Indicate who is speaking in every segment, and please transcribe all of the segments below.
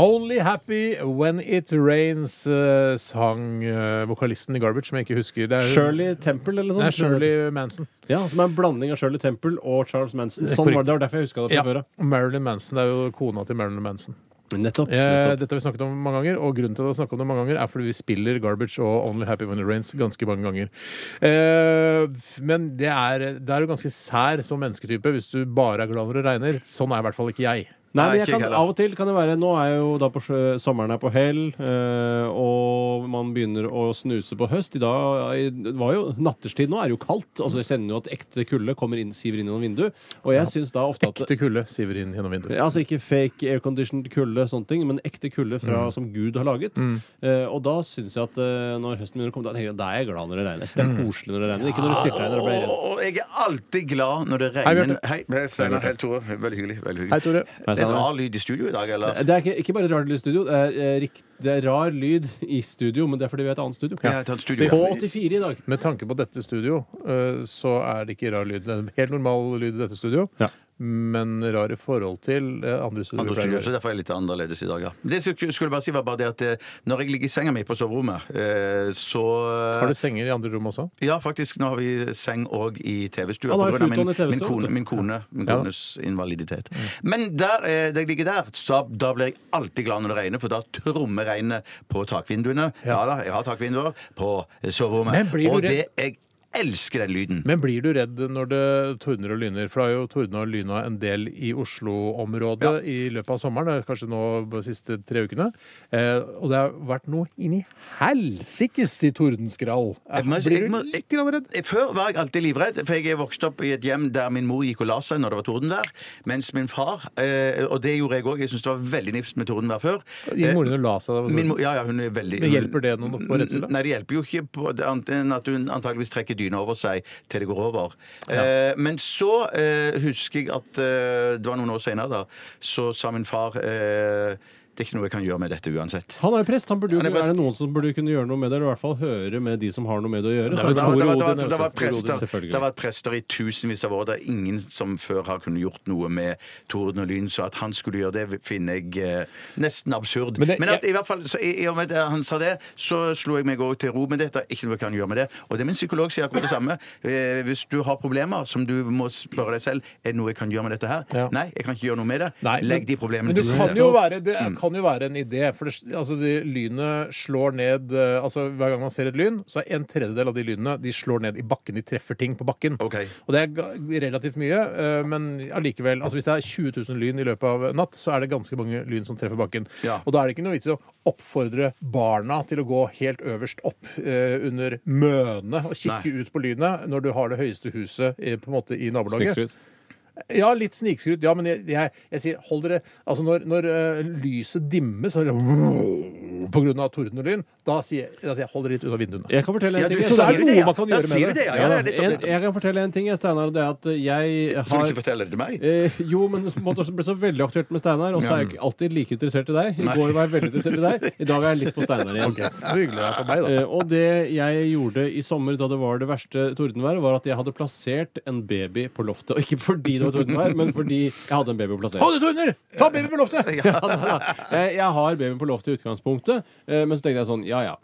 Speaker 1: Only Happy When It Rains eh, sang eh, vokalisten i Garbage, som jeg ikke husker. Det er,
Speaker 2: Shirley Temple eller
Speaker 1: Nei,
Speaker 2: noe sånt?
Speaker 1: Shirley Manson.
Speaker 2: Ja, som er en blanding av Shirley Temple og Charles Manson.
Speaker 1: Det er
Speaker 2: Sånn var
Speaker 1: korrekt.
Speaker 2: det, det var derfor jeg huska det fra
Speaker 1: Ja,
Speaker 2: før av.
Speaker 1: Marilyn Manson det er jo kona til Marilyn Manson.
Speaker 2: Nettopp.
Speaker 1: Eh,
Speaker 2: nettopp.
Speaker 1: dette har vi snakket om mange ganger, og grunnen til at vi har snakket om det mange ganger, er fordi vi spiller Garbage og Only Happy When It Rains ganske mange ganger. Eh, men det er, det er jo ganske sær som mennesketype hvis du bare er glad når det regner. Sånn er i hvert fall ikke jeg.
Speaker 2: Nei, men
Speaker 3: Nei,
Speaker 2: jeg
Speaker 3: ikke
Speaker 2: kan,
Speaker 3: heller.
Speaker 2: av og til kan det være Nå er jo da på sjø, sommeren er på hell, eh, og man begynner å snuse på høst. I dag i- det var jo nattestid nå, er det jo kaldt. Altså, jeg kjenner jo at ekte kulde kommer inn, siver inn gjennom vinduet. Og jeg synes da ofte at
Speaker 1: Ekte kulde siver inn gjennom vinduet.
Speaker 2: Ja, Altså ikke fake airconditioned kulde, sånne ting, men ekte kulde fra,
Speaker 3: Mm.
Speaker 2: som Gud har laget. Eh, og da syns jeg at eh, når høsten begynner å komme, da, tenker jeg, da er jeg glad når det regner.
Speaker 3: Mm.
Speaker 2: Det er koselig når det regner. Ikke når det styrtregner og blir redd.
Speaker 3: Og jeg er alltid glad når det
Speaker 1: Hei,
Speaker 3: regner.
Speaker 1: Bjarte.
Speaker 3: Hei, Hei Steinar. Hei, Tore. Veldig hyggelig. Veldig
Speaker 1: Hei,
Speaker 3: hyggelig.
Speaker 1: Tore.
Speaker 2: Hei,
Speaker 3: Det er
Speaker 2: Steinar.
Speaker 3: rar lyd i studio i dag, eller?
Speaker 2: Det er ikke, ikke bare rar lyd i studio, det er, eh, rikt, det er rar lyd i studio, men det er fordi vi er et annet studio.
Speaker 3: Jeg har tatt studio.
Speaker 2: K84 i dag.
Speaker 1: Med tanke på dette studio, eh, så er det ikke rar lyd. Det er en helt normal lyd i dette studio,
Speaker 2: Ja.
Speaker 1: men rar i forhold til eh, andre studioer.
Speaker 3: Andre studio, så Derfor er jeg litt annerledes i dag. Ja. Det jeg skulle skulle bare si var bare det at eh, Når jeg ligger i senga mi på soverommet, eh, så
Speaker 1: Har du senger i andre rom også?
Speaker 3: Ja, faktisk. Nå har vi seng òg i TV-stua.
Speaker 2: Ja,
Speaker 1: Ah,
Speaker 2: nå har
Speaker 3: på
Speaker 2: vi
Speaker 3: grunn av
Speaker 2: fulltone TV-stua,
Speaker 3: min, min
Speaker 2: vet
Speaker 3: kone,
Speaker 2: du.
Speaker 3: min, kone, min
Speaker 1: Ja.
Speaker 3: kones invaliditet. Men der, eh, da jeg ligger der, så, da blir jeg alltid glad når det regner, for da trommer regnet på takvinduene. Ja, da, jeg har takvinduer på soverommet.
Speaker 1: Men blir du
Speaker 3: Og
Speaker 1: redd?
Speaker 3: det jeg elsker den lyden.
Speaker 1: Men blir du redd når det tordner og lyner? For det har jo tordna og lyna en del i Oslo-området i løpet av sommeren, eller kanskje nå de siste tre ukene. Eh, og det har vært noe inni helsikes i tordenskrall. Eh,
Speaker 3: Jeg må-
Speaker 1: Blir
Speaker 3: jeg
Speaker 1: du
Speaker 3: må-
Speaker 1: litt grann redd?
Speaker 3: Eh, Før var jeg alltid livredd, for jeg er vokst opp i et hjem der min mor gikk og la seg når det var tordenvær, mens min far eh, Og det gjorde jeg òg, jeg syntes det var veldig nifst med tordenvær før.
Speaker 1: Gikk moren din og la seg? da?
Speaker 3: Min mor, ja, ja, hun er veldig
Speaker 1: Men hjelper det noen på redselen?
Speaker 3: Nei, det hjelper jo ikke på det annet enn at hun antageligvis trekker dyna over seg til det går over. Eh, men så eh, husker jeg at eh, det var noen år senere, da, så sa min far eh, det er ikke noe jeg kan gjøre med dette uansett.
Speaker 2: Han er jo prest. Han burde jo,
Speaker 3: Han er
Speaker 2: er,
Speaker 3: prest.
Speaker 2: det noen som burde kunne gjøre noe med det? Eller i hvert fall høre med de som har noe med det å gjøre?
Speaker 3: Det
Speaker 2: Så er
Speaker 3: var, det
Speaker 2: det
Speaker 3: var,
Speaker 2: Tor
Speaker 3: det var, det var,
Speaker 2: Odin,
Speaker 3: det var,
Speaker 2: vet du. Tor Odin,
Speaker 3: prester,
Speaker 2: selvfølgelig.
Speaker 3: det har vært prester i tusenvis av år. Det er ingen som før har kunnet gjort noe med torden og lyn, så at han skulle gjøre det, finner jeg eh, nesten absurd.
Speaker 1: Men
Speaker 3: Men,
Speaker 1: det-
Speaker 3: at, i hvert fall, så, i, i og med at han sa det, så slo jeg meg òg til ro med dette. Ikke noe jeg kan gjøre med det. Og det min psykolog sier akkurat det samme. Eh, Hvis du har problemer som du må spørre deg selv er det noe jeg kan gjøre med dette her,
Speaker 1: Ja.
Speaker 3: nei, jeg kan ikke gjøre noe med det.
Speaker 1: Nei, men-
Speaker 3: Legg de problemene
Speaker 1: Men det
Speaker 3: til
Speaker 1: kan
Speaker 3: side. Mm.
Speaker 1: jo være, det er- kan jo være en idé. For det, altså, det, lynet slår ned eh, altså, Hver gang man ser et lyn, så er en tredjedel av de lynene de slår ned i bakken. De treffer ting på bakken.
Speaker 3: Ok.
Speaker 1: Og det er ga- relativt mye, eh, men allikevel. Altså, hvis det er 20 000 lyn i løpet av en natt, så er det ganske mange lyn som treffer bakken.
Speaker 3: Ja.
Speaker 1: Og da er det ikke noe vits i å oppfordre barna til å gå helt øverst opp eh, under mønet og kikke ut på lynet når du har det høyeste huset eh, på en måte i nabolaget.
Speaker 2: Snikskryt.
Speaker 1: Ja, litt snikskryt. Ja, men jeg, jeg, jeg sier hold dere Altså, når, når eh, lyset dimmes så er det på grunn av torden og lyn, da sier, jeg- da sier jeg hold dere litt ut av vinduene.
Speaker 2: Jeg kan fortelle en
Speaker 3: Ja,
Speaker 2: ting.
Speaker 3: du-
Speaker 1: Så det
Speaker 3: sier
Speaker 1: er
Speaker 3: du
Speaker 1: noe
Speaker 3: ja?
Speaker 1: man kan
Speaker 3: Ja,
Speaker 1: gjøre med
Speaker 3: sier du
Speaker 1: det.
Speaker 3: det. Ja, ja, det er litt-
Speaker 2: en, jeg kan fortelle en ting, jeg, Steinar, og det er at jeg har
Speaker 3: Skal du ikke fortelle det til meg?
Speaker 2: Eh, jo, men det ble så veldig aktuelt med Steinar, og så er jeg ikke alltid like interessert i deg. I går var jeg veldig interessert i deg, i dag er jeg litt på Steinar igjen.
Speaker 1: Ok, så hyggelig det er for meg, da.
Speaker 2: Eh, og det jeg gjorde i sommer da det var det verste tordenværet, var at jeg hadde plassert en baby på loftet. Og ikke fordi det var tordenvær, men fordi jeg hadde en baby å plassere.
Speaker 1: Hold ut under! Ta baby på loftet!
Speaker 2: Ja, da, da. jeg, Eh, jeg har babyen på loftet i utgangspunktet, eh, men så tenkte jeg sånn, ja ja.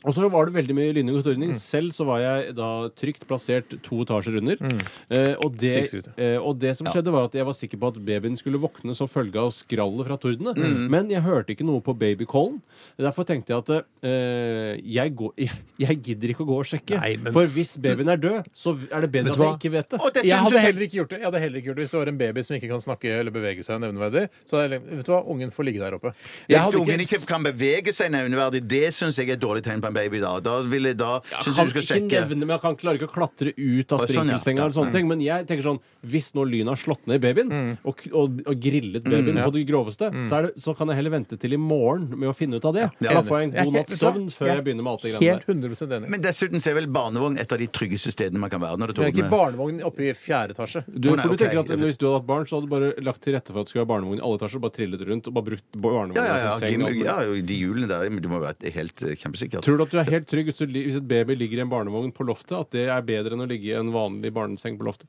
Speaker 2: Og så var det veldig mye lyning og
Speaker 1: Mm.
Speaker 2: tordning. Selv så var jeg da trygt plassert to etasjer under.
Speaker 1: Mm.
Speaker 2: Eh, og, det,
Speaker 1: Snikskryte.
Speaker 2: eh, og det som skjedde, var at jeg var sikker på at babyen skulle våkne som følge av skrallet fra tordene.
Speaker 1: Mm.
Speaker 2: Men jeg hørte ikke noe på babycallen. Derfor tenkte jeg at eh, jeg, går, jeg, jeg gidder ikke å gå og sjekke.
Speaker 1: Nei, men-
Speaker 2: For hvis babyen er død, så er det
Speaker 1: Vet
Speaker 2: bedre at
Speaker 1: du
Speaker 2: jeg
Speaker 1: hva?
Speaker 2: ikke vet det.
Speaker 3: Og det
Speaker 1: Jeg
Speaker 3: synes
Speaker 1: hadde
Speaker 3: jeg-
Speaker 1: heller ikke gjort det Jeg hadde heller ikke gjort det hvis det var en baby som ikke kan snakke eller bevege seg nevneverdig. Så hadde jeg, vet du hva, ungen får ligge der oppe. Jeg
Speaker 3: Hvis
Speaker 1: hadde
Speaker 3: ungen ikke
Speaker 1: ikke
Speaker 3: kan bevege seg nevneverdig, det syns jeg er et dårlig tegn på en baby da. Da vil jeg da
Speaker 2: Jeg
Speaker 3: synes
Speaker 2: kan
Speaker 3: jeg du skal
Speaker 2: ikke
Speaker 3: sjekke.
Speaker 2: nevne, men jeg kan klarer ikke å klatre ut av
Speaker 3: Å, sånn, ja. Mm.
Speaker 2: sprinkelsenga. eller sånne ting, Men jeg tenker sånn, hvis nå lynet har slått ned babyen, og, og, og grillet babyen på det groveste, så, er det, så kan jeg heller vente til i morgen med å finne ut av det. Da får jeg en god natts søvn før jeg begynner med alt det greiene der.
Speaker 1: Helt 100 enig.
Speaker 3: Men dessuten så er vel barnevogn et av de tryggeste stedene man kan være. når det
Speaker 1: Det er
Speaker 3: tordner.
Speaker 1: ikke barnevogn oppe i fjerde etasje.
Speaker 2: Du,
Speaker 3: Å, nei,
Speaker 2: for du
Speaker 3: ok.
Speaker 2: tenker at Hvis du hadde hatt barn, så hadde du bare lagt til rette for at det skulle være barnevogn i alle etasjer. Bare trillet rundt og bare brukt barnevognen
Speaker 3: Ja, ja, ja,
Speaker 2: som seng.
Speaker 3: Jim-
Speaker 2: og alt
Speaker 3: ja,
Speaker 2: mulig.
Speaker 3: jo, de hjulene der men Du må være helt eh, kjempesikker.
Speaker 2: Tror du at du er helt trygg hvis, du, li- hvis et baby ligger i en barnevogn på loftet? At det er bedre enn å ligge i en vanlig barneseng på loftet?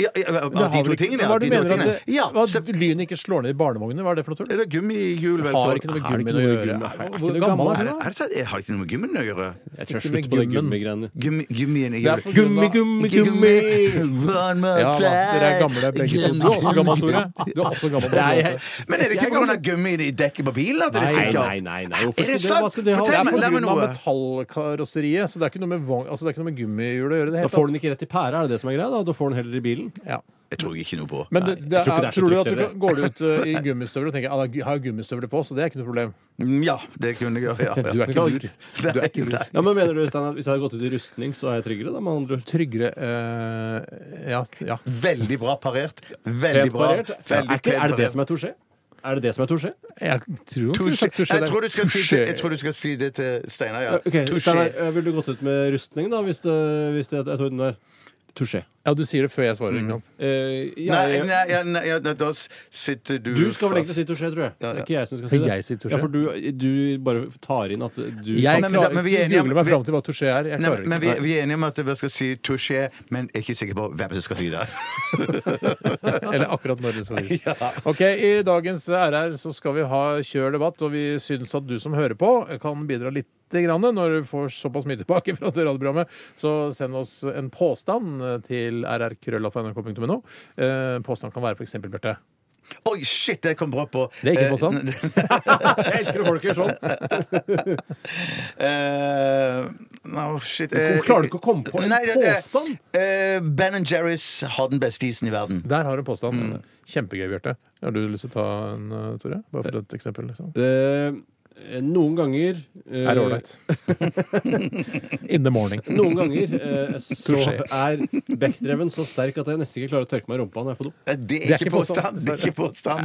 Speaker 3: Ja, ja, ja,
Speaker 1: Det
Speaker 3: de
Speaker 1: har
Speaker 3: to
Speaker 1: vel ikke-
Speaker 3: tingene, ja.
Speaker 1: Hva er
Speaker 3: de
Speaker 1: det du
Speaker 3: to
Speaker 1: mener
Speaker 3: tingene.
Speaker 1: at det,
Speaker 3: Ja,
Speaker 1: hva,
Speaker 3: se-
Speaker 1: lynet ikke slår ned i barnevogner? Hva er det for noe,
Speaker 3: er
Speaker 1: tror du?
Speaker 3: det gummihjul? vel,
Speaker 1: Har
Speaker 3: på-
Speaker 1: ikke noe med
Speaker 2: Er
Speaker 1: gummen å
Speaker 2: det ikke noe
Speaker 1: gjøre.
Speaker 2: gummi? Er det ikke
Speaker 1: Hvor
Speaker 2: noe
Speaker 1: gammel
Speaker 2: gammel?
Speaker 1: er du?
Speaker 3: Er det-
Speaker 1: da?
Speaker 3: er det sant? Jeg har ikke noe med gummen å gjøre.
Speaker 2: Jeg tror jeg
Speaker 1: Ikke med
Speaker 2: slutter på det
Speaker 1: gummen.
Speaker 2: gummigreiene.
Speaker 3: Gummi, gummien i
Speaker 1: Det er
Speaker 3: hjulet.
Speaker 1: på grunn av-
Speaker 3: One more
Speaker 1: Ja da, dere er gamle
Speaker 3: time.
Speaker 1: begge to. Du er også gammel, Tore. Du er også gammel.
Speaker 2: Nei, jeg-
Speaker 3: Men er det ikke pga. gummien i dekket på bilen at det er
Speaker 2: Nei,
Speaker 3: sikkert?
Speaker 2: nei, nei, nei. Hvorfor
Speaker 3: Er
Speaker 2: skulle
Speaker 3: det
Speaker 2: det-
Speaker 3: sant?
Speaker 2: hva skulle det ha-
Speaker 1: Det
Speaker 3: Fortell
Speaker 1: er
Speaker 3: meg,
Speaker 1: på
Speaker 3: la meg
Speaker 1: grunn av
Speaker 3: noe.
Speaker 1: metallkarosseriet, så det er ikke noe med, vogn- altså, det er ikke noe med gummihjul å gjøre. i det
Speaker 2: Da
Speaker 1: hele
Speaker 2: får
Speaker 1: tatt.
Speaker 2: den ikke rett i pæra, er det det som er greia? Da Da får den heller i bilen.
Speaker 1: Ja.
Speaker 3: Jeg tror ikke noe på.
Speaker 1: Men det,
Speaker 2: Nei, jeg
Speaker 1: det
Speaker 2: tror ikke
Speaker 1: er,
Speaker 2: det er så
Speaker 1: tror du
Speaker 2: trygt
Speaker 1: at du
Speaker 2: heller.
Speaker 1: kan- går du ut uh, i gummistøvler og tenker at jeg har gummistøvler på, så det er ikke noe problem.
Speaker 3: Mm, Ja, det kunne jeg gjøre. Ja, ja.
Speaker 1: Du er ikke lur. Du er ikke lur.
Speaker 3: Nei, nei.
Speaker 2: Ja, men mener du, Stein, at Hvis jeg hadde gått ut i rustning, så er jeg tryggere? da, med andre ord?
Speaker 1: Tryggere eh, Ja. ja.
Speaker 3: Veldig bra parert. Veldig
Speaker 2: Pent
Speaker 3: bra.
Speaker 2: parert? Er,
Speaker 3: Veldig
Speaker 2: ikke,
Speaker 3: pent
Speaker 2: er det det
Speaker 3: parert.
Speaker 2: som er touché? Er det det som er touché?
Speaker 1: Jeg tror ikke du
Speaker 3: Touché.
Speaker 1: sagt touché
Speaker 3: Jeg
Speaker 1: der.
Speaker 3: tror du skal si det, jeg
Speaker 1: Touché.
Speaker 3: tror du skal si det til Steinar, ja.
Speaker 2: Ok, Steinar,
Speaker 3: Touché.
Speaker 2: Ville du gått ut med rustning, da, hvis det, hvis det jeg tror den der Touché.
Speaker 1: Ja, du sier det før jeg svarer. ikke sant?
Speaker 2: Eh, jeg-
Speaker 3: Nei, nei, ja, nei ja, da- da sitter du
Speaker 2: Du skal vel egentlig
Speaker 3: fast.
Speaker 2: si touché, tror jeg. Det
Speaker 3: Ja,
Speaker 2: er
Speaker 3: ja.
Speaker 2: ikke jeg som skal si det.
Speaker 1: Jeg sier touché.
Speaker 2: Ja, for du, du bare tar inn at du
Speaker 1: Jeg
Speaker 3: men-
Speaker 1: klarer
Speaker 3: men vi er
Speaker 1: ikke
Speaker 3: enige om-
Speaker 1: google meg
Speaker 3: vi-
Speaker 1: fram til hva touché er. Jeg
Speaker 3: Nei,
Speaker 1: klarer
Speaker 3: men
Speaker 1: ikke.
Speaker 3: vi, vi er enige om at vi skal si touché, men jeg er ikke sikker på hvem som skal si det.
Speaker 1: Eller akkurat når det skal gis. Ok, I dagens RR så skal vi ha kjør debatt, og vi syns at du som hører på, kan bidra litt. Grann, når du får såpass mye tilbake fra dette radioprogrammet, så send oss en påstand til rrkrøllalfa.nrk.no. Eh, Påstand kan være f.eks. Bjarte.
Speaker 3: Oi, shit, det kom bra på.
Speaker 1: Det er ikke
Speaker 3: Eh,
Speaker 1: påstand.
Speaker 2: Jeg elsker når folk gjør sånn!
Speaker 3: eh, no, shit. eh,
Speaker 2: Klarer du ikke å komme på en
Speaker 3: Nei, det- det-
Speaker 2: påstand?
Speaker 3: eh, ben Jerry's har den beste isen i verden.
Speaker 1: Der har du en påstand. Kjempegøy, Bjarte. Har du lyst til å ta en, eh, Tore? Bare for et eksempel. Liksom.
Speaker 2: Eh, noen ganger eh,
Speaker 1: Er det ålreit? In the morning.
Speaker 2: Noen ganger eh, så
Speaker 1: Touché.
Speaker 2: er bekkdreven så sterk at jeg nesten ikke klarer å tørke meg i rumpa når jeg er på sånn. do.
Speaker 3: Eh, Det
Speaker 1: er
Speaker 3: er ikke
Speaker 1: ikke
Speaker 3: påstand.
Speaker 1: påstand.
Speaker 3: Det er ikke påstand.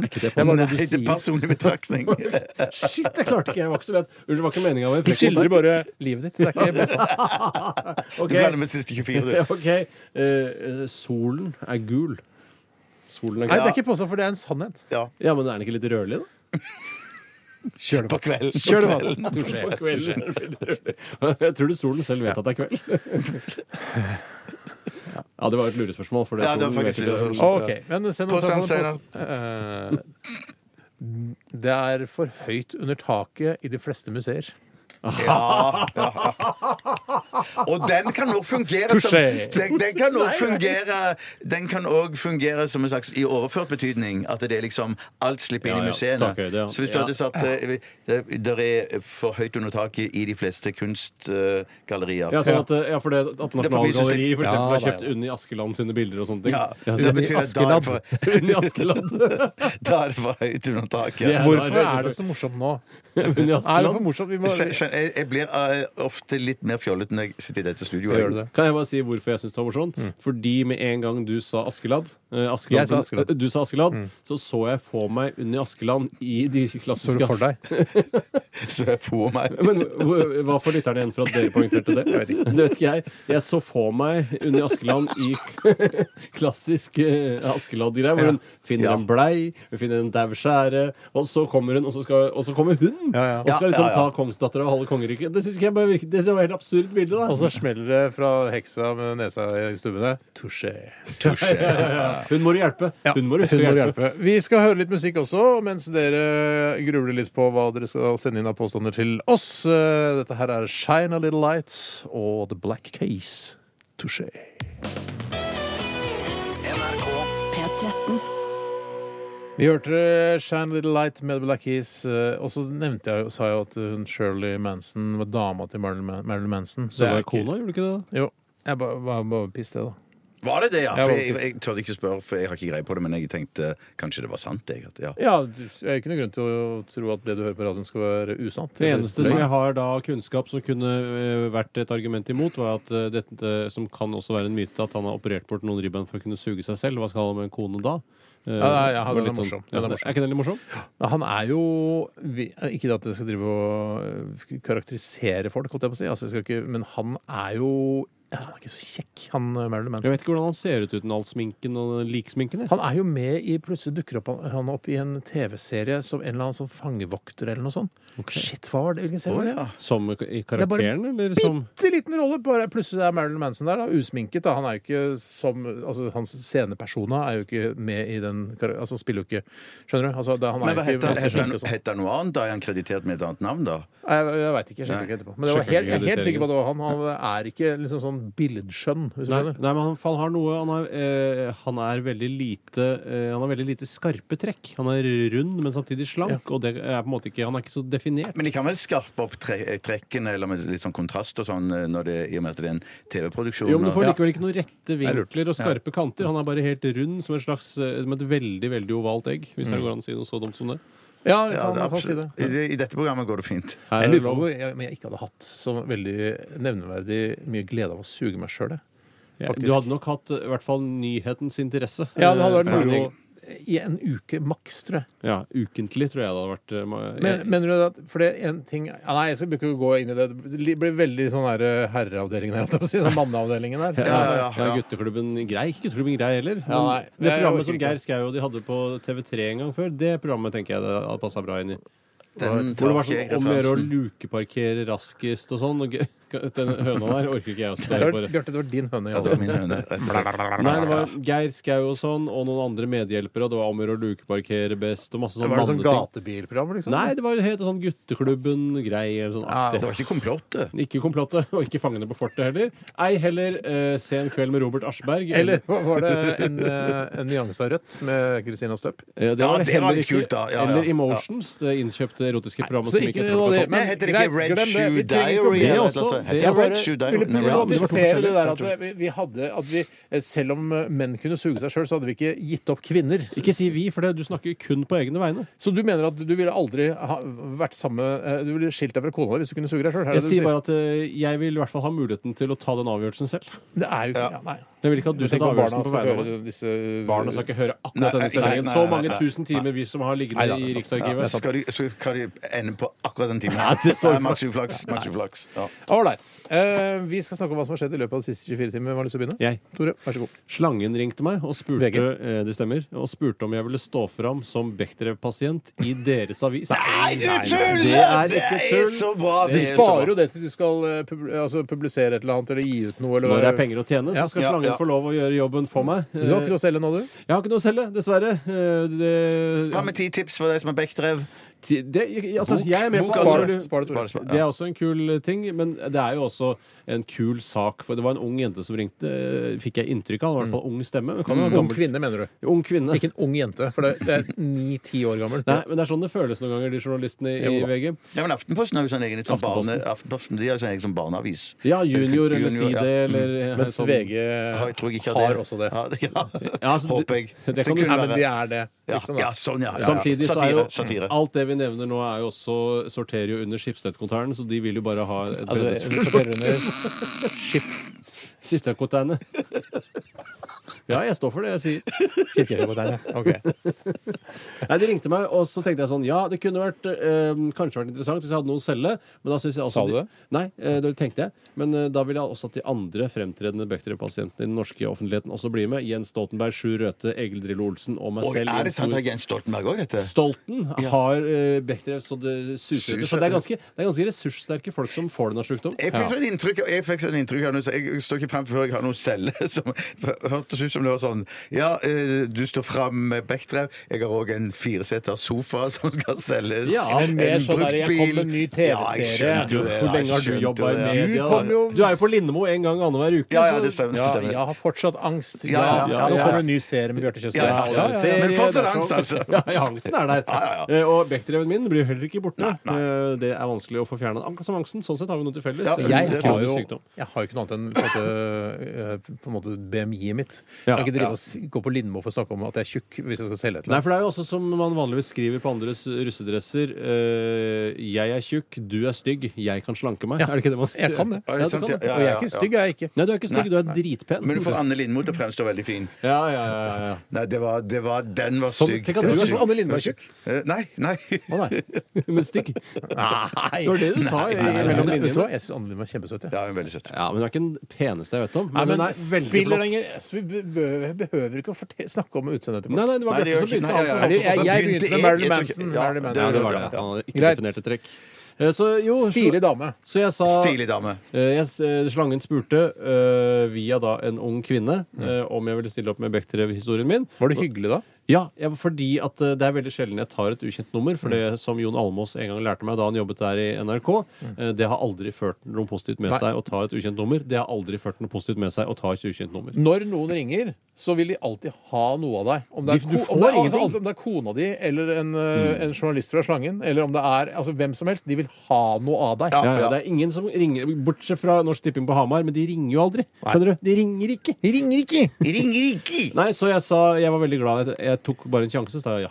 Speaker 1: det sånn. påstand.
Speaker 3: Nei,
Speaker 1: Det er bare det
Speaker 3: det
Speaker 1: du
Speaker 3: er
Speaker 1: sier.
Speaker 3: personlig betraktning.
Speaker 2: Shit, jeg klarte ikke! Jeg var ikke så redd. Unnskyld, det var ikke meninga å være
Speaker 1: Du
Speaker 2: frekk mot
Speaker 1: skildrer
Speaker 2: deg.
Speaker 1: bare livet ditt. Det er ikke påstand.
Speaker 3: Du
Speaker 2: Ok.
Speaker 3: blander med siste 24, du.
Speaker 2: OK. Eh, eh, solen er gul. Solen er
Speaker 1: Nei,
Speaker 2: gul.
Speaker 1: det er ikke påstand, for det er en sannhet.
Speaker 3: Ja.
Speaker 2: Ja, men er den ikke litt rødlig, da?
Speaker 1: Kjør
Speaker 3: På kvelden.
Speaker 1: Kjør debatt.
Speaker 2: På kvelden er den veldig rødlig. Jeg tror det solen selv vet at det er kveld. Ja, det var et lurespørsmål. For det
Speaker 3: Ja, det var
Speaker 2: solen vet ikke
Speaker 3: faktisk
Speaker 2: at det er
Speaker 3: lurespørsmål.
Speaker 2: solen.
Speaker 1: OK. Men send oss
Speaker 3: Påstand,
Speaker 1: en påstand. Eh, Det er for høyt under taket i de fleste museer.
Speaker 3: Ja, ja. Og den kan òg fungere som
Speaker 1: Touché.
Speaker 3: den, den kan også fungere Den kan også fungere som en slags i overført betydning. At det er liksom alt slipper inn
Speaker 2: Ja,
Speaker 3: i
Speaker 2: ja.
Speaker 3: museene.
Speaker 2: Takhøyde, ja.
Speaker 3: Så hvis du
Speaker 2: Ja.
Speaker 3: hadde satt eh, det, det er for høyt under taket i de fleste kunstgallerier.
Speaker 2: Ja, sånn at, eh, ja, for det at Nasjonalgalleriet for
Speaker 1: Ja,
Speaker 2: eksempel
Speaker 1: da,
Speaker 2: har
Speaker 1: ja,
Speaker 2: kjøpt Unni Askeland sine bilder og sånne ting.
Speaker 3: Ja,
Speaker 2: Ja,
Speaker 3: det
Speaker 1: Unni
Speaker 3: betyr at da er det for-
Speaker 2: Unni Askeland.
Speaker 3: da er det for høyt under taket.
Speaker 2: Ja, da er
Speaker 1: Hvorfor
Speaker 2: det-
Speaker 1: er det så morsomt nå?
Speaker 2: Unni
Speaker 1: Er det
Speaker 2: Askeland.
Speaker 1: for morsomt? Vi må
Speaker 3: Skjøn- skjøn- Jeg, jeg blir eh, ofte litt mer fjollete når jeg sitter i dette studioet.
Speaker 1: Gjør du det?
Speaker 2: Kan jeg bare si hvorfor jeg syns det var morsomt? Fordi med en gang du sa Askeladd, eh,
Speaker 1: Mm. Jeg
Speaker 2: Askeland,
Speaker 1: sa Mm. Askeladd.
Speaker 2: eh, Du sa Askeladd Så så jeg for meg Unni Askeland i de
Speaker 1: Så
Speaker 2: klassiske
Speaker 1: du for deg?
Speaker 3: Så jeg får meg
Speaker 2: Men hva- hva får lytterne igjen for at dere poengterte det? Det vet ikke jeg. Jeg så for meg Unni Askeland i klassisk eh, Askeladd-greie, hvor hun finner
Speaker 3: Ja.
Speaker 2: en blei, hun finner en dau skjære, og så kommer hun, og så, skal, og så kommer hun!
Speaker 1: Ja, ja.
Speaker 2: Og skal liksom
Speaker 3: Ja, ja, ja.
Speaker 2: ta kongsdattera og halve kongeriket. Det syns jeg bare virker, det synes jeg var et helt absurd bilde. da
Speaker 1: Og så smeller det fra heksa med nesa i stubbene. Touché.
Speaker 2: Hun må du hjelpe. Hun må du huske å hjelpe.
Speaker 1: Vi skal høre litt musikk også, mens dere grubler litt på hva dere skal sende inn av påstander til oss. Eh, Dette her er Shine a Little Light og The Black Case. Touché.
Speaker 4: NRK
Speaker 5: P13.
Speaker 1: Vi hørte Shine a Little Light med The Black Keys. eh, Og så nevnte jeg, jo- sa jeg jo at hun Shirley Manson var dama til Marilyn, Man- Marilyn Manson.
Speaker 2: Så
Speaker 1: er
Speaker 2: var
Speaker 1: ikke-
Speaker 2: kona, gjorde du ikke det?
Speaker 1: Jo. Jeg bare ba, ba, piss det, da.
Speaker 3: Var det det, ja?
Speaker 1: Ja,
Speaker 3: For jeg,
Speaker 1: faktisk.
Speaker 3: jeg tørde ikke spørre, for jeg har ikke greie på det, men jeg tenkte kanskje det var sant. Jeg, at, ja.
Speaker 1: Ja, du- jeg har ikke noen grunn til å tro at det du hører på radioen skal være usant.
Speaker 2: Det eneste som
Speaker 1: Nei.
Speaker 2: jeg har da kunnskap som kunne eh, vært et argument imot, var at eh, dette som kan også være en myte, at han har operert bort noen ribbein for å kunne suge seg selv. Hva skal han med en kone da? Eh,
Speaker 1: Ja, nei, ja,
Speaker 2: var
Speaker 1: den er
Speaker 2: litt sånn-
Speaker 1: morsom.
Speaker 2: Ja,
Speaker 1: Den er
Speaker 2: det- er ikke den litt morsom?
Speaker 1: Men Han er jo vi- Ikke at jeg skal drive og øh, karakterisere folk, holdt jeg på å si, altså, jeg skal ikke, men han er jo han er ikke så kjekk, han øh, Marilyn
Speaker 2: Jeg
Speaker 1: Manson.
Speaker 2: vet ikke hvordan han ser ut uten all sminken og den liksminken. jeg.
Speaker 1: Han er jo med i Plutselig dukker opp, han opp i en TV-serie som en eller annen sånn fangevokter eller noe sånt. Shit, hva var det? Hvilken serie
Speaker 3: Å,
Speaker 1: var det?
Speaker 3: ja.
Speaker 2: Som i
Speaker 1: Det er bare
Speaker 2: karakteren, eller som
Speaker 1: bitte liten rolle. Bare plutselig er Marilyn Manson der, da, usminket. Da. Han er jo ikke som altså, Hans scenepersona er jo ikke med i den kar- Altså, han spiller jo ikke Skjønner du? Altså, det, han er
Speaker 3: Men hva
Speaker 1: jo ikke
Speaker 3: heter,
Speaker 1: altså,
Speaker 3: heter,
Speaker 1: sminket
Speaker 3: han-
Speaker 1: og sånn.
Speaker 3: heter han noe annet? Da er han kreditert med et annet navn, da?
Speaker 1: Jeg, jeg veit ikke. Jeg sjekker ikke etterpå. Men det var
Speaker 2: Sjekker
Speaker 1: helt,
Speaker 2: ikke
Speaker 1: jeg er helt
Speaker 2: krediteringen.
Speaker 1: sikker på at det var han. Han er ikke liksom sånn billedskjønn, hvis du
Speaker 2: Nei,
Speaker 1: skjønner.
Speaker 2: nei, men han, han har noe Han, har, eh, han er veldig lite eh, Han har veldig lite skarpe trekk. Han er rund, men samtidig slank. Og det er på en måte ikke Han er ikke så definert.
Speaker 3: Men de kan vel skarpe opp tre eh, trekkene eller med litt sånn kontrast og sånn, eh, når det, i og med at det er en TV-produksjon?
Speaker 2: Jo, men Du får
Speaker 3: og-
Speaker 2: likevel ikke noen rette
Speaker 1: er lurt.
Speaker 2: vinkler og skarpe kanter. Han er bare helt rund som, en slags, eh, som et veldig veldig ovalt egg. Hvis
Speaker 1: Mm.
Speaker 2: det går an å si noe så dumt som det.
Speaker 1: Ja,
Speaker 3: Ja,
Speaker 1: han,
Speaker 3: det er
Speaker 1: han kan si det.
Speaker 3: absolutt. I, I dette programmet går det fint.
Speaker 2: Her
Speaker 1: Jeg
Speaker 2: er det
Speaker 1: lurer på
Speaker 2: lov.
Speaker 1: hvor jeg, men jeg ikke hadde hatt så veldig nevneverdig mye glede av å suge meg sjøl, jeg.
Speaker 2: Ja,
Speaker 1: faktisk.
Speaker 2: Du hadde nok hatt eh, i hvert fall nyhetens interesse.
Speaker 1: Ja, det hadde
Speaker 2: eh, for
Speaker 1: vært moro
Speaker 2: en-
Speaker 1: i en uke maks, tror jeg.
Speaker 2: Ja, Ukentlig tror jeg det hadde vært. eh, ma-
Speaker 1: Men, mener du at For det er en ting ja, Nei, jeg skal ikke gå inn i det. Det blir veldig sånn her, eh, herreavdelingen her, holdt jeg på å si. Sånn manneavdelingen her.
Speaker 2: Ja,
Speaker 3: ja, ja, ja.
Speaker 2: Gutteklubben Grei. Ikke Gutteklubben Grei heller. Men
Speaker 1: Ja, nei,
Speaker 2: det
Speaker 1: jeg orker
Speaker 2: programmet som
Speaker 1: ikke.
Speaker 2: Geir Skau og de hadde på TV3 en gang før, det programmet tenker jeg det hadde passa bra inn i.
Speaker 3: Den
Speaker 2: Hvor det
Speaker 3: tar
Speaker 2: var
Speaker 3: ikke jeg
Speaker 2: sånn om å gjøre å
Speaker 3: referansen.
Speaker 2: lukeparkere raskest og sånn. Og g- den høna der orker ikke jeg å stå på.
Speaker 1: Bjarte, Bjarte, det var din høne.
Speaker 3: Ja,
Speaker 1: Ja,
Speaker 3: det var min høne, rett og slett.
Speaker 2: Nei, det var Geir Skau og sånn, og noen andre medhjelpere, og det var om å gjøre å lukeparkere best, og masse sånn
Speaker 1: var det sånn
Speaker 2: manneting.
Speaker 1: gatebilprogram, liksom?
Speaker 2: Nei, det var helt sånn Gutteklubben Grei eller sånn
Speaker 1: Ja,
Speaker 3: Det
Speaker 2: aktig.
Speaker 3: var ikke komplottet.
Speaker 2: Ikke Komplottet, og ikke Fangene på fortet heller. Ei heller eh, Se en kveld med Robert Aschberg.
Speaker 1: Eller var det en, eh, en nyanse av rødt med Kristina Støp?
Speaker 2: Eh, Det
Speaker 3: Ja,
Speaker 2: var
Speaker 3: det
Speaker 2: det
Speaker 3: var
Speaker 2: heller
Speaker 3: litt
Speaker 2: ikke.
Speaker 3: kult da. Ja, ja.
Speaker 2: Eller Emotions, det innkjøpte erotiske programmet
Speaker 1: Så
Speaker 2: som gikk
Speaker 1: ikke
Speaker 2: etter
Speaker 1: noe av det.
Speaker 2: Komplottet.
Speaker 1: Men
Speaker 3: Nei, heter det
Speaker 1: greit,
Speaker 3: ikke Red
Speaker 1: glem det.
Speaker 3: Shoe
Speaker 1: Vi trenger ikke å
Speaker 3: Diary?
Speaker 1: bli-
Speaker 2: Det
Speaker 3: eller
Speaker 2: også,
Speaker 3: noe sånt?
Speaker 2: det
Speaker 3: Heter
Speaker 2: også.
Speaker 3: Red Shoe
Speaker 1: Jeg
Speaker 3: Diary?
Speaker 1: ville
Speaker 3: Nei, Red-
Speaker 2: det var to
Speaker 1: problematisere det
Speaker 2: forskjellige,
Speaker 1: der at vi, vi hadde at vi, eh, Selv om eh, menn kunne suge seg sjøl, så hadde vi ikke gitt opp kvinner.
Speaker 2: Ikke si vi, for det, du snakker kun på egne vegne.
Speaker 1: Så du mener at du ville aldri ha vært samme eh, Du ville skilt deg fra kona di hvis du kunne suge deg sjøl?
Speaker 2: Jeg sier bare at eh, jeg vil i hvert fall ha muligheten til å ta den avgjørelsen selv.
Speaker 1: Det er jo ikke ja, Nei.
Speaker 2: Jeg vil ikke at du
Speaker 1: Men tenk
Speaker 2: skal sånn ta
Speaker 1: om barna
Speaker 2: avgjørelsen på
Speaker 1: skal
Speaker 2: vegne av meg.
Speaker 1: høre disse eh,
Speaker 2: Barna skal ikke høre
Speaker 3: Nei,
Speaker 2: akkurat denne
Speaker 3: ikke-
Speaker 2: sendingen.
Speaker 3: nei,
Speaker 2: Så
Speaker 3: nei,
Speaker 2: mange
Speaker 3: nei, altså.
Speaker 2: tusen timer vi som har liggende
Speaker 1: Nei, da, det
Speaker 2: i
Speaker 1: er sant. Ja,
Speaker 2: Riksarkivet.
Speaker 3: Skal de, så kan de ende på akkurat den timen?
Speaker 2: det står
Speaker 3: Nei, Maks uflaks. maks uflaks. Ja.
Speaker 1: Ålreit. Eh, vi skal snakke om hva som har skjedd i løpet av de siste 24 timer. Har du lyst til å begynne?
Speaker 2: Jeg.
Speaker 1: Tore, vær så god.
Speaker 2: Slangen ringte meg og spurte
Speaker 1: VG.
Speaker 2: eh, det stemmer, og spurte om jeg ville stå fram som Bechdrev-pasient i deres avis. Det er
Speaker 3: Det
Speaker 2: ikke
Speaker 3: er
Speaker 2: tull!
Speaker 3: så bra!
Speaker 1: Du
Speaker 3: Det er så
Speaker 1: sparer
Speaker 3: bra.
Speaker 1: jo det til du skal eh, pub altså, publisere et eller annet eller gi ut noe. Eller,
Speaker 2: Når det er penger å tjene, så
Speaker 1: Ja,
Speaker 2: skal
Speaker 3: ja,
Speaker 2: slangen
Speaker 3: ja.
Speaker 2: få lov å gjøre jobben for meg.
Speaker 1: Du har ikke noe å selge nå, du?
Speaker 2: Jeg har ikke noe å selge, dessverre. Eh, Det,
Speaker 3: Hva med ti tips for deg som er Bechdrev?
Speaker 2: ti- det, jeg- altså, jeg er med på
Speaker 1: Spar
Speaker 2: alt
Speaker 1: det,
Speaker 2: mulig.
Speaker 3: altså.
Speaker 1: spar det, Tore.
Speaker 3: Bare spar-
Speaker 2: Det er også en kul eh, ting, men det er jo også en kul sak. For det var en ung jente som ringte, eh, fikk jeg inntrykk av. I hvert fall ung stemme. men Kan jo være
Speaker 1: Ung
Speaker 2: gammel-
Speaker 1: kvinne, mener du.
Speaker 2: Ung kvinne.
Speaker 1: Ikke en ung jente, for det, det er ni-ti år gammel.
Speaker 2: Nei, men det er sånn det føles noen ganger, de journalistene i,
Speaker 1: Jo
Speaker 2: i
Speaker 1: da.
Speaker 2: VG.
Speaker 3: Ja, men Aftenposten har jo sånn egen litt sånn
Speaker 2: Aftenposten.
Speaker 3: barne, Aftenposten, de har jo sånn egen sånn barneavis.
Speaker 2: Ja, junior eller si
Speaker 3: Junior, ja.
Speaker 2: det, eller eh,
Speaker 1: Mens
Speaker 2: sånn-
Speaker 1: VG
Speaker 3: Ja, jeg tror ikke at
Speaker 1: har også det.
Speaker 3: Ja, ja.
Speaker 2: Ja, altså,
Speaker 3: Håper jeg.
Speaker 2: det- Det kan
Speaker 3: Det
Speaker 2: du
Speaker 3: kunne
Speaker 1: Nei,
Speaker 2: si.
Speaker 1: men de er det.
Speaker 3: Ja,
Speaker 1: Liksom,
Speaker 3: ja,
Speaker 1: da.
Speaker 3: sånn, ja. ja.
Speaker 2: Samtidig så er jo
Speaker 3: satire.
Speaker 2: alt det vi nevner nå, er jo også sorterer jo under Schibsted-konsernet, så de vil jo bare ha et
Speaker 1: Altså,
Speaker 2: altså,
Speaker 1: vi sorterer under Schibsted.
Speaker 2: Skiftekonteiner. Ja, jeg står for det jeg sier.
Speaker 1: Kirkereporterne. Ok.
Speaker 2: Nei, De ringte meg, og så tenkte jeg sånn Ja, det kunne vært, eh, kanskje vært interessant hvis jeg hadde noe å selge. Men da synes jeg altså
Speaker 1: Sa du det?
Speaker 2: De, nei, eh, det tenkte jeg. Men eh, da ville jeg også at de andre fremtredende Bechdrev-pasientene i den norske offentligheten også blir med. Jens Stoltenberg, Sjur Røthe, Egil Drillo Olsen og meg
Speaker 3: Oi,
Speaker 2: selv. i en
Speaker 3: er det sant
Speaker 2: stor-
Speaker 3: at Jens Stoltenberg òg, dette?
Speaker 2: Stolten har eh, Bechdrev så det suser etter. Så det er, ganske, det er ganske ressurssterke folk som får denne sykdommen.
Speaker 3: Jeg fikk sånn inntrykk, jeg fikk sånn inntrykk av noe, så jeg står ikke frem før jeg har noe å selge. som- for- Hørtes ut som som det var sånn Ja, eh, du står fram med Bechtrev. Jeg har òg en fireseter sofa som skal selges.
Speaker 1: Ja,
Speaker 3: En
Speaker 1: mer sånn der,
Speaker 3: brukt
Speaker 1: jeg kom med
Speaker 3: bil.
Speaker 1: en ny
Speaker 3: Ja, jeg
Speaker 1: TV-serie.
Speaker 3: skjønte jo det,
Speaker 2: Hvor lenge har
Speaker 3: jeg
Speaker 2: du
Speaker 3: skjønte
Speaker 2: jobba i
Speaker 3: det.
Speaker 2: media?
Speaker 1: Du kom jo-
Speaker 2: Du er jo på Lindemo en gang annenhver uke.
Speaker 3: Ja, ja,
Speaker 2: så-
Speaker 3: det stemmer.
Speaker 1: Ja,
Speaker 3: Det stemmer.
Speaker 1: jeg har fortsatt angst. Ja,
Speaker 3: Ja, ja,
Speaker 1: ja,
Speaker 3: ja,
Speaker 1: Nå
Speaker 3: ja.
Speaker 1: kommer det en ny serie med Bjarte Tjøstheim.
Speaker 3: Ja, ja, ja.
Speaker 1: ja.
Speaker 3: Men fortsatt
Speaker 2: det er
Speaker 3: angst,
Speaker 2: så-
Speaker 3: altså.
Speaker 2: Ja, ja, angsten er der. Eh, Og Bechdreven min blir heller ikke borte. Eh, Det er vanskelig å få fjerna. Akkurat som angsten. Sånn sett har vi noe til felles.
Speaker 3: Ja,
Speaker 2: Eh,
Speaker 1: Jeg
Speaker 2: det er
Speaker 1: har
Speaker 2: samme
Speaker 1: jo
Speaker 2: sykdom.
Speaker 1: jeg har jo ikke noe annet enn på en måte, eh, på en måte BMI-et mitt. Jeg kan
Speaker 2: Ja,
Speaker 1: ikke drive og si- gå på Lindmo for å snakke om at jeg er tjukk hvis jeg skal selge et eller
Speaker 2: Nei,
Speaker 1: annet.
Speaker 2: for det er jo også som man vanligvis skriver på andres russedresser eh, Jeg er tjukk, du er stygg, jeg kan slanke meg. Er det ikke det man sier?
Speaker 1: Jeg kan det.
Speaker 2: Ja, du
Speaker 3: sant?
Speaker 2: kan det.
Speaker 3: Ja,
Speaker 1: Og jeg er ikke stygg, jeg er ikke.
Speaker 2: Nei, du er ikke stygg, du er dritpen.
Speaker 3: Men du får Anne Lindmo til å fremstå veldig fin.
Speaker 2: Ja, ja, ja, ja, ja.
Speaker 3: Nei, det var, det var, den var
Speaker 2: Som-
Speaker 3: stygg.
Speaker 2: tenk at
Speaker 3: Den
Speaker 2: du
Speaker 3: var
Speaker 2: er
Speaker 3: stygg.
Speaker 2: som Anne Lindmo er tjukk.
Speaker 3: Eh, Nei. nei.
Speaker 1: Å, nei.
Speaker 2: Men stygg. Det
Speaker 1: Nei.
Speaker 2: var det du sa i-
Speaker 1: Nei, men
Speaker 2: mellom
Speaker 1: vet du hva?
Speaker 2: linjene.
Speaker 1: Jeg syns Anne Lindmo er kjempesøt. jeg.
Speaker 3: Ja, hun er veldig søt.
Speaker 2: Ja, men Hun er ikke den peneste jeg vet om.
Speaker 1: Nei,
Speaker 2: Men,
Speaker 1: men
Speaker 2: hun er veldig
Speaker 1: spiller
Speaker 2: flott.
Speaker 1: ingen Vi behøver, behøver ikke å forte- snakke om utseendet til folk.
Speaker 2: Nei, nei, det var
Speaker 3: Nei, det
Speaker 2: Bjarte som
Speaker 3: gjør ikke-
Speaker 2: begynte.
Speaker 3: nei,
Speaker 2: altså.
Speaker 3: ja,
Speaker 1: Eller, jeg, jeg
Speaker 3: Begynte
Speaker 1: begynte
Speaker 3: jeg-
Speaker 1: med Marilyn
Speaker 3: jeg tror
Speaker 1: Manson.
Speaker 3: ikke- ja,
Speaker 1: Marilyn
Speaker 2: Ja,
Speaker 1: Manson.
Speaker 2: det var det. Han hadde ikke
Speaker 1: Greit.
Speaker 2: definerte trekk. Eh, Så jo
Speaker 1: Stilig dame.
Speaker 2: Så jeg sa
Speaker 3: Stilig dame.
Speaker 2: Eh, jeg s- eh, slangen spurte eh, via da en ung kvinne eh, om jeg ville stille opp med Bechdrev-historien min.
Speaker 1: Var det hyggelig, da?
Speaker 2: Ja, jeg, fordi at eh, det er veldig sjelden jeg tar et ukjent nummer. For det som Jon Almås en gang lærte meg da han jobbet der i NRK, eh, det har aldri ført noe positivt med
Speaker 1: Mm. Nei.
Speaker 2: seg å ta et ukjent nummer. Det har aldri ført noe positivt med seg å ta et ukjent nummer.
Speaker 1: Når noen ringer, så vil de alltid ha noe av deg. Om det er,
Speaker 2: De- du
Speaker 1: ko-
Speaker 2: får
Speaker 1: om det er, altså,
Speaker 2: ingenting. Mm.
Speaker 1: alt- om det er kona di eller en, eh, en journalist fra Slangen, eller om det er altså, hvem som helst, de vil ha noe av deg.
Speaker 2: Ja, ja, det er ingen som ringer, Bortsett fra Norsk Tipping på Hamar, men de ringer jo aldri. Skjønner du? De ringer ikke.
Speaker 1: De ringer ikke!
Speaker 3: Ringerike!
Speaker 2: Nei, så jeg sa Jeg var veldig glad. Jeg, jeg tok bare en sjanse. Så sa jeg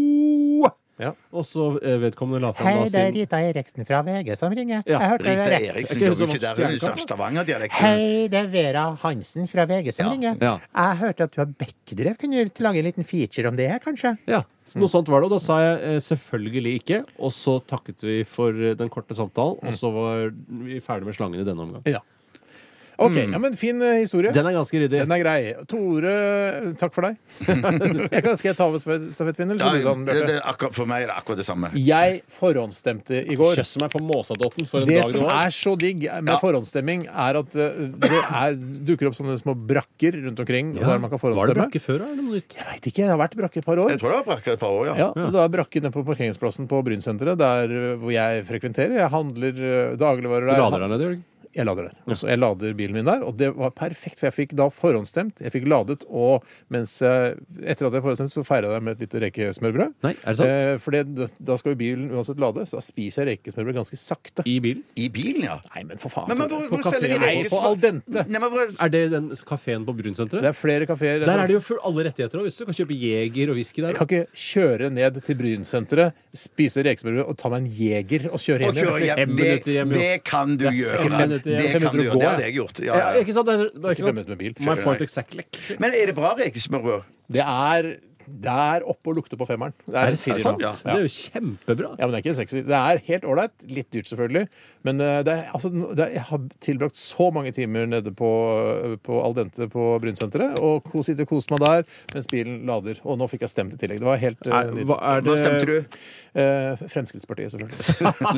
Speaker 2: hallo!
Speaker 1: Ja.
Speaker 2: Og så eh, vedkommende la fram da sin
Speaker 5: Rita Eriksen fra VG som ringer.
Speaker 2: Ja,
Speaker 5: hørte
Speaker 3: Rita
Speaker 5: dere.
Speaker 2: Er
Speaker 3: Eriksen
Speaker 2: ikke hun
Speaker 3: jobber
Speaker 2: som
Speaker 3: jo
Speaker 2: vokste
Speaker 3: ikke der. Hun
Speaker 2: i
Speaker 3: er i Stavanger-dialekten.
Speaker 5: Hei, det er Vera Hansen fra VG som ringer.
Speaker 2: Ja.
Speaker 5: Jeg hørte at du har Bekkdrev. Kunne du lage en liten feature om det her, kanskje?
Speaker 2: Ja, så noe sånt var det, og da sa jeg eh, selvfølgelig ikke. Og så takket vi for eh, den korte samtalen, og så var vi ferdig med slangen i denne omgang.
Speaker 1: Ja. OK. Ja, men fin eh, historie.
Speaker 2: Mm. Den er ganske ryddig.
Speaker 1: Den er grei. Tore, takk for deg. jeg kan, skal jeg ta over sp- stafettpinnen, eller
Speaker 3: Ja,
Speaker 1: skal du ta den,
Speaker 3: det-
Speaker 1: Bjarte?
Speaker 3: det er akkurat- For meg er det akkurat det samme.
Speaker 1: Jeg forhåndsstemte i går.
Speaker 2: Kjøss meg på måsadotten for en
Speaker 1: Det
Speaker 2: dag
Speaker 1: som
Speaker 2: det var.
Speaker 1: er så digg med
Speaker 3: Ja.
Speaker 1: forhåndsstemming, er at eh, det er, dukker opp sånne små brakker rundt omkring der man kan
Speaker 2: Var det
Speaker 1: forhåndsstemme.
Speaker 2: brakke før, da, eller noe nytt?
Speaker 1: Jeg veit ikke. Det har vært brakke et par år.
Speaker 3: Jeg tror det har brakket et par år, ja.
Speaker 1: Ja, og da brakk jeg ned på parkeringsplassen på Brynsenteret, der ø, hvor jeg frekventerer. Jeg handler ø, dagligvarer
Speaker 2: Du
Speaker 1: der.
Speaker 2: Lader deg ned, Jørgen.
Speaker 1: Jeg lader der. Og så jeg lader bilen min der, og det var perfekt, for jeg fikk da forhåndsstemt. Jeg fikk ladet, og mens jeg, etter at jeg forhåndsstemte, så feira jeg med et lite rekesmørbrød.
Speaker 2: Nei, er det sant?
Speaker 1: Eh, for det- da, da skal jo bilen uansett lade, så da spiser jeg rekesmørbrød ganske sakte.
Speaker 2: I bilen.
Speaker 3: I bilen, ja.
Speaker 1: Nei, men for faen.
Speaker 3: Men, men
Speaker 1: Tore, på
Speaker 3: hvor, hvor selger de
Speaker 1: kaféer. Nei,
Speaker 3: Reges-
Speaker 1: På al dente.
Speaker 3: Nei, men hvor,
Speaker 2: Er det den kafeen på
Speaker 1: Det
Speaker 2: Brunsenteret?
Speaker 1: er flere kafeer.
Speaker 2: Der er det jo full alle rettigheter òg, hvis du kan kjøpe Jeger og whisky der.
Speaker 1: Jeg kan ikke kjøre ned til Brynsenteret, spise rekesmørbrød og ta meg en Jeger og kjøre hjem.
Speaker 3: og kjøre
Speaker 1: igjen.
Speaker 3: hjem.
Speaker 2: Fem
Speaker 3: Det,
Speaker 2: minutter hjem, jo.
Speaker 3: det kan du gjøre.
Speaker 2: fem minutter hjem.
Speaker 3: Det
Speaker 1: Fem
Speaker 3: kan du
Speaker 1: minutter å gå,
Speaker 3: gjøre.
Speaker 1: ja.
Speaker 3: Det hadde jeg gjort. Ja,
Speaker 2: Ja,
Speaker 3: ja.
Speaker 2: ikke sant? Det er, det er
Speaker 1: Ikke
Speaker 2: ikke sant?
Speaker 1: fem minutter med bil.
Speaker 2: My point exactly.
Speaker 3: Men er det bra rekesmørbrød?
Speaker 1: Det er der oppe og lukter på femmeren. Det er, en
Speaker 2: Er det
Speaker 1: firer
Speaker 2: sant?
Speaker 1: nå.
Speaker 2: Det
Speaker 1: Ja.
Speaker 2: er jo kjempebra.
Speaker 1: Ja, men det er ikke en sekser. Det er helt ålreit. Litt dyrt, selvfølgelig. Men eh, det er, altså, det er, jeg har tilbrakt så mange timer nede på, eh, på Al Dente på Brynsenteret og ko- sitter og koser meg der mens bilen lader. Og nå fikk jeg stemt i tillegg. Det var helt eh,
Speaker 2: Er, hva, er det
Speaker 3: Hva stemte du?
Speaker 1: eh, Fremskrittspartiet, selvfølgelig.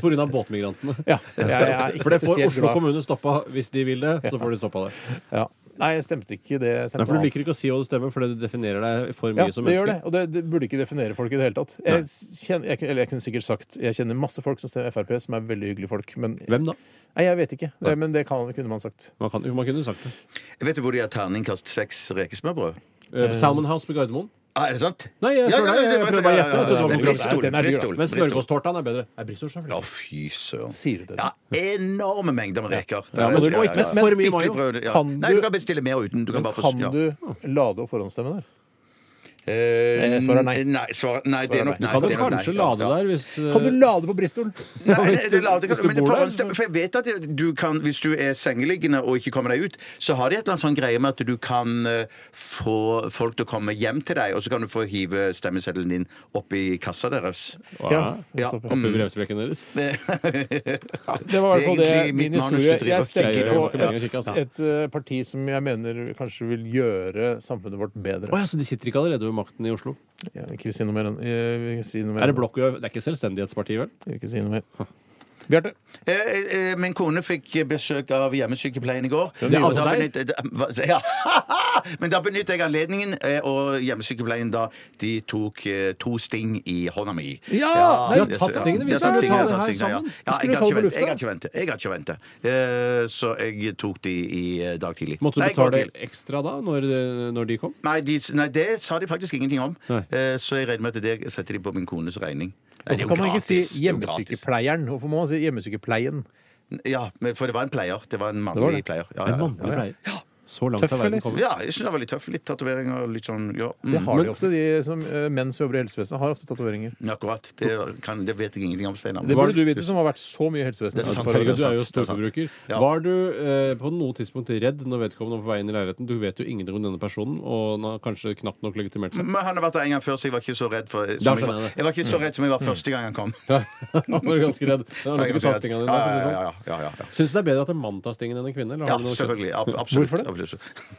Speaker 2: På grunn av båtmigrantene.
Speaker 1: Ja, jeg, er
Speaker 2: For det
Speaker 1: ikke
Speaker 2: får
Speaker 1: spesielt
Speaker 2: Oslo
Speaker 1: glad.
Speaker 2: kommune stoppa hvis de vil det. Så får de stoppa det.
Speaker 1: Ja. Nei, jeg stemte ikke det. Jeg
Speaker 2: Nei,
Speaker 1: stemte
Speaker 2: for Du
Speaker 1: annet.
Speaker 2: liker ikke å si hva du stemmer, for det definerer deg for
Speaker 1: Ja,
Speaker 2: mye som
Speaker 1: det gjør det.
Speaker 2: menneske.
Speaker 1: Og det, det burde ikke definere folk i det hele tatt. Jeg, kjenner, jeg, eller jeg kunne sikkert sagt Jeg kjenner masse folk som stemmer Frp, som er veldig hyggelige folk. Men
Speaker 2: Hvem da?
Speaker 1: Nei, jeg vet ikke. Det, men det kan, kunne man sagt.
Speaker 2: Man, kan, jo, man kunne sagt det.
Speaker 3: Vet du hvor de har terningkast seks rekesmørbrød?
Speaker 2: Eh, Salmon House på Gardermoen.
Speaker 3: Ah, er det sant?
Speaker 2: Nei, jeg tror det. Jeg
Speaker 3: det-
Speaker 2: prøver bare å gjette. Jeg trodde det var
Speaker 3: ja, ja,
Speaker 2: på
Speaker 3: Bristol,
Speaker 1: Bristol. Den er dyr, da.
Speaker 3: Bristol,
Speaker 2: Men
Speaker 3: Bristol.
Speaker 2: smørgåstårtaen er bedre. Er Bristol
Speaker 3: Å, fy søren.
Speaker 1: Sier du det?
Speaker 3: Ja, enorme mengder med reker.
Speaker 2: Ja, men du må ikke
Speaker 3: Ja, ja, ja.
Speaker 2: for mye
Speaker 3: Bitte litt
Speaker 2: mayo.
Speaker 3: brød, ja.
Speaker 1: Kan
Speaker 3: Nei, du
Speaker 1: du-
Speaker 3: kan bestille mer uten. Du kan bare få
Speaker 1: Kan
Speaker 3: ja.
Speaker 1: du lade og forhåndsstemme der?
Speaker 3: Eh,
Speaker 1: svaret er nei.
Speaker 3: Nei, svar- nei, det er
Speaker 1: Svaret
Speaker 3: nok
Speaker 1: er nei.
Speaker 3: nei.
Speaker 2: Kan
Speaker 3: det
Speaker 2: du
Speaker 3: er nok nei.
Speaker 2: kanskje
Speaker 3: Ja,
Speaker 2: lade
Speaker 3: ja.
Speaker 2: der hvis eh,
Speaker 1: Kan du lade på Bristol?
Speaker 3: Nei,
Speaker 2: Hvis du-
Speaker 3: det- det lader
Speaker 2: hvis
Speaker 3: kanskje,
Speaker 2: du
Speaker 3: men det
Speaker 2: bor der,
Speaker 3: forhåndsstem- for jeg vet at du kan, hvis du er sengeliggende og ikke kommer deg ut, så har de et eller annet sånn greie med at du kan eh, få folk til å komme hjem til deg, og så kan du få hive stemmeseddelen din opp i kassa deres. Ja. Mm.
Speaker 1: nettopp,
Speaker 2: Oppi brevsprekken deres.
Speaker 1: Det var i hvert fall
Speaker 3: Det er
Speaker 1: det
Speaker 3: egentlig
Speaker 1: min
Speaker 3: mitt manus
Speaker 1: historie.
Speaker 3: til
Speaker 1: Jeg
Speaker 2: Jeg
Speaker 3: Drivers.
Speaker 1: stemmer
Speaker 2: gjør
Speaker 1: på
Speaker 2: det. Jeg
Speaker 1: et,
Speaker 2: kikker, altså.
Speaker 1: et eh, parti som jeg mener kanskje vil gjøre samfunnet vårt
Speaker 2: Å
Speaker 1: bedre.
Speaker 2: ja, så de sitter ikke allerede ved makten i Oslo?
Speaker 1: Jeg vil ikke si noe mer. enn- Jeg vil ikke si noe mer.
Speaker 2: Er det blokk? Det er ikke Selvstendighetspartiet, vel?
Speaker 1: Jeg vil ikke si noe mer. Bjarte.
Speaker 3: Eh, eh, Min kone fikk besøk av hjemmesykepleien i går.
Speaker 1: det er
Speaker 3: Og da
Speaker 1: altså
Speaker 3: benyttet- da- hva- ja. Men da benyttet jeg anledningen, eh, og hjemmesykepleien da De tok eh, to sting i hånda mi.
Speaker 1: Ja! Nei,
Speaker 3: det-
Speaker 1: tatt stingene,
Speaker 3: de
Speaker 1: vi skal
Speaker 3: har tatt
Speaker 1: jo
Speaker 3: stingene,
Speaker 1: ta
Speaker 3: de har
Speaker 1: det her
Speaker 3: tatt stingene, ja.
Speaker 1: sammen.
Speaker 3: Ja,
Speaker 1: Vi
Speaker 3: jeg
Speaker 1: skulle
Speaker 3: hadde
Speaker 1: ta det
Speaker 3: ikke ventet, jeg
Speaker 1: på
Speaker 3: hadde ikke ventet. Jeg hadde ikke ventet. Eh, Så jeg tok de i eh, dag tidlig.
Speaker 2: Måtte du
Speaker 3: Nei, i går
Speaker 2: betale
Speaker 3: tidlig.
Speaker 2: ekstra da, når, eh, når de kom?
Speaker 3: Nei, de, nei, det sa de faktisk ingenting om.
Speaker 2: Nei.
Speaker 3: Eh, Så jeg regner med at det setter de på min kones regning. Nei, det er
Speaker 1: Hvorfor
Speaker 3: jo
Speaker 1: kan man ikke si
Speaker 3: gratis, det er jo gratis.
Speaker 1: hjemmesykepleieren? Hvorfor må man si hjemmesykepleien?
Speaker 3: Ja, men for det var en pleier. Det var en
Speaker 1: var
Speaker 3: mannlig
Speaker 1: det.
Speaker 3: pleier. Ja,
Speaker 2: En
Speaker 3: ja, ja.
Speaker 2: mannlig pleier. Så langt
Speaker 1: Tøff,
Speaker 2: har verden
Speaker 1: eller?
Speaker 2: kommet.
Speaker 3: Ja, jeg synes det var litt tøff. Litt tatoveringer og litt sånn ja.
Speaker 1: Det
Speaker 3: Mm.
Speaker 1: har de ofte, de som, eh, menn som jobber i helsevesenet, har ofte tatoveringer.
Speaker 3: Akkurat. Det, kan, det vet jeg ingenting om, Steinar.
Speaker 1: Det burde du vite, som har vært så mye i helsevesenet.
Speaker 3: Det er sant,
Speaker 1: Bare-
Speaker 2: Helge, du er jo
Speaker 3: sant, det er sant.
Speaker 2: storforbruker.
Speaker 3: Ja.
Speaker 2: Var du eh, på noe tidspunkt redd når vedkommende var på vei inn i leiligheten? Du vet jo ingenting om denne personen, og han har kanskje knapt nok legitimert seg.
Speaker 3: Men han har vært der en gang før, så jeg var ikke så redd for
Speaker 2: Da
Speaker 3: som
Speaker 2: skjønner
Speaker 3: jeg, var,
Speaker 2: jeg det. Mm.
Speaker 3: jeg var ikke så redd som jeg var første gang han kom.
Speaker 2: Han var ganske redd. Han lot ikke ta stingen din
Speaker 3: Ja,
Speaker 2: der, for å si det
Speaker 3: ja,
Speaker 2: sånn.
Speaker 3: ja, ja, ja, ja.
Speaker 2: Syns du det er bedre at en mann tar stingen enn en kvinne? Eller
Speaker 3: Ja,
Speaker 2: har du noe-
Speaker 3: selvfølgelig. Ab absolutt.
Speaker 1: Hvorfor det?
Speaker 3: Absolutt.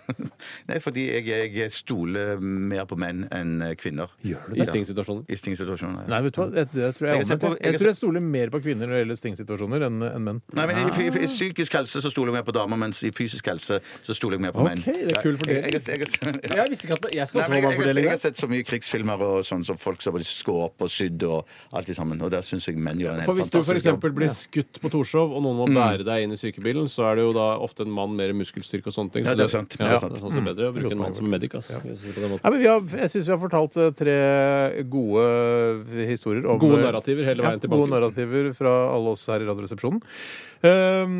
Speaker 3: Nei, fordi jeg, jeg stoler mer på menn enn kvinner. Gjør
Speaker 2: I stingsituasjoner.
Speaker 3: I stingsituasjoner. Ja.
Speaker 1: Nei, vet du hva? Det, det tror jeg
Speaker 3: Jeg
Speaker 1: er
Speaker 3: har
Speaker 1: omvendt. Jeg,
Speaker 3: sett på- jeg har
Speaker 1: jeg tror jeg stoler mer på kvinner når det gjelder stingsituasjoner enn enn menn.
Speaker 3: Nei, men i,
Speaker 2: Ah.
Speaker 3: i, I psykisk helse så stoler jeg mer på damer, mens i fysisk helse så stoler jeg mer på menn.
Speaker 2: Ok, det er kul fordeling.
Speaker 3: Jeg, jeg, jeg, jeg,
Speaker 2: Jeg visste ikke at jeg skal
Speaker 3: Nei,
Speaker 2: også ha
Speaker 3: men jeg, jeg, jeg
Speaker 2: omfordeling
Speaker 3: har sett så mye krigsfilmer og sånn som folk som blir skåp og sydd og alt det sammen. Og der syns jeg menn gjør en
Speaker 2: For
Speaker 3: helt
Speaker 2: Hvis du for
Speaker 3: fantastisk jobb.
Speaker 2: eksempel blir skutt på Torshov, og noen må
Speaker 3: Mm.
Speaker 2: bære deg inn i sykebilen, så er det jo da ofte en mann mer muskelstyrke og sånne ting.
Speaker 3: Ja,
Speaker 2: så
Speaker 3: det er sant.
Speaker 2: Ja,
Speaker 3: Det er
Speaker 2: sånn
Speaker 3: sant. Mm.
Speaker 2: sett bedre å bruke en mann som medic. ass. Hvis du ser på den måten.
Speaker 1: Nei, men vi har, jeg syns vi har fortalt eh, tre gode eh, historier. Om,
Speaker 2: Gode narrativer hele veien tilbake.
Speaker 1: Gode narrativer fra alle oss her i Radioresepsjonen. Ehm,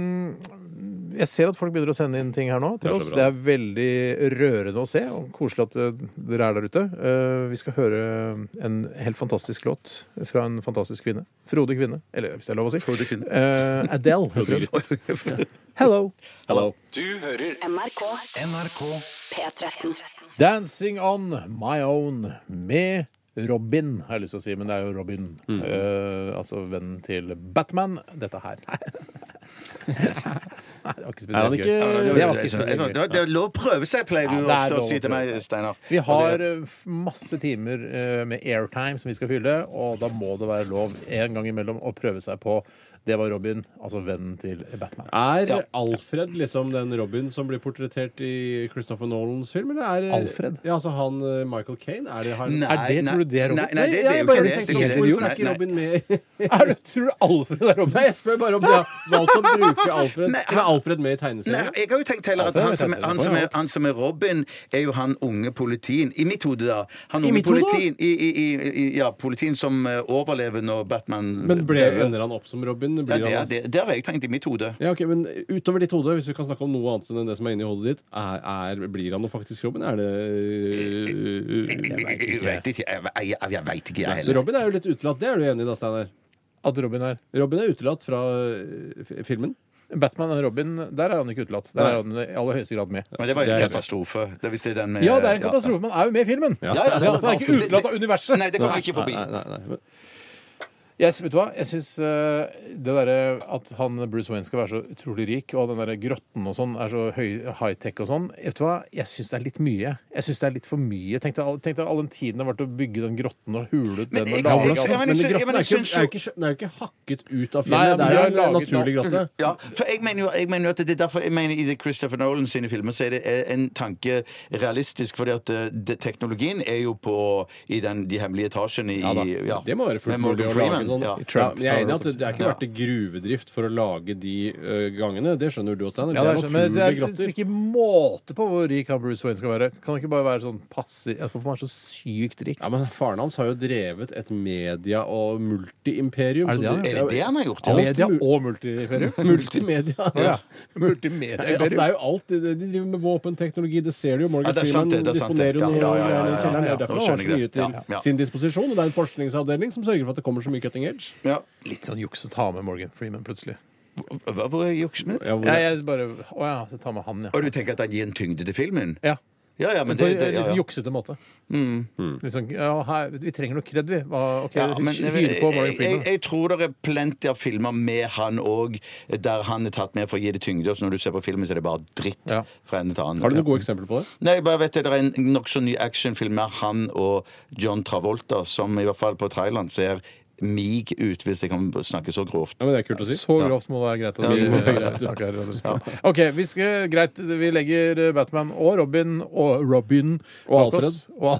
Speaker 1: jeg ser at folk begynner å sende inn ting her nå til
Speaker 2: Det er så
Speaker 1: oss. Det
Speaker 2: bra.
Speaker 1: er veldig rørende å se, og koselig at eh, dere er der ute. Eh, vi skal høre eh, en helt fantastisk låt fra en fantastisk kvinne. Frode Kvinne. Eller hvis det er lov å si.
Speaker 3: Frode Kvinne.
Speaker 1: Eh, Adele. heter hun. Hello.
Speaker 2: Hallo.
Speaker 6: NRK
Speaker 4: NRK
Speaker 6: P13.
Speaker 1: Dancing on my own med Robin, har jeg lyst til å si. Men det er jo Robin.
Speaker 3: Mm.
Speaker 1: Eh, altså vennen til Batman. Dette her. Nei, det var ikke
Speaker 2: Er han
Speaker 1: spesielt
Speaker 2: ikke-
Speaker 1: gøy.
Speaker 3: Ja, det
Speaker 1: Det var ikke
Speaker 3: var- det var-
Speaker 1: spesielt
Speaker 3: det
Speaker 1: gøy.
Speaker 3: var- det er lov å prøve seg, pleier du
Speaker 1: Ja, det er
Speaker 3: ofte å
Speaker 1: lov
Speaker 3: si
Speaker 1: å
Speaker 3: til
Speaker 1: prøve
Speaker 3: meg,
Speaker 1: seg.
Speaker 3: Steinar.
Speaker 1: Vi
Speaker 3: Og
Speaker 1: har
Speaker 3: det-
Speaker 1: eh, f- masse timer eh, med airtime som vi skal fylle, og da må det være lov en gang imellom å prøve seg på Det var Robin, altså vennen til Batman.
Speaker 2: Er Alfred liksom den Robin som blir portrettert i Christopher Nolans film? Eller er det-
Speaker 1: Alfred?
Speaker 2: Ja, altså han eh, Michael Caine? Er det han
Speaker 3: Nei,
Speaker 1: det-
Speaker 3: nei,
Speaker 1: tror du det er Robin?
Speaker 3: Nei, nei, det, det er
Speaker 2: jeg
Speaker 3: jo
Speaker 2: bare
Speaker 3: ikke det.
Speaker 2: tenkte, sånn,
Speaker 3: det, er ikke sånn, det.
Speaker 2: Hvorfor er ikke
Speaker 3: Nei, nei.
Speaker 2: Robin med?
Speaker 3: Ah.
Speaker 1: Er du, tror du Alfred er Robin?
Speaker 2: Nei, jeg spør bare om de har valgt å bruke Alfred.
Speaker 3: Nei,
Speaker 2: Eller er Alfred med i tegneserien?
Speaker 3: Nei, jeg har jo tenkt heller
Speaker 1: Ja,
Speaker 3: at
Speaker 1: det er
Speaker 3: han som,
Speaker 1: jeg
Speaker 3: han,
Speaker 1: sikker
Speaker 3: som
Speaker 1: på,
Speaker 3: er,
Speaker 1: ja.
Speaker 3: han som er Robin, er jo han unge politien. I mitt hode, da. Han unge
Speaker 2: mitt hode?
Speaker 3: politien, i, i, i, i, ja, politien som eh, overlever når Batman
Speaker 2: Men ble,
Speaker 3: dør.
Speaker 2: ender han opp som Robin? Blir
Speaker 3: ja, det,
Speaker 2: han-
Speaker 3: er- det, det har jeg tenkt i mitt hode.
Speaker 2: Ja, ok, Men utover ditt hode, hvis vi kan snakke om noe annet enn det som er inni hodet ditt, er, er, blir han noe faktisk Robin? Er det
Speaker 3: Eh,
Speaker 2: eh,
Speaker 3: Jeg veit ikke, jeg, jeg, jeg, vet ikke, jeg
Speaker 2: Så
Speaker 3: heller.
Speaker 2: Robin er jo litt utelatt. Det er du enig i da, Steinar?
Speaker 1: At Robin er
Speaker 2: Robin er utelatt fra eh, f- filmen.
Speaker 1: Batman og Robin, der er han ikke utelatt. Der er han i aller høyeste grad med.
Speaker 3: Men det var
Speaker 2: Det
Speaker 3: en
Speaker 2: er-
Speaker 3: katastrofe. Det, er hvis det er den med,
Speaker 1: Ja, det er en katastrofe. Man er jo med i filmen.
Speaker 3: Ja, ja, det er
Speaker 1: Ja, så det er ikke
Speaker 3: absolutt.
Speaker 1: utelatt av universet.
Speaker 3: Nei, det kommer ikke forbi.
Speaker 2: Nei, nei, nei.
Speaker 1: Jeg, vet du hva? Jeg syns det derre at han Bruce Wayne skal være så utrolig rik, og den derre grotten og sånn er så høy- high-tech og sånn, vet du hva? Jeg syns det er litt mye. Jeg syns det er litt for mye. Tenk deg all, tenk deg all den tiden det har vært å bygge den grotten og hule ut den og
Speaker 3: Men jeg-
Speaker 1: lage alt.
Speaker 3: jeg- jeg- men
Speaker 2: Men
Speaker 3: jeg-
Speaker 2: grotten
Speaker 3: men
Speaker 2: er
Speaker 3: jeg
Speaker 2: ikke, er
Speaker 3: syns jo-
Speaker 2: jo ikke, det er jo ikke hakket ut av
Speaker 1: Nei,
Speaker 2: fjellet. Det
Speaker 1: men de
Speaker 2: er jo
Speaker 1: har laget
Speaker 2: en naturlig
Speaker 1: noe.
Speaker 2: grotte.
Speaker 3: Ja, for jeg mener, jo, jeg mener jo at det er derfor jeg mener i det Christopher Nolan sine filmer så er det eh, en tanke realistisk, fordi at eh, det, teknologien er jo på i den, de hemmelige etasjene i
Speaker 2: Ja da.
Speaker 3: ja.
Speaker 2: Det må være fullt
Speaker 3: Med Morgan
Speaker 2: mulig å lage
Speaker 3: Freeman,
Speaker 2: sånn.
Speaker 3: ja.
Speaker 2: Ja. men jeg er enig i at det- det er ikke vært til gruvedrift for å lage de ø, gangene. Det skjønner du, Steinar.
Speaker 1: Ja, det er,
Speaker 2: det
Speaker 1: sånn,
Speaker 2: er
Speaker 1: men det er
Speaker 2: naturlige
Speaker 1: liksom
Speaker 2: grotter.
Speaker 1: ikke måte på hvor rik han Bruce Wayne skal være. Kan han ikke bare være sånn passiv Hvorfor må han være så sykt rik?
Speaker 2: Ja, men Faren hans har jo drevet et media- og multiimperium.
Speaker 1: Er det
Speaker 2: så
Speaker 1: det han
Speaker 3: Er det det han har gjort?
Speaker 2: alt
Speaker 1: Media
Speaker 2: mul-
Speaker 1: og multiferium.
Speaker 2: Multimedia.
Speaker 1: Ja.
Speaker 2: Nei, altså, det er jo alt. De de driver med våpenteknologi, det ser du jo. Morgan
Speaker 3: Ja, det er sant,
Speaker 2: Freeman
Speaker 3: det, det er sant,
Speaker 2: disponerer jo eh, den
Speaker 3: det.
Speaker 2: i
Speaker 3: Ja, ja, ja, ja,
Speaker 2: i
Speaker 3: ja,
Speaker 2: kjelleren. Det
Speaker 3: ja,
Speaker 2: er derfor
Speaker 3: nå
Speaker 2: han har så
Speaker 3: skjønner
Speaker 2: mye
Speaker 3: jeg det.
Speaker 2: til
Speaker 3: Ja, ja.
Speaker 2: sin disposisjon. Og det er en forskningsavdeling som sørger for at det kommer så mye cutting edge.
Speaker 3: Ja.
Speaker 1: Litt sånn juks å ta med Morgan Freeman plutselig.
Speaker 3: Hva, hvor er juksen med det?
Speaker 2: Ja, hvor-
Speaker 1: Ja, jeg bare, å ja, så ta med han, ja.
Speaker 3: Og du tenker at han gir en tyngde til filmen?
Speaker 1: ja.
Speaker 3: Ja, ja, men
Speaker 1: på
Speaker 3: det,
Speaker 1: en
Speaker 3: det, ja,
Speaker 1: liksom
Speaker 3: ja. Mm.
Speaker 1: juksete måte. Liksom, ja, her, vi trenger noe kred, vi. Hva- Ok,
Speaker 3: Ja, men
Speaker 1: hyr
Speaker 3: jeg,
Speaker 1: Eh, på Morgan
Speaker 3: jeg,
Speaker 1: Freeman.
Speaker 3: jeg tror det er plenty av filmer med han òg, der han er tatt med for å gi det tyngde. Og så når du ser på filmen, så er det bare dritt.
Speaker 1: Ja.
Speaker 3: fra ende til annen.
Speaker 2: Har du noen gode eksempler på det?
Speaker 3: Nei, jeg bare vet det, det er en nokså ny actionfilm med han og John Travolta, som i hvert fall på Thailand ser mig ut, hvis jeg kan snakke så grovt.
Speaker 2: Ja, men det er kult å si.
Speaker 1: Så grovt må det være greit å si.
Speaker 3: Ja, det må være
Speaker 1: Vi snakker her og spør. OK, vi skal, greit. Vi legger eh, Batman og Robin og Robin
Speaker 2: Og
Speaker 1: bak oss. Og, og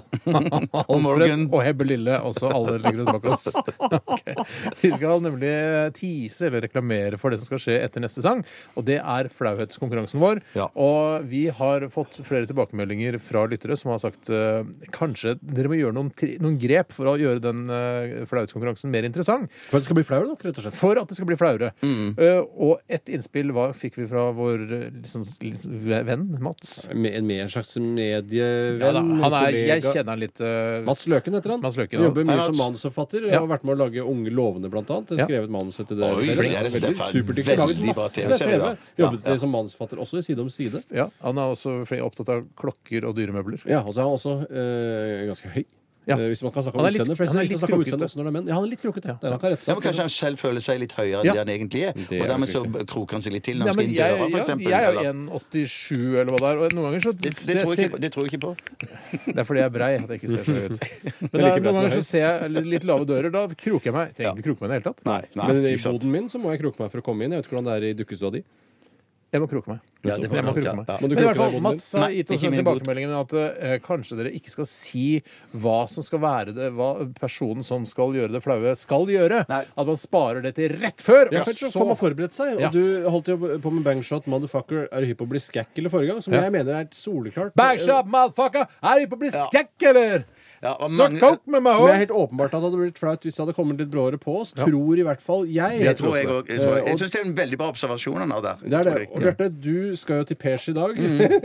Speaker 1: Morgan.
Speaker 3: Morgan.
Speaker 1: Og Hebbe Lille. Også alle ligger bak oss. Ok. Vi skal nemlig eh, tease eller reklamere for det som skal skje etter neste sang. Og det er flauhetskonkurransen vår.
Speaker 3: Ja.
Speaker 1: Og vi har fått flere tilbakemeldinger fra lyttere som har sagt eh, kanskje dere må gjøre noen, tri- noen grep for å gjøre den eh, flauhetskonkurransen mer interessant.
Speaker 2: For det skal bli flau nok, rett og slett.
Speaker 1: For at det skal bli flauere. Eh, og et innspill var, fikk vi fra vår eh, liksom, liksom, venn Mats.
Speaker 2: Med, en, med en slags medievenn?
Speaker 1: Ja, da, han er,
Speaker 2: kollega.
Speaker 1: jeg kjenner han litt eh,
Speaker 2: Mats Løken heter han.
Speaker 1: Mats Løken,
Speaker 2: han
Speaker 1: ja.
Speaker 2: jobber
Speaker 1: Hei,
Speaker 2: mye
Speaker 1: Mats.
Speaker 2: som manusforfatter.
Speaker 1: Ja.
Speaker 2: Har vært med å lage Unge lovende, blant annet.
Speaker 1: Ja.
Speaker 2: Skrevet manuset til det.
Speaker 3: Oi,
Speaker 2: selv.
Speaker 3: flink. Det er-
Speaker 2: Veldig
Speaker 3: det er fan-
Speaker 2: superdyktig. Har laget
Speaker 3: veldig bra
Speaker 2: masse TV.
Speaker 3: TV-serie, da.
Speaker 2: Jobbet som manusforfatter også i Side om side.
Speaker 1: Ja, han er også fl- opptatt av klokker og dyremøbler.
Speaker 2: Ja, og så er han også eh, ganske høy.
Speaker 1: Ja.
Speaker 2: Eh, hvis man kan snakke om
Speaker 1: Han er litt-
Speaker 2: utseende. For jeg
Speaker 1: han er
Speaker 2: synes ikke
Speaker 1: litt
Speaker 2: man snakker om
Speaker 1: krokete.
Speaker 2: utseende også når det er menn. Ja, han er litt krokete. Ja. Det er nok rett
Speaker 3: Ja, men
Speaker 2: sak.
Speaker 3: Kanskje han selv føler seg litt høyere enn
Speaker 1: Ja.
Speaker 3: det han egentlig er.
Speaker 2: Det er
Speaker 3: og dermed så
Speaker 2: nok
Speaker 3: kroker han seg litt til når
Speaker 1: Ja,
Speaker 3: han
Speaker 1: men
Speaker 3: skal inn
Speaker 1: jeg,
Speaker 3: døra, for
Speaker 1: ja,
Speaker 3: eksempel.
Speaker 1: jeg er jo
Speaker 3: eller-
Speaker 1: 1,87 eller hva det er, og noen ganger så
Speaker 3: det, det, tror jeg
Speaker 1: ser-
Speaker 3: ikke, på- det tror jeg ikke på.
Speaker 1: Det er fordi jeg er brei at jeg ikke ser flau ut. Men da, noen
Speaker 2: Jeg liker brei som er
Speaker 1: ganger så
Speaker 2: høy.
Speaker 1: ser jeg litt- litt lave dører. Da kroker jeg meg. Jeg Trenger ikke kroke meg i det hele tatt.
Speaker 2: Nei,
Speaker 3: Nei,
Speaker 2: men i
Speaker 3: ikke sant.
Speaker 2: boden min så må jeg kroke meg for å komme inn. Jeg vet ikke hvordan det er i dukkestua di.
Speaker 1: Jeg må kroke meg.
Speaker 3: Ja, det må
Speaker 1: jeg må
Speaker 3: du nok,
Speaker 1: kroke
Speaker 3: ja.
Speaker 1: meg.
Speaker 3: Ja.
Speaker 2: Må du
Speaker 1: Men i
Speaker 2: kroke
Speaker 1: hvert fall,
Speaker 2: deg i båten
Speaker 1: Mats har gitt oss
Speaker 3: ikke
Speaker 1: den
Speaker 3: min båt.
Speaker 1: tilbakemeldingen at eh, kanskje dere ikke skal si hva som skal være det, hva personen som skal gjøre det flaue, skal gjøre.
Speaker 3: Nei.
Speaker 1: At man sparer det til rett før,
Speaker 2: Ja,
Speaker 1: og
Speaker 2: for så får man
Speaker 1: så
Speaker 2: forberedt seg. Og
Speaker 1: Ja.
Speaker 2: du holdt jo på med bangshot, motherfucker, er du hypp på å bli skakk eller forrige gang? Som
Speaker 1: Ja.
Speaker 2: jeg mener er et soleklart Eh,
Speaker 1: Bæsj opp, motherfucker! Er de på å bli skekk, eller?
Speaker 3: Ja, og
Speaker 1: Så
Speaker 3: mange-
Speaker 1: coke med meg
Speaker 2: Som
Speaker 1: òg!
Speaker 2: jeg helt åpenbart at det hadde blitt flaut hvis det hadde kommet litt bråere på oss. Tror i hvert fall jeg.
Speaker 3: Det tror jeg òg.
Speaker 2: Eh, og-
Speaker 3: Jeg syns det er en veldig bra observasjon han har der.
Speaker 2: Det er det.
Speaker 3: tror jeg.
Speaker 2: Og Bjarte, du skal jo til pers i dag.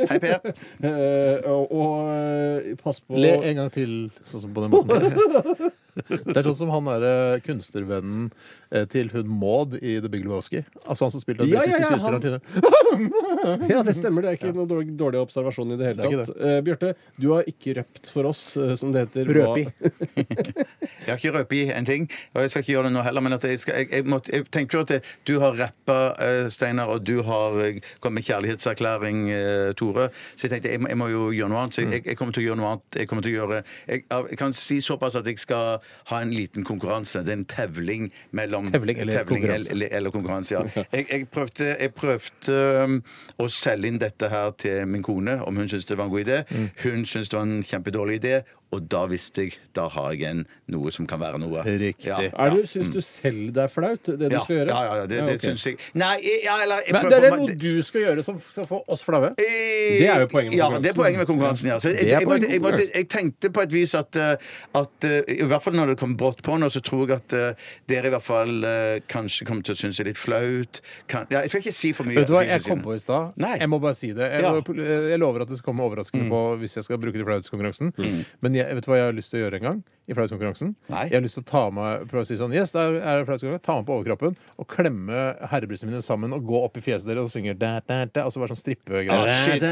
Speaker 3: Hei, Per.
Speaker 2: Eh, og og eh, pass på
Speaker 1: Le en gang til, sånn som på den måten. Det er sånn som han derre kunstnervennen eh, til hun Maud i The Big Lebowski. Altså han som spilte den
Speaker 2: Ja, ja,
Speaker 1: britiske
Speaker 2: ja,
Speaker 1: skuespilleren til henne.
Speaker 2: Ja, det stemmer. Det er ikke noe dårlig, dårlig observasjon i det hele
Speaker 1: Det er ikke
Speaker 2: tatt. Eh, Bjarte, du har ikke røpt for oss, eh, som det heter.
Speaker 1: Røpi.
Speaker 2: hva-
Speaker 3: Jeg har ikke røpet i en ting, og jeg skal ikke gjøre det nå heller. Men at jeg, skal, jeg, jeg, måtte, jeg tenker jo at det- du har rappa, eh, Steinar, og du har eh, kommet med kjærlighetserklæring, eh, Tore. Så jeg tenkte jeg, må- jeg må jo gjøre noe annet. Så
Speaker 2: Mm.
Speaker 3: jeg, jeg kommer til å gjøre noe annet. Jeg kommer til å gjøre jeg, jeg kan si såpass at jeg skal ha en liten konkurranse. Det er en tevling mellom
Speaker 1: Tevling eller konkurranse.
Speaker 3: Eller, eller konkurranse, ja. Jeg, jeg prøvde, jeg prøvde um, å selge inn dette her til min kone, om hun syntes det var en god idé.
Speaker 1: Mm.
Speaker 3: Hun syntes det var en kjempedårlig idé, og da visste jeg da har jeg en, noe som kan være noe.
Speaker 1: Riktig.
Speaker 3: Ja, ja.
Speaker 2: Er du, syns du selv det er flaut, det du
Speaker 3: ja,
Speaker 2: skal gjøre?
Speaker 3: Ja, ja, ja, det, det
Speaker 2: ok.
Speaker 3: syns jeg. Nei, jeg- ja, eller jeg
Speaker 1: Men
Speaker 3: prøver
Speaker 1: det er
Speaker 3: på-
Speaker 1: noe du skal gjøre som skal få oss flaue.
Speaker 3: Det
Speaker 2: er jo poenget med
Speaker 3: ja,
Speaker 2: konkurransen.
Speaker 3: det er poenget med konkurransen. Ja. Så jeg,
Speaker 1: Det er
Speaker 3: jeg, jeg,
Speaker 1: poenget med
Speaker 3: måtte- jeg, måtte-
Speaker 1: konkurransen.
Speaker 3: jeg tenkte på et vis at, eh, at eh, I hvert fall når det kom brått på nå, så tror jeg at eh, dere i hvert fall eh, kanskje kommer til å synes det er litt flaut. Kan, ja, jeg skal ikke si for mye.
Speaker 1: Vet du hva,
Speaker 3: skal
Speaker 1: jeg
Speaker 3: ikke si
Speaker 1: kom
Speaker 3: noe.
Speaker 1: på i stad.
Speaker 3: Nei.
Speaker 1: Jeg må bare si det. Jeg,
Speaker 3: Ja.
Speaker 1: jeg lover at det skal komme overraskende på hvis jeg skal bruke det i flauhetskonkurransen. Men jeg, vet du hva jeg har lyst til å gjøre en gang? I flauhetskonkurransen?
Speaker 3: Nei.
Speaker 1: Jeg har lyst til å ta meg prøve å si sånn Yes, der er det flauhetskonkurranse. Ta meg på overkroppen og klemme herrebrystene mine sammen og gå opp i fjeset deres og synge da, da, da, og så være sånn strippegreier.
Speaker 3: Ah, shit.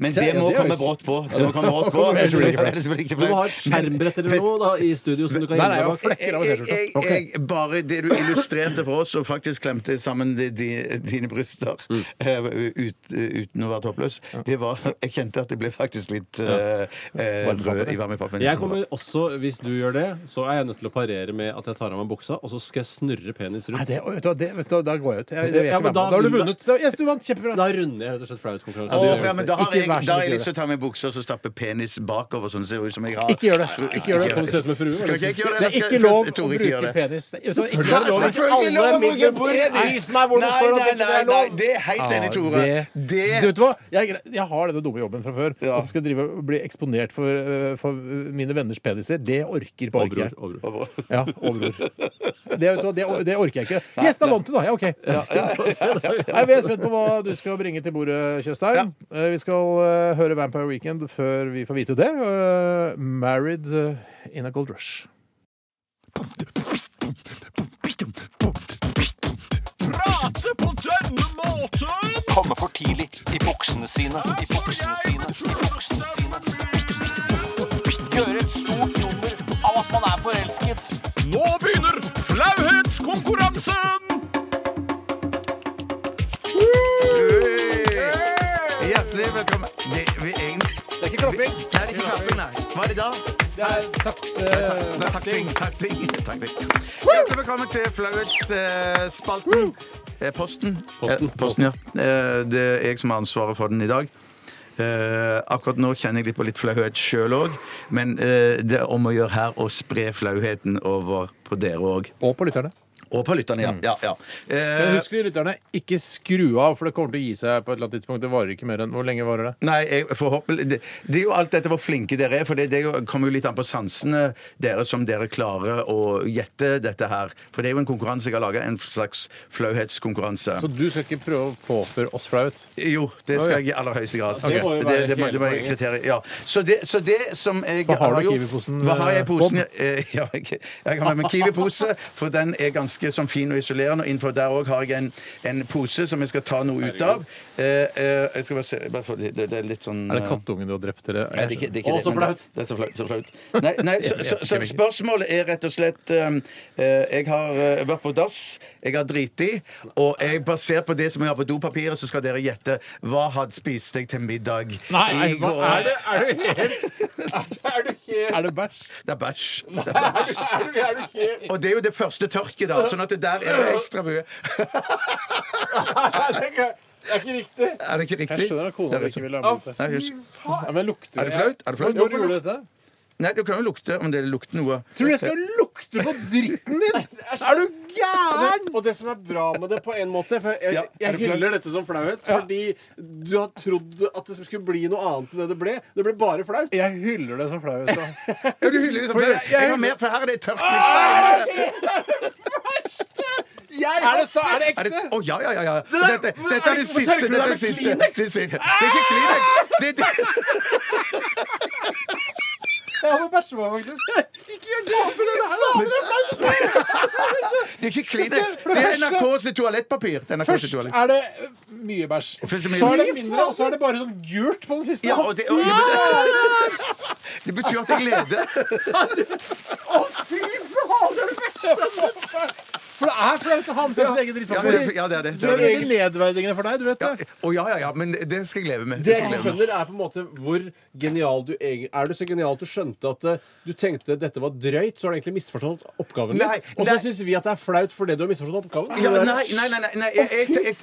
Speaker 3: Men det må komme brått på. Det må komme brått på.
Speaker 1: Kommer ellers blir det ikke flaut.
Speaker 3: Ellers blir det ikke
Speaker 2: Du må ha
Speaker 3: flaut.
Speaker 2: et skjermbrett eller
Speaker 3: Men-
Speaker 2: noe da, i studio som du kan
Speaker 1: Nei, nei,
Speaker 2: gjemme deg
Speaker 1: jeg
Speaker 2: bak.
Speaker 1: har flekker av
Speaker 3: Jeg, jeg,
Speaker 1: T-skjorta.
Speaker 3: jeg, bare det du illustrerte for oss, og faktisk klemte sammen de, de, dine bryster eh, ut, uten å være toppløs, det var Jeg kjente at jeg ble faktisk litt eh, eh,
Speaker 1: Varm i pappen,
Speaker 3: rød i varme i pappen.
Speaker 2: Jeg kommer også, Hvis du gjør det, så er jeg nødt til å parere med at jeg tar av meg buksa, og så skal jeg snurre penis
Speaker 1: Nei,
Speaker 2: rundt.
Speaker 1: det, vet du, hva, det, vet du, hva, da går jeg ut. Jeg, det vil jeg
Speaker 2: Ja,
Speaker 1: ikke
Speaker 2: men
Speaker 1: være med på.
Speaker 2: da
Speaker 1: da har du
Speaker 2: vil-
Speaker 1: vunnet. Så, Yes, du vant. Kjempebra.
Speaker 2: Da runder jeg rett og slett flautkonkurransen.
Speaker 3: Å,
Speaker 1: det gjør
Speaker 3: ja,
Speaker 1: det.
Speaker 3: men da har
Speaker 1: Ikke
Speaker 3: jeg,
Speaker 1: vær så
Speaker 3: da har
Speaker 1: snill,
Speaker 3: jeg
Speaker 1: gjør
Speaker 3: lyst til å ta med buksa og så stappe penis bakover, sånn det ser ut som jeg har.
Speaker 1: Ikke gjør det. Ikke gjør det.
Speaker 2: Sånn ser ut som en frue.
Speaker 3: Skal ikke jeg gjøre
Speaker 1: Det
Speaker 3: det?
Speaker 1: er ikke lov å
Speaker 3: Tore, ikke gjør
Speaker 1: bruke
Speaker 3: det.
Speaker 1: penis. Det er- Ikke
Speaker 3: Nei,
Speaker 1: lov å bruke
Speaker 3: selvfølgelig lov å
Speaker 1: alle
Speaker 3: bruke
Speaker 1: midler.
Speaker 3: penis.
Speaker 1: Vis meg hvor det
Speaker 3: Nei,
Speaker 1: står at
Speaker 3: nei,
Speaker 1: ikke det
Speaker 3: nei,
Speaker 1: er lov.
Speaker 3: nei, det er helt enig,
Speaker 1: Ja,
Speaker 3: Tore.
Speaker 1: Ah, det-
Speaker 3: Det-
Speaker 1: Du vet hva? Jeg, jeg har denne dumme jobben fra før.
Speaker 3: Ja.
Speaker 1: Og så skal jeg drive og bli eksponert for, øh, for øh, mine venners peniser. Det orker bare ikke jeg. Ja, overord. Det, vet du hva, det, or- det orker jeg ikke. Yes, da vant du, da. Ja, OK. Nei, vi er spent på hva du skal bringe til bordet, Tjøstheim. Eh, Vi skal eh, høre Vampire Weekend før vi får vite det. Eh, married eh, in a Gold Rush.
Speaker 4: Komme for tidlig i buksene sine. I buksene sine. I buksene sine. Gjøre et stort nummer av at man er forelsket.
Speaker 3: Hjertelig velkommen. Det, vi, jeg,
Speaker 1: Det er ikke klapping.
Speaker 3: nei, det er ikke klapping, nei. Hva er det da?
Speaker 1: Det
Speaker 3: Takting, takting, takting. Hjertelig velkommen til Flauhetsspalten. Posten.
Speaker 2: Posten.
Speaker 3: Eh, Posten, ja. Eh, Det er jeg som har ansvaret for den i dag. Eh, akkurat nå kjenner jeg litt på litt flauhet sjøl òg, men eh, det er om å gjøre her å spre flauheten over på dere òg.
Speaker 1: Og på lytterne.
Speaker 3: Og på lytterne, ja. ja, ja. Eh,
Speaker 1: Men husk de lytterne, ikke skru av, for det kommer til å gi seg på et eller annet tidspunkt. Det varer ikke mer enn Hvor lenge varer det?
Speaker 3: Nei, jeg forhåpentlig det, det er jo alt dette hvor flinke dere er, for det, det er jo- kommer jo litt an på sansene dere som dere klarer å gjette dette her. For det er jo en konkurranse jeg har laga, en slags flauhetskonkurranse.
Speaker 1: Så du skal ikke prøve å påføre oss flaut?
Speaker 3: Jo, det skal jeg i aller høyeste grad.
Speaker 2: Det må jo være
Speaker 3: det, det, må- det må jeg
Speaker 2: hele poenget.
Speaker 3: kvittere. Ja. Så, det, så det som jeg
Speaker 1: Hva har du i
Speaker 3: gjort-
Speaker 1: kiwiposen,
Speaker 3: Hva har jeg i
Speaker 1: eh,
Speaker 3: posen?
Speaker 1: Bob?
Speaker 3: Eh, Ja, jeg, jeg har med meg Kiwi-pose, for den er ganske sånn fin og isolerende. Og innenfor der òg har jeg en, en pose som jeg skal ta noe ut av. Eh, eh, jeg skal bare se bare få- det, det er litt sånn
Speaker 1: Er det
Speaker 3: eh,
Speaker 1: kattungen du har drept, eller?
Speaker 3: Nei, det er ikke, det er ikke
Speaker 2: Å,
Speaker 3: det,
Speaker 2: så
Speaker 3: men det-
Speaker 2: flaut.
Speaker 3: Det er så flaut. Så flaut. Nei, nei så, så, så
Speaker 1: Jeg vet ikke.
Speaker 3: spørsmålet er rett og slett um, eh, Jeg har eh, vært på dass, jeg har driti, og jeg basert på det som jeg har på dopapiret, så skal dere gjette hva hadde spiste jeg til middag
Speaker 1: Nei,
Speaker 3: i
Speaker 1: hva
Speaker 3: går?
Speaker 1: er det?
Speaker 2: Er du helt Er du
Speaker 1: Er
Speaker 2: helt
Speaker 1: det bæsj?
Speaker 3: Det er bæsj. Det er bæsj.
Speaker 2: Er du, er du helt
Speaker 3: Og det er jo det første tørket, da, sånn at det der er det ekstra mye.
Speaker 2: Nei, det er ikke, det er ikke riktig.
Speaker 3: Er det ikke riktig?
Speaker 1: Jeg skjønner at kona
Speaker 3: Det er
Speaker 1: di ikke
Speaker 3: ikke-
Speaker 1: vil ha
Speaker 2: Å,
Speaker 1: med dette.
Speaker 3: Nei, husk.
Speaker 2: fy faen.
Speaker 1: Ja, men lukter
Speaker 3: Er det flaut? Er det flaut?
Speaker 1: Når gjorde du dette?
Speaker 3: Nei, du kan jo lukte om det lukter noe.
Speaker 1: Tror du jeg skal lukte på dritten din? Er du gæren?
Speaker 2: Og det som er bra med det, på en måte for Jeg,
Speaker 3: Ja, er
Speaker 2: jeg
Speaker 3: det flaut?
Speaker 2: hyller dette som flaut, fordi du har trodd at det skulle bli noe annet enn det det ble. Det ble bare flaut.
Speaker 1: Jeg hyller det som flaut. da.
Speaker 3: Ja, du hyller det som
Speaker 1: For jeg- jeg-
Speaker 3: flaut.
Speaker 1: Ah!
Speaker 3: Jeg har mer, for her er det tørt. liksom.
Speaker 1: Er det, så, er det
Speaker 3: Er det,
Speaker 1: ekte?
Speaker 3: å, ja, ja, ja, ja.
Speaker 2: der-
Speaker 3: Dette,
Speaker 2: men
Speaker 3: dette er det
Speaker 2: hvorfor
Speaker 3: siste.
Speaker 2: tørker du
Speaker 3: Dette er
Speaker 2: deg
Speaker 3: det
Speaker 2: med
Speaker 3: siste. Det
Speaker 2: Kleenex?
Speaker 3: er siste. Det er ikke Kleenex. Det er det.
Speaker 1: Jeg må bæsje meg, faktisk. Ikke gjør det! for det her er det flaut å si!
Speaker 3: Det er ikke Kleenex.
Speaker 1: For det
Speaker 3: Det er
Speaker 1: første-
Speaker 3: NRKs toalettpapir. Det er NRKs
Speaker 1: Først
Speaker 3: toalett.
Speaker 1: er det mye bæsj.
Speaker 3: Først er det mye
Speaker 1: Så er det
Speaker 3: bæsj.
Speaker 1: mindre, og så er det bare sånn gult på den siste.
Speaker 3: Ja, og det, og det, det betyr at jeg leder.
Speaker 1: Fy faen, det er det verste! For det er flaut å ha med seg sitt eget
Speaker 3: Ja, det, ja, det er det.
Speaker 1: Det er veldig nedverdigende for deg, du vet det.
Speaker 3: Ja, Å ja, ja, ja. Men det skal jeg leve med.
Speaker 2: Det
Speaker 3: Det
Speaker 2: jeg
Speaker 3: skal
Speaker 2: ikke
Speaker 3: jeg leve med.
Speaker 2: skjønner, er på en måte hvor genial du egen- Er du så genial at du skjønte at eh, du tenkte dette var drøyt, så har du egentlig misforstått oppgaven
Speaker 3: Nei,
Speaker 2: din. Og så
Speaker 3: nei.
Speaker 2: syns vi at det er flaut fordi du har misforstått oppgaven.
Speaker 3: Ja, nei, nei, nei, nei, nei jeg, jeg, jeg,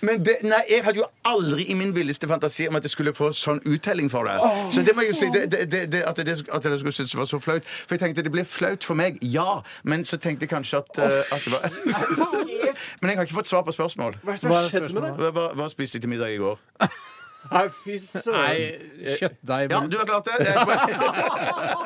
Speaker 3: Men det, nei, jeg hadde jo aldri i min villeste fantasi om at jeg skulle få sånn uttelling for det. Så det må jeg jo si, det, det, det, det, at, det, at dere skulle synes det var så flaut. For jeg tenkte det ble flaut for meg, ja. Men så tenkte jeg kanskje at, eh, at det var Men jeg har ikke fått svar på spørsmål.
Speaker 2: Hva er det som har skjedd med det?
Speaker 3: Hva, hva, hva spiste jeg til middag i går?
Speaker 2: Nei, fy søren.
Speaker 1: Nei, Sånn kjøttdeig
Speaker 3: eh, Ja, du har klart det?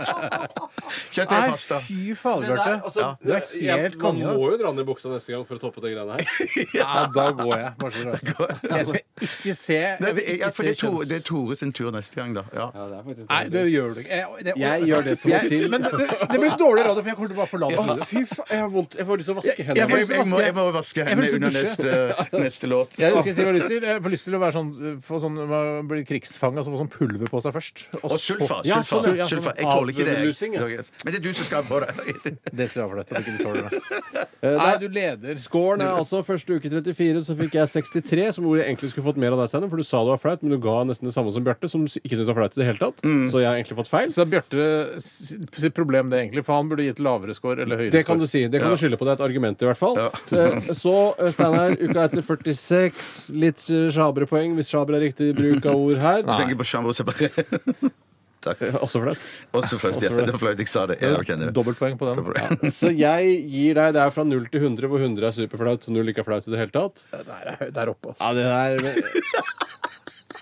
Speaker 3: Kjøtt og pasta.
Speaker 1: Nei, fy fader, Bjarte.
Speaker 2: Altså,
Speaker 1: Du er helt
Speaker 2: jeg- Man
Speaker 1: konge, da.
Speaker 2: må jo dra ned buksa neste gang for å toppe de greiene her.
Speaker 1: Ja, da går jeg. Bare så du vet. Jeg skal ikke se
Speaker 3: Nei,
Speaker 1: jeg vil
Speaker 3: det, ja,
Speaker 1: ikke
Speaker 3: for det,
Speaker 1: se
Speaker 3: er Tore,
Speaker 1: kjønns-
Speaker 3: det er Tore sin tur neste gang, da. Ja.
Speaker 1: Nei, det gjør du ikke. Jeg,
Speaker 2: Jeg gjør det som må
Speaker 1: Jeg-
Speaker 2: til.
Speaker 1: Men det, det- det blir dårlig radio, for jeg kommer til å bare forlate
Speaker 2: Å,
Speaker 1: studioet.
Speaker 2: fy faen, jeg har vondt. Jeg får lyst til å vaske
Speaker 3: Jeg, må-
Speaker 2: hendene.
Speaker 3: jeg, må, jeg må vaske
Speaker 1: Jeg må
Speaker 3: hendene under
Speaker 1: lyst til
Speaker 3: neste, neste låt.
Speaker 1: Jeg skal si hva jeg har lyst til. Jeg får lyst til å være sånn, få sånn man blir krigsfange, altså få sånn pulver på seg først.
Speaker 3: Og sulfa.
Speaker 1: Ja,
Speaker 3: sulfa,
Speaker 1: sånn, ja, sånn.
Speaker 3: sulfa. Jeg tåler ikke det.
Speaker 2: Avlusing, ja.
Speaker 3: jeg. Men det er du som skal ha på det.
Speaker 1: Det ser jeg for deg at du ikke tåler. det.
Speaker 2: Eh,
Speaker 1: Nei,
Speaker 2: det
Speaker 1: du
Speaker 2: er-
Speaker 1: leder.
Speaker 2: Scoren er altså første uke 34, så fikk jeg 63, som hvor jeg egentlig skulle fått mer av deg, Steinar, for du sa det var flaut, men du ga nesten det samme som Bjarte, som ikke syntes det var flaut i det hele tatt. Så jeg har egentlig fått feil.
Speaker 1: Så det er Bjarte s- sitt problem, det, egentlig. For han burde gitt lavere score eller høyere
Speaker 2: Det kan du
Speaker 1: score.
Speaker 2: si. Det kan du skylde på. Det er et argument, i hvert fall. Eh, Så eh, Steinar, uka etter 46. Litt eh, sjabrepoeng, hvis sjabre er riktig bruk av ord her.
Speaker 3: Jeg tenker på Chambre Separé. Takk.
Speaker 2: Eh, Også flaut.
Speaker 3: Også flaut. Ja. Det var flaut jeg sa det. Ja, jeg kjenner det.
Speaker 1: Dobbeltpoeng på den. Ja.
Speaker 2: Så jeg gir deg Det er fra 0 til 100, hvor 100 er superflaut og 0 ikke er flaut i det hele tatt.
Speaker 1: Der, er høy- der oppe, altså. ass.
Speaker 2: Ja, det der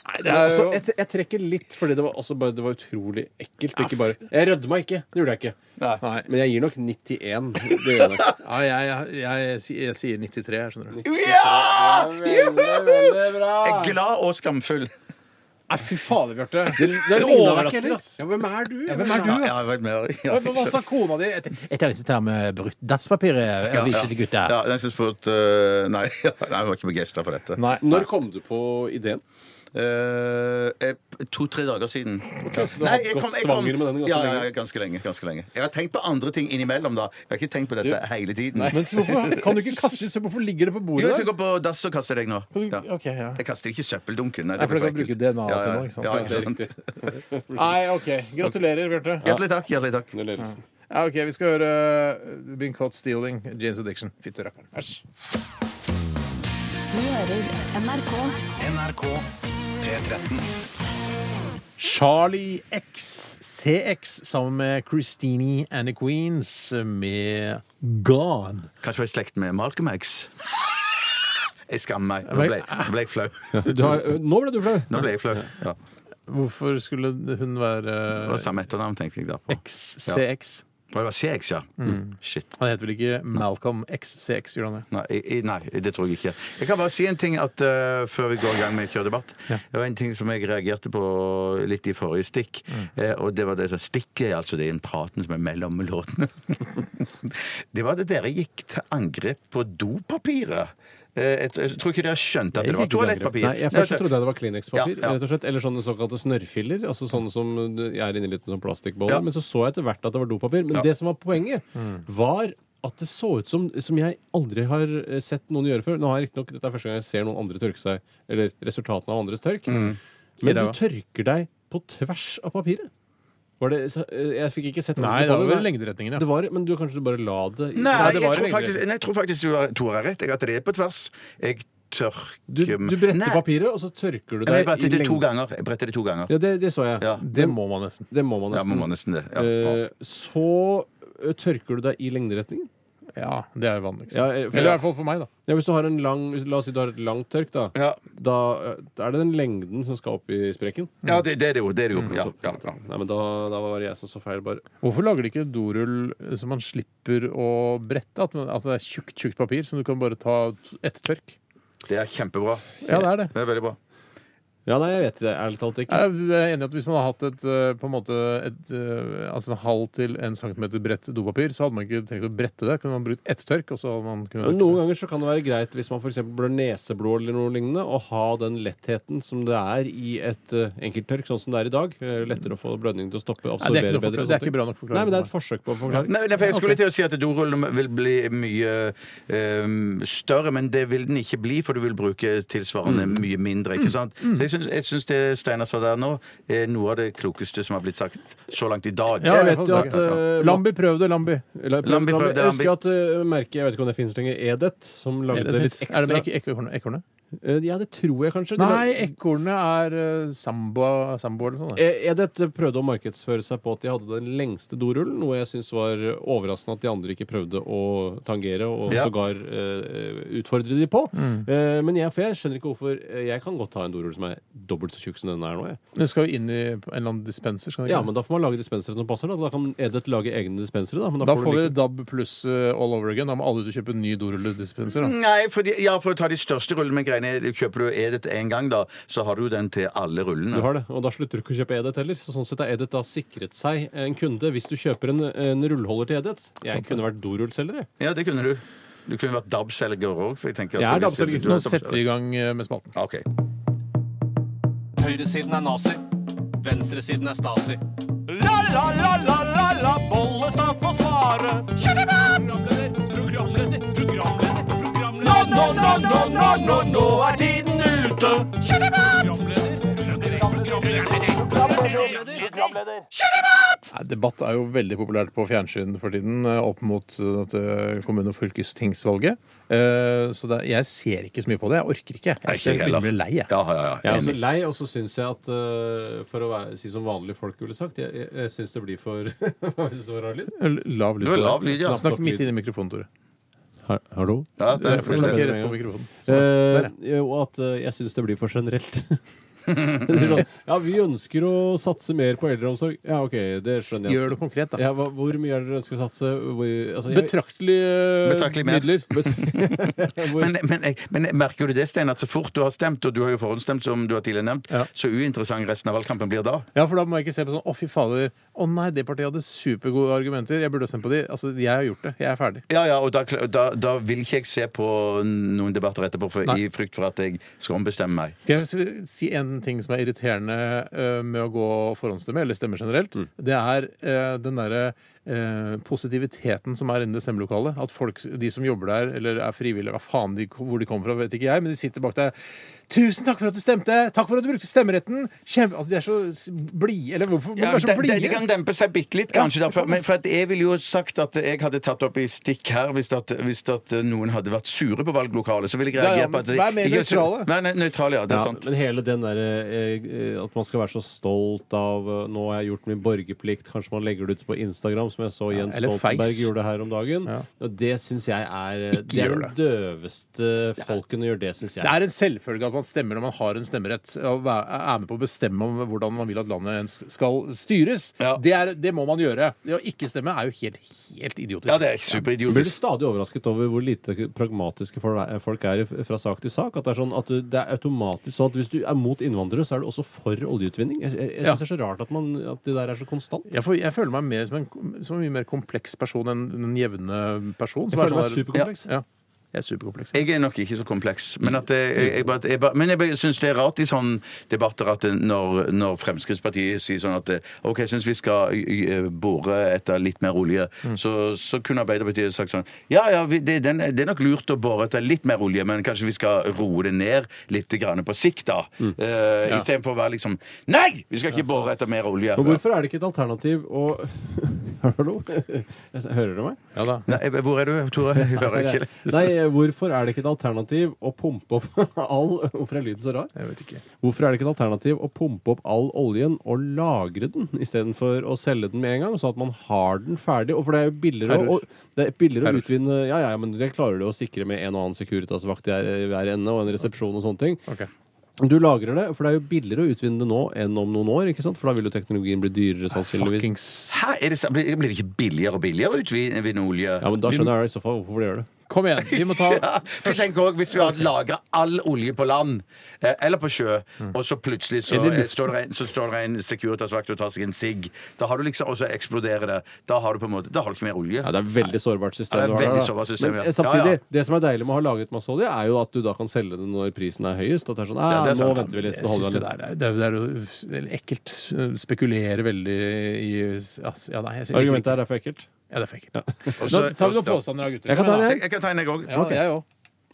Speaker 2: Nei, det er jo jeg, jeg trekker litt fordi det var, også bare, det var utrolig ekkelt. Ikke bare, jeg rødma ikke. Det gjorde jeg ikke.
Speaker 1: Nei.
Speaker 2: Men jeg gir nok 91. Det gjør jeg nok.
Speaker 1: Ja, jeg, jeg, jeg, si- jeg sier 93, jeg skjønner du.
Speaker 3: Jeg er glad og skamfull.
Speaker 1: Nei, fy fader, Bjarte. Det,
Speaker 2: ligner deg ikke heller.
Speaker 1: ass.
Speaker 2: Ja, hvem er du?
Speaker 1: Hvem er du,
Speaker 3: Ja, jeg har
Speaker 1: ass?
Speaker 3: vært med. Ja,
Speaker 1: Hva hva sa kona di? Et- Et av disse tar med brutt dasspapir og viser til gutta.
Speaker 3: Ja, den som spurte eh, Nei, nei, jeg var ikke begeistra for dette.
Speaker 1: Nei.
Speaker 2: Når kom du på ideen?
Speaker 3: Eh, eh, To-tre dager siden.
Speaker 2: så du har gått svanger med den ganske
Speaker 3: ja, ja,
Speaker 2: lenge.
Speaker 3: ja, ganske lenge. Ganske lenge. Jeg har tenkt på andre ting innimellom, da. Jeg har ikke tenkt på dette hele tiden.
Speaker 1: Men så hvorfor kan du ikke kaste i søppel? Hvorfor ligger det på
Speaker 3: Jo,
Speaker 1: bordet?
Speaker 3: jeg skal
Speaker 1: der?
Speaker 3: gå på dass og kaste deg nå. Ja.
Speaker 1: Ok, ja.
Speaker 3: Jeg kaster ikke i søppeldunken.
Speaker 1: Nei, for du kan bruke DNA til noe, ikke sant?
Speaker 3: Ja,
Speaker 1: Ja, det er
Speaker 3: sant?
Speaker 1: Nei, OK. Gratulerer, Bjarte.
Speaker 3: Hjertelig takk. Hjertelig takk.
Speaker 2: Under ledelsen.
Speaker 1: Ja, OK, vi skal høre uh, Been Caught Stealing, Jeans Addiction. Fitterapperen. Æsj.
Speaker 6: Du hører NRK.
Speaker 4: NRK P13.
Speaker 1: Charlie X, CX, sammen med Christine and the Queens med Gone.
Speaker 3: Kanskje være i slekt med Malcolm X. Jeg skammer meg. Nå
Speaker 1: Men-
Speaker 3: ble, nå ble jeg flau.
Speaker 2: Du har, nå ble du flau.
Speaker 3: Nå ble jeg flau. Ja.
Speaker 1: Hvorfor skulle hun
Speaker 3: Det var
Speaker 1: være
Speaker 3: samme etternavn, tenkte jeg da. på.
Speaker 1: X, CX?
Speaker 3: Og det var CX, ja.
Speaker 1: Mm.
Speaker 3: Shit.
Speaker 1: Han heter vel ikke Malcolm X, CX, gjør han det?
Speaker 3: Nei, i- nei, det tror jeg ikke. Jeg kan bare si en ting at, eh, før vi går i gang med kjørdebatt.
Speaker 1: Ja.
Speaker 3: Det var en ting som jeg reagerte på litt i forrige stikk.
Speaker 2: Mm.
Speaker 3: eh, og det var det som stikket, altså det er den praten som er mellom låtene. det var det dere gikk til angrep på dopapiret. Eh, Jeg, jeg tror ikke dere skjønte at
Speaker 1: Jeg
Speaker 3: det var
Speaker 1: gikk ikke til angrep.
Speaker 3: toalettpapir.
Speaker 2: Nei, jeg Først så trodde jeg det var Kleenex-papir,
Speaker 3: Ja, ja.
Speaker 2: rett og slett, eller sånne såkalte snørrfiller. Altså sånne som er inni liten sånn plastikkboller.
Speaker 3: Ja.
Speaker 2: Men så så jeg etter hvert at det var dopapir. Men
Speaker 3: Ja. Mm.
Speaker 2: det som var poenget, var at det så ut som som jeg aldri har eh, sett noen gjøre før. Nå har jeg riktignok Dette er første gang jeg ser noen andre tørke seg, eller resultatene av andres tørk.
Speaker 3: Mm.
Speaker 2: Men du
Speaker 1: ræva.
Speaker 2: tørker deg på tvers av papiret. Var det, så- eh, jeg fikk ikke sett
Speaker 1: Nei,
Speaker 2: ordentlig
Speaker 1: det
Speaker 2: på
Speaker 1: var i
Speaker 2: Nei.
Speaker 1: lengderetningen, ja.
Speaker 2: Det var, men du kanskje du bare la det
Speaker 3: Nei,
Speaker 1: det
Speaker 3: jeg,
Speaker 1: var
Speaker 3: tror
Speaker 1: egentlig
Speaker 3: faktisk,
Speaker 1: greit.
Speaker 3: nei jeg tror faktisk du har, Tor har rett. Jeg har at det er på tvers. Jeg tørker
Speaker 2: Du, du bretter
Speaker 3: Nei,
Speaker 2: papiret, og så tørker du
Speaker 3: Jeg
Speaker 2: deg
Speaker 3: bretter
Speaker 2: i
Speaker 3: det to
Speaker 2: lengden.
Speaker 3: ganger. Jeg bretter det to ganger.
Speaker 2: Ja, det, det så jeg.
Speaker 3: Ja.
Speaker 1: Det må man nesten.
Speaker 2: Det må man
Speaker 3: Ja,
Speaker 2: nesten.
Speaker 3: man må nesten det. Ja.
Speaker 2: Eh, så eh, tørker du deg i lengderetningen.
Speaker 1: Ja, det er vanligst.
Speaker 2: Ja, eh, for-
Speaker 1: Eller i hvert fall for meg, da.
Speaker 2: Ja, hvis du har en lang, La oss si du har et langt tørk, da.
Speaker 3: Ja.
Speaker 2: Da eh, er det den lengden som skal opp i sprekken.
Speaker 3: Ja, det, det er det jo. Det er det jo.
Speaker 2: Mm.
Speaker 3: Ja, ja, ja.
Speaker 2: Nei, men da, da var det jeg som så feil, bare.
Speaker 1: Hvorfor lager de ikke dorull som man slipper å brette? At, man, at det er tjukt, tjukt papir som du kan bare ta etter tørk?
Speaker 3: Det er kjempebra.
Speaker 1: Ja, det er det.
Speaker 3: Det er veldig bra.
Speaker 2: Mm. Ja, nei, jeg vet det ærlig talt ikke.
Speaker 1: Jeg er enig i at Hvis man hadde hatt et, eh, på en måte et, eh, altså en halv til en centimeter bredt dopapir, så hadde man ikke trengt å brette det. Kunne man brukt ett tørk, og så hadde man kunnet
Speaker 2: Men
Speaker 1: tørke
Speaker 2: noen
Speaker 1: seg.
Speaker 2: ganger så kan det være greit hvis man f.eks. blør neseblod eller noe lignende, å ha den lettheten som det er i et eh, enkelttørk, sånn som det er i dag. Eh, Lettere å få blødningen til å stoppe,
Speaker 1: Nei, det er ikke noe forklaring. Det
Speaker 2: absorbere bedre. og
Speaker 1: er
Speaker 2: sånne ting.
Speaker 1: ikke bra nok forklaring.
Speaker 2: Nei, men det er et forsøk på å forklare.
Speaker 3: Nei, nei, for jeg skulle til å si at dorullen vil bli mye ehm, større, men det vil den ikke bli, for du vil bruke tilsvarende
Speaker 2: Mm.
Speaker 3: mye mindre. ikke sant? Så jeg syns, jeg syns det Steinar sa der nå, er noe av det klokeste som har blitt sagt så langt i dag.
Speaker 1: Ja,
Speaker 2: Jeg
Speaker 1: i
Speaker 2: vet
Speaker 1: hvert
Speaker 2: jo
Speaker 1: fall.
Speaker 2: at eh,
Speaker 1: Lambi, prøv det, Lambi.
Speaker 2: Eller, Lambi,
Speaker 3: Lambi prøvde
Speaker 2: jeg husker
Speaker 3: Lambi.
Speaker 2: at eh, merket, jeg vet ikke om det finnes lenger, Edet, som
Speaker 1: Er
Speaker 2: lagde
Speaker 1: det
Speaker 2: litt ekstra
Speaker 1: med ek- ekorne- ekornet?
Speaker 2: Eh, Ja, det tror jeg kanskje. De
Speaker 1: Nei,
Speaker 2: lag-
Speaker 1: ekornet er eh, samboa sambo eller sånn, noe sånt.
Speaker 2: Eh, Edet prøvde å markedsføre seg på at de hadde den lengste dorullen, noe jeg syns var overraskende at de andre ikke prøvde å tangere og
Speaker 3: Ja.
Speaker 2: sågar eh, utfordre de på. Eh, men jeg, for jeg skjønner ikke hvorfor eh, Jeg kan godt ha en dorull som er dobbelt så tjukk som denne er nå. Jeg.
Speaker 1: Det skal jo inn i en eller annen dispenser. Skal det ikke?
Speaker 2: Ja, men da får man lage dispensere som passer. Da, da kan Edet lage egne dispensere. Da, men da,
Speaker 1: da
Speaker 2: får
Speaker 1: får
Speaker 2: du
Speaker 1: vi
Speaker 2: like...
Speaker 1: DAB pluss eh, all over again. Da må alle ut og kjøpe en ny dorullesdispenser. da.
Speaker 2: Mm.
Speaker 3: Nei, for, de, ja, for å ta de største rullene med greiene du Kjøper du Edith én gang, da, så har du jo den til alle rullene.
Speaker 2: Du har det, og da slutter du ikke å kjøpe Edet heller. Så sånn sett har Edet da sikret seg en kunde hvis du kjøper en, en rullholder til Edet. Jeg kunne vært dorullselger, jeg.
Speaker 3: Ja, det kunne du. Du kunne vært DAB-selger òg.
Speaker 2: Jeg er DAB-selger.
Speaker 1: Nå setter vi i gang eh, med spalten.
Speaker 3: Ok.
Speaker 4: Høyresiden er nazi. Venstresiden er stasi. La, la, la, la, la, la, Bollestad får svare. Kjør debatt! Programleder, programleder, programleder. Nå, nå, nå, nå, nå, nå, nå er tiden ute. Kjør debatt! Programleder, programleder, programleder. programleder.
Speaker 1: Nei, Debatt er jo veldig populært på fjernsyn for tiden, eh, opp mot eh, dette kommune- og fylkestingsvalget. Eh, Så det, jeg ser ikke så mye på det. Jeg orker ikke. Jeg ser jeg
Speaker 3: ikke heller.
Speaker 1: blir lei, jeg.
Speaker 3: Ja, ja, ja.
Speaker 2: Jeg er også
Speaker 3: Enig.
Speaker 2: lei, og så syns jeg at eh, For å være, si som vanlige folk ville sagt, jeg, jeg, jeg syns det blir for Hva synes det var rar lyd?
Speaker 1: Lav lyd.
Speaker 3: Det var
Speaker 1: på
Speaker 3: lav lyd, ja.
Speaker 1: Snakk midt inn i mikrofonen, Tore.
Speaker 2: Hallo?
Speaker 3: Ja, Eh, det er
Speaker 1: Snakk
Speaker 3: forskjell.
Speaker 2: det-
Speaker 1: rett på mikrofonen. Der,
Speaker 2: Og at eh, jeg syns det blir for generelt. sånn, ja, vi ønsker å satse mer på eldreomsorg. Ja, OK, det skjønner jeg.
Speaker 1: Gjør det konkret, da.
Speaker 2: Ja, hva, hvor mye er det dere ønsker å satse? Hvor, altså, jeg-
Speaker 1: Betraktelige
Speaker 3: Betraktelig
Speaker 1: eh,
Speaker 3: mer.
Speaker 1: midler.
Speaker 3: Men, men, jeg- men jeg merker du det, Stein, at så fort du har stemt, og du har jo forhåndsstemt, som du har tidligere nevnt,
Speaker 1: Ja.
Speaker 3: så uinteressant resten av valgkampen blir da?
Speaker 1: Ja, for da må jeg ikke se på sånn Å, fy fader, Å nei, det partiet hadde supergode argumenter. Jeg burde ha stemt på de. Altså, jeg har gjort det. Jeg er ferdig.
Speaker 3: Ja, ja, og da, kl- da, da vil ikke jeg se på noen debatter etterpå for,
Speaker 1: Nei.
Speaker 3: i frykt for at jeg skal ombestemme meg.
Speaker 1: Skal jeg s- si en ting som er irriterende eh, med å gå forhåndsstemme, eller stemme generelt?
Speaker 3: Mm.
Speaker 1: Det er eh, den derre eh, positiviteten som er inne i det stemmelokalet. At folk, de som jobber der, eller er frivillige, hva faen de, hvor de kommer fra, vet ikke jeg, men de sitter bak der. Tusen takk for at du stemte! Takk for at du brukte stemmeretten! Kjempe, altså, de er så s- blide. Eller hvorfor må de
Speaker 3: Ja,
Speaker 1: være så
Speaker 3: de, de, de
Speaker 1: blide?
Speaker 3: kan dempe seg bitte litt, kanskje. da, for- men for at jeg ville jo sagt at jeg hadde tatt opp i stikk her hvis, at, hvis at noen hadde vært sure på valglokalet. Så ville jeg
Speaker 1: Ja, ja,
Speaker 3: reagert
Speaker 1: men
Speaker 3: på at de-
Speaker 1: vær mer
Speaker 3: jeg er sur-
Speaker 1: nøytrale.
Speaker 3: Nei, nei, nøytrale, ja. Det er
Speaker 2: Ja,
Speaker 3: sant.
Speaker 2: men hele den derre eh, eh, at man skal være så stolt av eh, Nå har jeg gjort min borgerplikt. Kanskje man legger det ut på Instagram, som jeg så Jens
Speaker 1: eller
Speaker 2: Stoltenberg
Speaker 1: Face.
Speaker 2: gjorde her om dagen. Og det syns jeg er eh,
Speaker 1: Ikke
Speaker 2: Det er
Speaker 1: gjør
Speaker 2: den døveste folkene gjør det, syns jeg.
Speaker 1: Det er en selvfølge at man stemmer når man har en stemmerett. Og væ- er med på å bestemme om hvordan man vil at landet ens skal styres.
Speaker 3: Ja.
Speaker 1: Det, er, det må man gjøre. Det å ikke stemme er jo helt, helt idiotisk.
Speaker 3: Ja, det er
Speaker 2: Jeg blir
Speaker 3: superidiotisk.
Speaker 2: stadig overrasket over hvor lite pragmatiske for- folk er i- fra sak til sak. At det er sånn at du- det er automatisk sånn at hvis du er mot innvandrere, så er du også for oljeutvinning. Jeg, jeg, jeg
Speaker 1: Ja.
Speaker 2: synes det er så rart at, man, at det der er så konstant.
Speaker 1: Jeg, får, jeg føler meg mer som en, som en mye mer kompleks person enn den jevne person.
Speaker 2: Jeg
Speaker 1: som er
Speaker 2: føler meg
Speaker 1: sånn der-
Speaker 2: superkompleks.
Speaker 1: Ja, jeg er superkompleks.
Speaker 3: Jeg er nok ikke så kompleks. Men, at jeg, jeg, jeg, bare- jeg, bare- men jeg syns det er rart i sånne debatter at når, når Fremskrittspartiet sier sånn at OK, jeg syns vi skal ø, ø, bore etter litt mer olje, så, så kunne Arbeiderpartiet sagt sånn Ja ja, vi, det, den, det er nok lurt å bore etter litt mer olje, men kanskje vi skal roe det ned litt grann på sikt, da. Mm. Uh, Istedenfor å være liksom Nei! Vi skal ikke bore etter mer olje.
Speaker 2: Men hvorfor er det ikke et alternativ å Hallo? Jeg s- Hører du meg?
Speaker 1: Ja da.
Speaker 3: Nei, hvor er du, Tore? Jeg hører ikke.
Speaker 2: Nei, hvorfor er det ikke et alternativ å pumpe opp all Hvorfor er lyden så rar?
Speaker 1: Jeg vet ikke.
Speaker 2: Hvorfor er det ikke et alternativ å pumpe opp all oljen og lagre den, istedenfor å selge den med en gang, sånn at man har den ferdig? Og for det er jo billigere, å,
Speaker 1: Terror.
Speaker 2: og det er billigere
Speaker 1: Terror.
Speaker 2: å utvinne Ja, ja, men jeg klarer det å sikre med en og annen Securitas-vakt i hver- i hver ende, og en resepsjon og sånne ting.
Speaker 1: Ok.
Speaker 2: Du lagrer det, for det er jo billigere å utvinne det nå enn om noen år, ikke sant? For da vil jo teknologien bli dyrere, sannsynligvis.
Speaker 1: Fuckings
Speaker 3: Hæ? Er det, sant? blir blir det ikke billigere og billigere å utvinne olje?
Speaker 2: Ja, men Da skjønner jeg i så fall hvorfor de gjør det.
Speaker 1: Kom igjen. Vi må ta
Speaker 3: Ja, for tenk også, Hvis vi hadde lagra all olje på land eh, eller på sjø,
Speaker 2: Mm.
Speaker 3: og så plutselig så,
Speaker 1: Eller
Speaker 3: eh,
Speaker 1: luft.
Speaker 3: står det en, så står det en Securitas-vakt og tar seg en sigg, Da har du liksom, og så eksploderer det. Da har du på en måte, da har du ikke mer olje.
Speaker 2: Ja, det er veldig sårbart system.
Speaker 3: Ja, det er
Speaker 2: du har der,
Speaker 3: veldig
Speaker 2: da.
Speaker 3: sårbart system,
Speaker 2: Men
Speaker 3: ja.
Speaker 2: eh, samtidig,
Speaker 3: Ja, ja.
Speaker 2: det som er deilig med å ha lagret masse olje, er jo at du da kan selge det når prisen er høyest. At det er sånn,
Speaker 3: Ja,
Speaker 2: ja,
Speaker 3: det er
Speaker 2: nå
Speaker 3: sant.
Speaker 2: venter vi litt,
Speaker 1: Jeg
Speaker 2: nå
Speaker 1: syns
Speaker 2: holder vi
Speaker 1: det
Speaker 2: litt.
Speaker 1: der er, det er, det er jo- det er ekkelt. Spekulere veldig i ja, s- Ja, nei, jeg syns
Speaker 2: Argumentet er derfor ekkelt.
Speaker 1: Ja, det er for ekkelt.
Speaker 3: Og
Speaker 1: Nå
Speaker 3: så-
Speaker 1: tar vi
Speaker 3: og
Speaker 1: noen
Speaker 3: så-
Speaker 1: påstander da, gutter.
Speaker 2: Jeg kan ta en,
Speaker 3: Jeg, jeg kan tegne, jeg òg.
Speaker 1: Ja, jeg òg.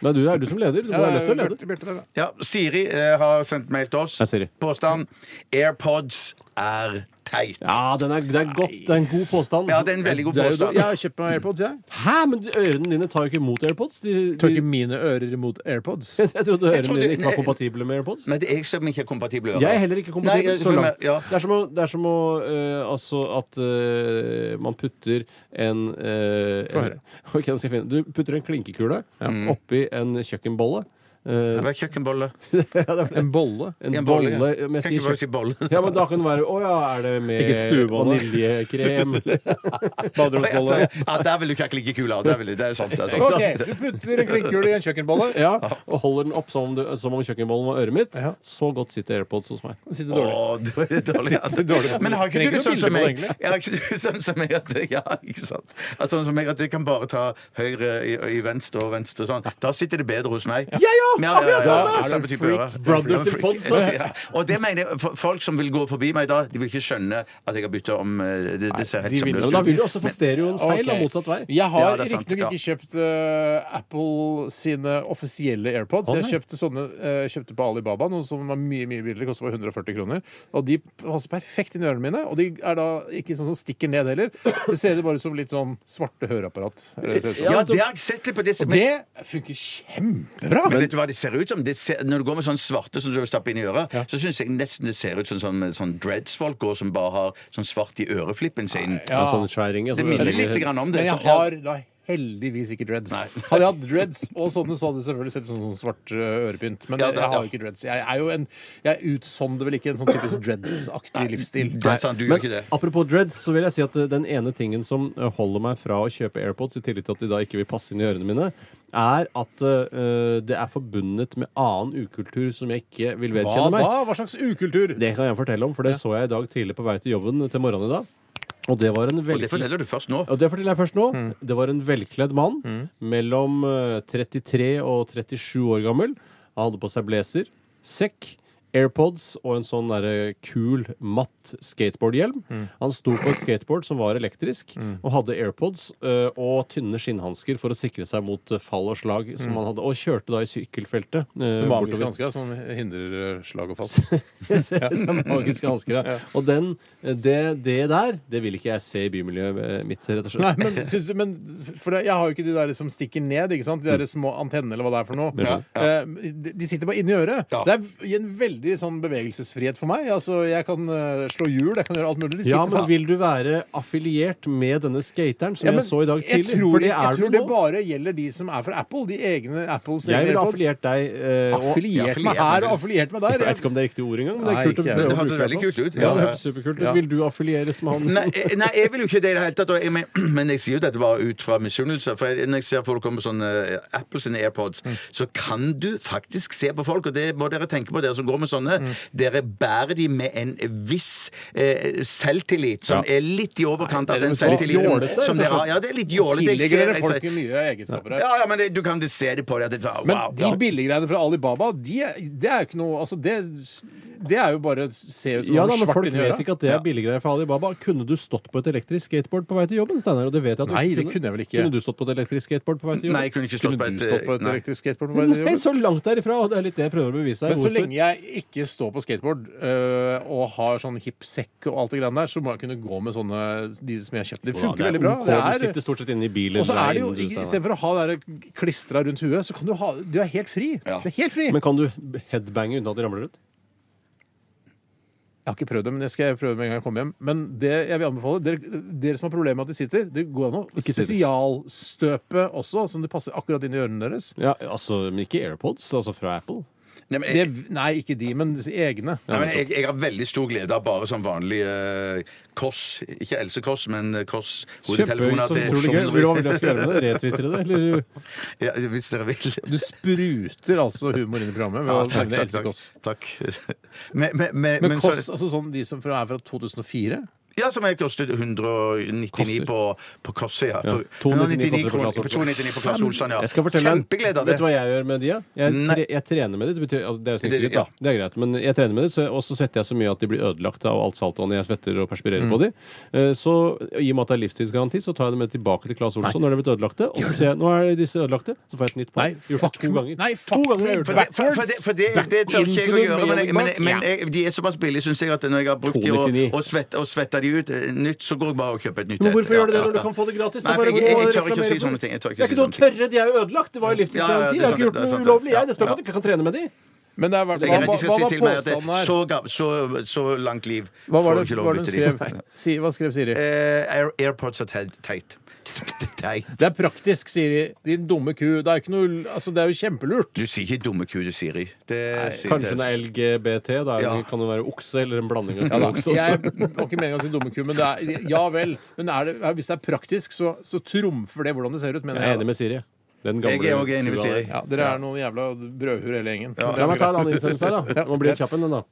Speaker 2: Men du det er du som leder. Du må ha lett til å lede.
Speaker 3: Ja, Siri eh, har sendt mail til oss.
Speaker 2: Ja, Siri.
Speaker 3: Påstand AirPods er teit.
Speaker 2: Ja, den er, det er godt. Det er en god påstand.
Speaker 3: Ja, det er en veldig god
Speaker 1: Det er jo
Speaker 3: påstand.
Speaker 1: Jeg har kjøpt meg AirPods, jeg.
Speaker 2: Hæ, men de- ørene dine tar jo ikke imot AirPods. De,
Speaker 1: Tør
Speaker 2: de,
Speaker 1: ikke mine ører imot AirPods.
Speaker 2: jeg trodde ørene
Speaker 3: trodde-
Speaker 2: dine ikke var kompatible med AirPods.
Speaker 3: Nei, det er jeg som ikke er kompatibel.
Speaker 2: Jeg er heller ikke
Speaker 3: Nei,
Speaker 2: kompatibel.
Speaker 3: jeg-
Speaker 2: så langt.
Speaker 3: ja.
Speaker 2: Det er som å, det er som å eh, Altså at eh, man putter en eh,
Speaker 1: Få høre.
Speaker 2: en- Ok, nå skal jeg finne. Du putter en klinkekule
Speaker 3: Mm.
Speaker 2: oppi en kjøkkenbolle. Eh,
Speaker 3: Det var kjøkkenbolle.
Speaker 2: ja, det var det.
Speaker 1: En bolle.
Speaker 2: En,
Speaker 3: En bolle,
Speaker 2: bolle.
Speaker 3: ja.
Speaker 2: men jeg
Speaker 3: Kan ikke
Speaker 2: sier
Speaker 3: bare si bolle.
Speaker 2: kjøkken- Ja, men da kan det være Å ja, er det
Speaker 1: Ikke et
Speaker 2: med
Speaker 1: stuebolle.
Speaker 2: vaniljekrem?
Speaker 1: Baderomsbolle.
Speaker 3: Ja, der vil du ikke ha klinkekula. Der vil du- Det er sant. Det er sant.
Speaker 1: Ok, du putter en klinkekule i en kjøkkenbolle.
Speaker 2: Ja, og holder den opp som om, du, som om kjøkkenbollen var øret mitt.
Speaker 1: Ja.
Speaker 2: Så godt sitter AirPods hos meg.
Speaker 1: Sitter dårlig.
Speaker 3: Å, det var litt dårlig. ja.
Speaker 1: Sitter dårlig.
Speaker 3: Men har ikke
Speaker 1: Trenger
Speaker 3: du det
Speaker 1: noe bilde
Speaker 3: sånn som
Speaker 1: på det,
Speaker 3: jeg?
Speaker 1: egentlig?
Speaker 3: Jeg har ikke du sånn som jeg at Ja, ikke sant. Altså, sånn som jeg at jeg kan bare ta høyre i, i venstre og venstre sånn. Da sitter det bedre hos meg. Ja, ja!
Speaker 1: akkurat sånn, da.
Speaker 3: Samme type
Speaker 1: Freak
Speaker 3: ører.
Speaker 1: brothers
Speaker 3: Ja,
Speaker 1: in
Speaker 3: freak.
Speaker 1: pods, da.
Speaker 3: Ja. Og det mener jeg for- folk som vil gå forbi meg da, de vil ikke skjønne at jeg har bytta om eh, Det, det ser helt
Speaker 1: de vil-
Speaker 3: sømløst
Speaker 2: Men
Speaker 3: ut.
Speaker 2: da vil du også få stereoen feil, da,
Speaker 1: Ok.
Speaker 2: motsatt vei.
Speaker 1: Jeg
Speaker 3: Ja,
Speaker 1: har
Speaker 3: det er sant,
Speaker 1: riktignok
Speaker 3: ja.
Speaker 1: ikke kjøpt eh, Apple sine offisielle AirPods.
Speaker 2: Å,
Speaker 1: jeg
Speaker 2: nei.
Speaker 1: kjøpte sånne eh, kjøpte på Alibaba, noe som var mye mye billigere. Kostet bare 140 kroner. Og de passer perfekt inn i ørene mine. Og de er da ikke sånn som stikker ned heller. Det ser bare ut som litt sånn svarte høreapparat. er det det ser ut som.
Speaker 3: Ja, det har jeg sett litt på det.
Speaker 1: Og
Speaker 3: men-
Speaker 1: det funker kjempebra!
Speaker 3: Men vet du hva det ser ut som? Det ser, når du går med sånn svarte som du stapper inn i øret, så syns jeg nesten det ser ut som sånn, sånn dreads-folk går som bare har sånn svart i øreflippen sin.
Speaker 2: Ja. Sånn skjæring,
Speaker 3: Det minner litt grann om det.
Speaker 1: Men
Speaker 3: så-
Speaker 1: jeg har da heldigvis ikke dreads. Hadde jeg hatt dreads og sånne, så hadde det selvfølgelig sett ut som sånn svart ø, ørepynt. Men
Speaker 3: Ja, det-
Speaker 1: jeg har
Speaker 3: ja.
Speaker 1: jo ikke dreads. Jeg, er jo en, jeg utsonder vel ikke en sånn typisk dreads-aktig livsstil.
Speaker 3: Det er sant, du gjør ikke det.
Speaker 2: Apropos dreads, så vil jeg si at eh, den ene tingen som eh, holder meg fra å kjøpe AirPods, i tillegg til at de da ikke vil passe inn i ørene mine, er at eh, det er forbundet med annen ukultur som jeg ikke vil
Speaker 1: Hva
Speaker 2: vedkjenne meg.
Speaker 1: da? Hva slags ukultur?
Speaker 2: Det kan jeg fortelle om, for det så jeg i dag tidlig på vei til jobben til morgenen i dag. Og det var en
Speaker 3: Og det
Speaker 2: velkledd
Speaker 3: forteller du først nå.
Speaker 2: og det forteller jeg først nå.
Speaker 1: Mm.
Speaker 2: Det var en velkledd mann mellom eh, 33 og 37 år gammel. Han hadde på seg blazer, sekk, AirPods og en sånn derre kul, matt skateboardhjelm.
Speaker 1: Mm.
Speaker 2: Han sto på et skateboard som var elektrisk, og hadde AirPods eh, og tynne skinnhansker for å sikre seg mot eh, fall og slag, som han hadde, og kjørte da i sykkelfeltet. eh,
Speaker 1: Mm. Magiske
Speaker 2: bortover.
Speaker 1: hansker ja, som hindrer eh, slag og fall.
Speaker 2: Det er magiske hansker, ja. Og den, eh, det, det der, det vil ikke jeg se i bymiljøet eh, mitt, rett og slett.
Speaker 1: Nei, men, syns du, men for det, Jeg har jo ikke de der som stikker ned, ikke sant? de der små antennene eller hva det er for noe. Eh, de- De sitter bare inni øret. Det er en veldig sånn bevegelsesfrihet for meg. Altså, Jeg kan eh, slå hjul, jeg kan gjøre alt mulig. De sitter
Speaker 2: Ja, men
Speaker 1: fast.
Speaker 2: vil du være affiliert med denne skateren som
Speaker 1: Ja, men
Speaker 2: jeg så i dag
Speaker 1: jeg
Speaker 2: tidlig?
Speaker 1: tror,
Speaker 2: For det
Speaker 1: jeg
Speaker 2: er
Speaker 1: tror
Speaker 2: du
Speaker 1: det
Speaker 2: nå.
Speaker 1: bare gjelder de som er fra Apple. De egne Apples
Speaker 2: Jeg
Speaker 1: egne
Speaker 2: ville
Speaker 1: AirPods.
Speaker 2: affiliert deg eh, og-
Speaker 1: Affiliert
Speaker 3: affiliert
Speaker 1: meg her og
Speaker 3: med-
Speaker 1: affiliert meg
Speaker 2: Jeg
Speaker 1: der.
Speaker 2: vet ikke om det er riktig ord engang, men det
Speaker 1: Nei,
Speaker 2: er kult
Speaker 1: ikke
Speaker 2: å
Speaker 1: jeg.
Speaker 2: prøve
Speaker 3: Det
Speaker 2: å
Speaker 3: hørtes
Speaker 2: bruke det
Speaker 3: veldig
Speaker 2: på.
Speaker 3: kult ut.
Speaker 2: Ja,
Speaker 3: Ja,
Speaker 2: det
Speaker 3: ja.
Speaker 2: hørtes superkult ut.
Speaker 1: Ja.
Speaker 2: Vil du affilieres med han?
Speaker 3: Nei, eh, nei, jeg vil jo ikke det i det hele tatt. og jeg- Men, men jeg sier jo dette bare ut fra misunnelse. For jeg, når jeg ser folk komme med sånne eh, Apple sine AirPods,
Speaker 1: Mm.
Speaker 3: så kan du faktisk se på folk, og det må dere tenke på, dere som går med sånne.
Speaker 1: Mm.
Speaker 3: Dere bærer de med en viss eh, selvtillit, som er litt i overkant av den
Speaker 1: så jålete,
Speaker 3: selvtilliten
Speaker 1: rett og
Speaker 3: som dere har. Ja, det er litt jålete. jeg ser-
Speaker 1: Tidligere
Speaker 3: jeg
Speaker 1: folk
Speaker 3: ser-
Speaker 1: mye egenskaper her.
Speaker 3: Ja, ja, men det, du kan se det på deg. at det- sånn, Wow.
Speaker 1: Men
Speaker 3: Ja.
Speaker 1: de billiggreiene fra Alibaba, de, er- det er jo ikke noe Altså, det, det er jo bare Se ut som
Speaker 2: Ja
Speaker 1: om
Speaker 2: da, men
Speaker 1: svart
Speaker 2: Folk
Speaker 1: inni
Speaker 2: vet
Speaker 1: øra.
Speaker 2: ikke at det er billiggreier for Alibaba. Kunne du stått på et elektrisk skateboard på vei til jobben, Steinar? Og det vet jeg at du
Speaker 1: Nei,
Speaker 2: ikke
Speaker 1: det kunne jeg vel ikke.
Speaker 2: Kunne du stått på et elektrisk skateboard på vei til
Speaker 3: Nei, jeg
Speaker 2: jobben?
Speaker 3: kunne ikke stått
Speaker 1: Kunne
Speaker 3: på
Speaker 1: du stått på et
Speaker 3: nei.
Speaker 1: elektrisk skateboard? på vei til
Speaker 2: Nei,
Speaker 1: jobben?
Speaker 2: så langt derifra! Og det er litt det jeg prøver å bevise her.
Speaker 1: Men så
Speaker 2: Hvorfor-
Speaker 1: lenge jeg ikke står på skateboard øh, og har sånn hipp sekk og alt det greiene der, så må jeg kunne gå med sånne de som jeg har kjøpt. Det
Speaker 2: Ja,
Speaker 1: funker
Speaker 2: er
Speaker 1: veldig bra.
Speaker 2: ok, Du
Speaker 1: Det er,
Speaker 2: sitter stort sett inne i bilen.
Speaker 1: og så er det jo,
Speaker 2: Nei, du, Steinar.
Speaker 1: istedenfor å ha det klistra rundt huet, så kan du ha Du er helt fri. Du er helt fri.
Speaker 2: Men kan du headbange unna at de ramler ut?
Speaker 1: Jeg har ikke prøvd det, men det skal jeg prøve med en gang jeg kommer hjem. Men det jeg vil anbefale, dere, dere som har problemer med at de sitter, det går an å
Speaker 2: sitter.
Speaker 1: spesialstøpe også, som det passer akkurat inn i ørene deres.
Speaker 2: Ja, altså, men ikke AirPods, altså fra Apple.
Speaker 3: Nei, men
Speaker 1: Det,
Speaker 3: jeg,
Speaker 1: nei, ikke de, men egne.
Speaker 3: nei, men jeg, jeg har veldig stor glede av bare sånn vanlig eh, Kåss. Ikke Else Kåss, men eh, Kåss. hodetelefoner
Speaker 2: Kjempe-
Speaker 3: til-
Speaker 2: utrolig gøy. Vil du ha veldig lyst til å gjøre det? Retwitre det? Eller
Speaker 3: Ja, hvis dere vil.
Speaker 1: Du spruter altså humor inn i programmet ved
Speaker 3: Ja,
Speaker 1: å
Speaker 3: takk,
Speaker 1: nevne
Speaker 3: takk,
Speaker 1: Else
Speaker 3: takk.
Speaker 1: Kåss.
Speaker 3: takk. Men, men, men,
Speaker 1: Men
Speaker 3: men så,
Speaker 1: Kåss, altså sånn de som fra, er fra 2004?
Speaker 3: ja, som jeg kostet 199 på, på Kosset, ja.
Speaker 2: Ja,
Speaker 3: På-
Speaker 2: 299
Speaker 3: 199 kroner-
Speaker 2: koster på Claes Olsson.
Speaker 3: 299 på Claes Olsson, ja.
Speaker 2: Jeg skal fortelle deg-
Speaker 3: Kjempeglede av det.
Speaker 2: Vet du hva jeg gjør med de? ja? Jeg,
Speaker 3: Nei.
Speaker 2: tre, jeg trener med de. Det, betyr, altså, det er jo
Speaker 3: Det-
Speaker 2: snikskritt, da.
Speaker 3: ja.
Speaker 2: Det er greit. Men jeg trener med de, så- og så svetter jeg så mye at de blir ødelagt av alt saltvannet jeg svetter og perspirerer på
Speaker 3: Mm.
Speaker 2: de. Eh, Så i og med at det er livstidsgaranti, så tar jeg dem med tilbake til Claes Olsson når de er blitt ødelagte. Og så ser jeg nå er disse ødelagte, så får jeg et nytt par.
Speaker 1: Nei,
Speaker 2: Gjort det
Speaker 1: fuck
Speaker 2: to
Speaker 1: me.
Speaker 2: ganger.
Speaker 1: Nei,
Speaker 2: to
Speaker 1: fuck
Speaker 2: ganger har jeg
Speaker 3: For
Speaker 2: gjort
Speaker 3: det,
Speaker 2: det.
Speaker 3: for, for det, for det, det tør ikke jeg å gjøre. Men, jeg- men,
Speaker 1: Back
Speaker 3: men jeg, de er såpass billige, syns jeg, at når jeg har brukt de og,
Speaker 2: 299.
Speaker 3: og, svett, og svetta de ut eh, nytt, så går jeg bare og kjøper et nytt.
Speaker 2: Men hvorfor
Speaker 3: Ja,
Speaker 2: gjør du det
Speaker 3: ja,
Speaker 2: når du
Speaker 3: ja.
Speaker 2: kan få det gratis? Det er
Speaker 3: Nei, for
Speaker 2: bare
Speaker 3: jeg, jeg,
Speaker 2: å
Speaker 3: jeg tør ikke
Speaker 2: reklamere
Speaker 3: å si
Speaker 2: for det.
Speaker 3: sånne ting. Jeg tør
Speaker 2: Det er
Speaker 3: ikke å
Speaker 2: ikke
Speaker 3: si
Speaker 2: noe
Speaker 3: sånne ting.
Speaker 2: tørre, de er jo ødelagt. Det var jo
Speaker 3: Ja, ja,
Speaker 2: livstidsgaranti.
Speaker 3: det er
Speaker 2: Jeg har
Speaker 3: sant,
Speaker 2: ikke gjort
Speaker 3: det
Speaker 2: noe
Speaker 3: er sant,
Speaker 2: ulovlig,
Speaker 3: ja.
Speaker 2: jeg. Det står ikke
Speaker 3: Ja.
Speaker 2: at du ikke kan trene med de.
Speaker 1: Men det er, hva,
Speaker 3: Jeg
Speaker 1: hva,
Speaker 3: er redd de
Speaker 1: hva
Speaker 3: skal si
Speaker 1: var
Speaker 3: til meg at
Speaker 1: påstanden
Speaker 3: det,
Speaker 1: her?
Speaker 3: så, ga- så, så langt liv
Speaker 1: Hva var
Speaker 3: får
Speaker 1: det, hva
Speaker 3: ikke lov å
Speaker 1: var det hun
Speaker 3: bytte de.
Speaker 1: skrev? Si, hva skrev Siri?
Speaker 3: Eh, Air, AirPods er teit. teit. Teit.
Speaker 1: Det er praktisk, Siri. Din dumme ku. Det er, ikke noe, altså, det er jo kjempelurt.
Speaker 3: Du sier ikke dumme ku, du, Siri. Det, sier-
Speaker 2: Kanskje den er LGBT, da er
Speaker 3: Ja.
Speaker 2: det, kan det være okse eller en blanding av
Speaker 1: Ja, da.
Speaker 2: okse og
Speaker 1: Jeg har ikke meningen å si dumme ku, men det er, ja vel. Men er det, hvis det er praktisk, så, så trumfer det hvordan det ser ut, mener
Speaker 2: Jeg er enig
Speaker 1: jeg. da.
Speaker 2: med Siri. Den gamle
Speaker 3: Jeg er òg enig med
Speaker 2: kua
Speaker 3: Siri.
Speaker 2: der.
Speaker 1: Ja, dere er noen jævla brødhuer hele gjengen.
Speaker 2: La meg ta en annen innsendelse her, da. Man blir kjapp en, den, da.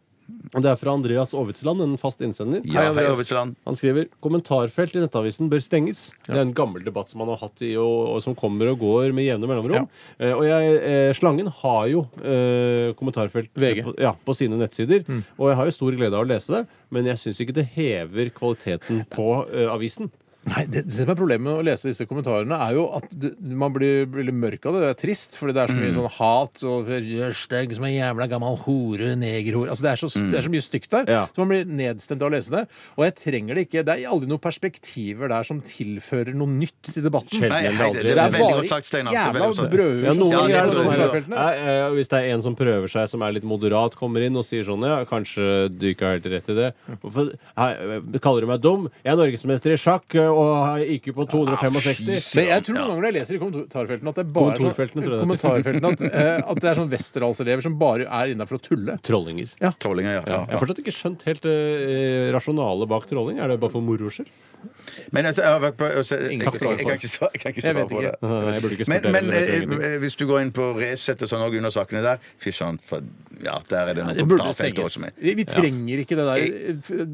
Speaker 2: Og det er fra Andreas Aavitsland, en fast innsender.
Speaker 3: Ja, hei, Aavitsland.
Speaker 2: Han skriver kommentarfelt i nettavisen bør stenges. Det er en gammel debatt som man har hatt i, og, og som kommer og går med jevne mellomrom. Eh, og jeg, eh, Slangen har jo eh, kommentarfelt
Speaker 1: VG.
Speaker 2: På, ja, på sine nettsider, og jeg har jo stor glede av å lese det, men jeg syns ikke det hever kvaliteten på eh, avisen.
Speaker 1: Nei, det, det som er Problemet med å lese disse kommentarene er jo at det, man blir, blir litt mørk av det. Det er trist, fordi det er så mye
Speaker 2: Mm.
Speaker 1: sånn hat og rørsteg som en jævla gammel hore, negerhore altså, det, er så, det er så mye stygt der.
Speaker 2: Mm. Ja.
Speaker 1: Så man blir nedstemt av å lese det. Og jeg trenger det ikke. Det er aldri noen perspektiver der som tilfører noe nytt til debatten.
Speaker 2: Sjelden
Speaker 3: Nei,
Speaker 2: eller
Speaker 3: hei,
Speaker 2: aldri.
Speaker 3: det,
Speaker 1: Det
Speaker 3: det var
Speaker 1: er
Speaker 3: veldig
Speaker 1: bare
Speaker 3: godt sagt, Steinar. Det var veldig
Speaker 1: Jævla
Speaker 3: godt sagt.
Speaker 1: brødhuer.
Speaker 2: Ja, noen
Speaker 1: som
Speaker 2: ganger
Speaker 1: sitter
Speaker 2: er
Speaker 1: på
Speaker 2: det sånn her,
Speaker 1: kommentarfeltene.
Speaker 2: Nei, eh, Hvis det er en som prøver seg, som er litt moderat, kommer inn og sier sånn Ja, kanskje du ikke har helt rett i det. Hvorfor hei, eh, kaller du meg dum? Jeg er norgesmester i sjakk, eh, og har IQ på 265.
Speaker 1: Men jeg tror noen ganger når jeg leser i kommentarfeltene at det er bare er
Speaker 2: Kontorfeltene, tror jeg det
Speaker 1: sånn,
Speaker 2: heter.
Speaker 1: kommentarfeltene at, eh, at det er sånn Westerdals-elever som bare er inne for å tulle.
Speaker 2: Trollinger.
Speaker 3: Trollinger, ja.
Speaker 2: Jeg har fortsatt ikke skjønt helt eh, rasjonalet bak trolling. Er det bare for moro skyld?
Speaker 3: Men altså, jeg har vært på jeg, jeg, jeg,
Speaker 1: Ingen
Speaker 3: jeg, jeg kan ikke svare, jeg kan ikke
Speaker 1: Jeg
Speaker 3: svare
Speaker 1: vet
Speaker 3: på
Speaker 1: ikke.
Speaker 3: det.
Speaker 2: Nei, nei, jeg burde ikke spurt
Speaker 3: Men,
Speaker 2: dere,
Speaker 3: men
Speaker 2: dere vet jo ingenting.
Speaker 3: eh, hvis du går inn på Resett og sånn og under sakene der Fy søren, for ja, der er det noe
Speaker 1: Det burde
Speaker 3: kommentarfelt
Speaker 1: stenges.
Speaker 3: også. med.
Speaker 1: Vi vi trenger ikke det der.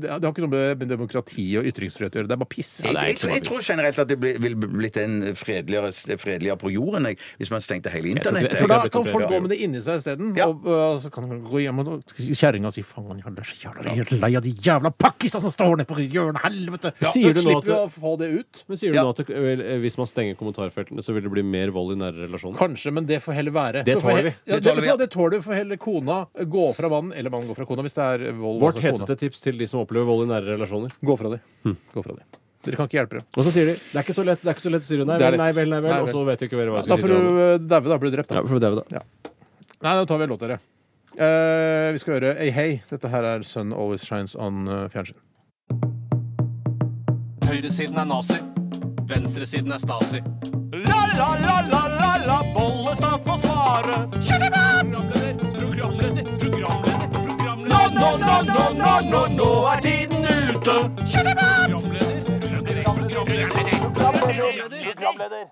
Speaker 1: Det har ikke noe med demokrati og ytringsfrihet å gjøre. Det er bare piss.
Speaker 3: Jeg, jeg, tror- jeg tror generelt at det blir- ville blitt en fredeligere, fredeligere på jorden jeg, hvis man stengte hele
Speaker 2: tror ikke-
Speaker 3: internettet.
Speaker 2: jeg
Speaker 1: For da
Speaker 2: det er
Speaker 1: kan
Speaker 2: blitt
Speaker 1: folk
Speaker 2: bedre.
Speaker 1: gå med det inni seg isteden.
Speaker 3: Ja.
Speaker 1: Og øh, så kan de gå hjem og kjerringa si faen, jeg er så jævla lei av de jævla pakkisa som står nede på hjørnet, helvete! Så
Speaker 2: Ja. Sier du nå
Speaker 1: slipper vi å
Speaker 2: at
Speaker 1: få det ut.
Speaker 2: Men sier du
Speaker 3: Ja.
Speaker 2: nå at det, vel, eh, hvis man stenger kommentarfeltene, så vil det bli mer vold i nære relasjoner?
Speaker 1: Kanskje, men det får heller være.
Speaker 2: Det
Speaker 1: Så får he-
Speaker 2: tåler vi.
Speaker 1: Ja,
Speaker 3: Det
Speaker 1: det,
Speaker 3: tåler vi,
Speaker 1: vet du hva, det tåler vi. For heller kona gå fra mannen, eller mannen går fra kona, hvis det er vold.
Speaker 2: Vårt
Speaker 1: altså kona.
Speaker 2: heteste tips til de som opplever vold i nære relasjoner.
Speaker 1: Gå fra de. Gå fra de. Dere kan ikke hjelpe dem.
Speaker 2: Og så sier de 'det er ikke så lett', det er ikke så lett, sier du. Nei
Speaker 1: Det er
Speaker 2: vel, nei
Speaker 1: lett.
Speaker 2: vel, nei vel.
Speaker 1: Nei
Speaker 2: Og så vet du ikke hva jeg
Speaker 1: Da
Speaker 2: skal si.
Speaker 1: får du
Speaker 2: til hverandre.
Speaker 1: øh, daue, da. Blir du drept, da.
Speaker 2: Ja, for det er jo da.
Speaker 1: Nei, nå tar vi en låt, dere. Eh, vi skal høre Hey Hey. Dette her er Sun Always Shines On eh, fjernsyn.
Speaker 4: Høyresiden er nazi. Venstresiden er stasi. La, la, la, la, la, la, Bollestad får svare. Programleder, programleder, programleder, programleder. Nå, nå, nå, nå, nå, nå, nå er tiden ute. Programleder.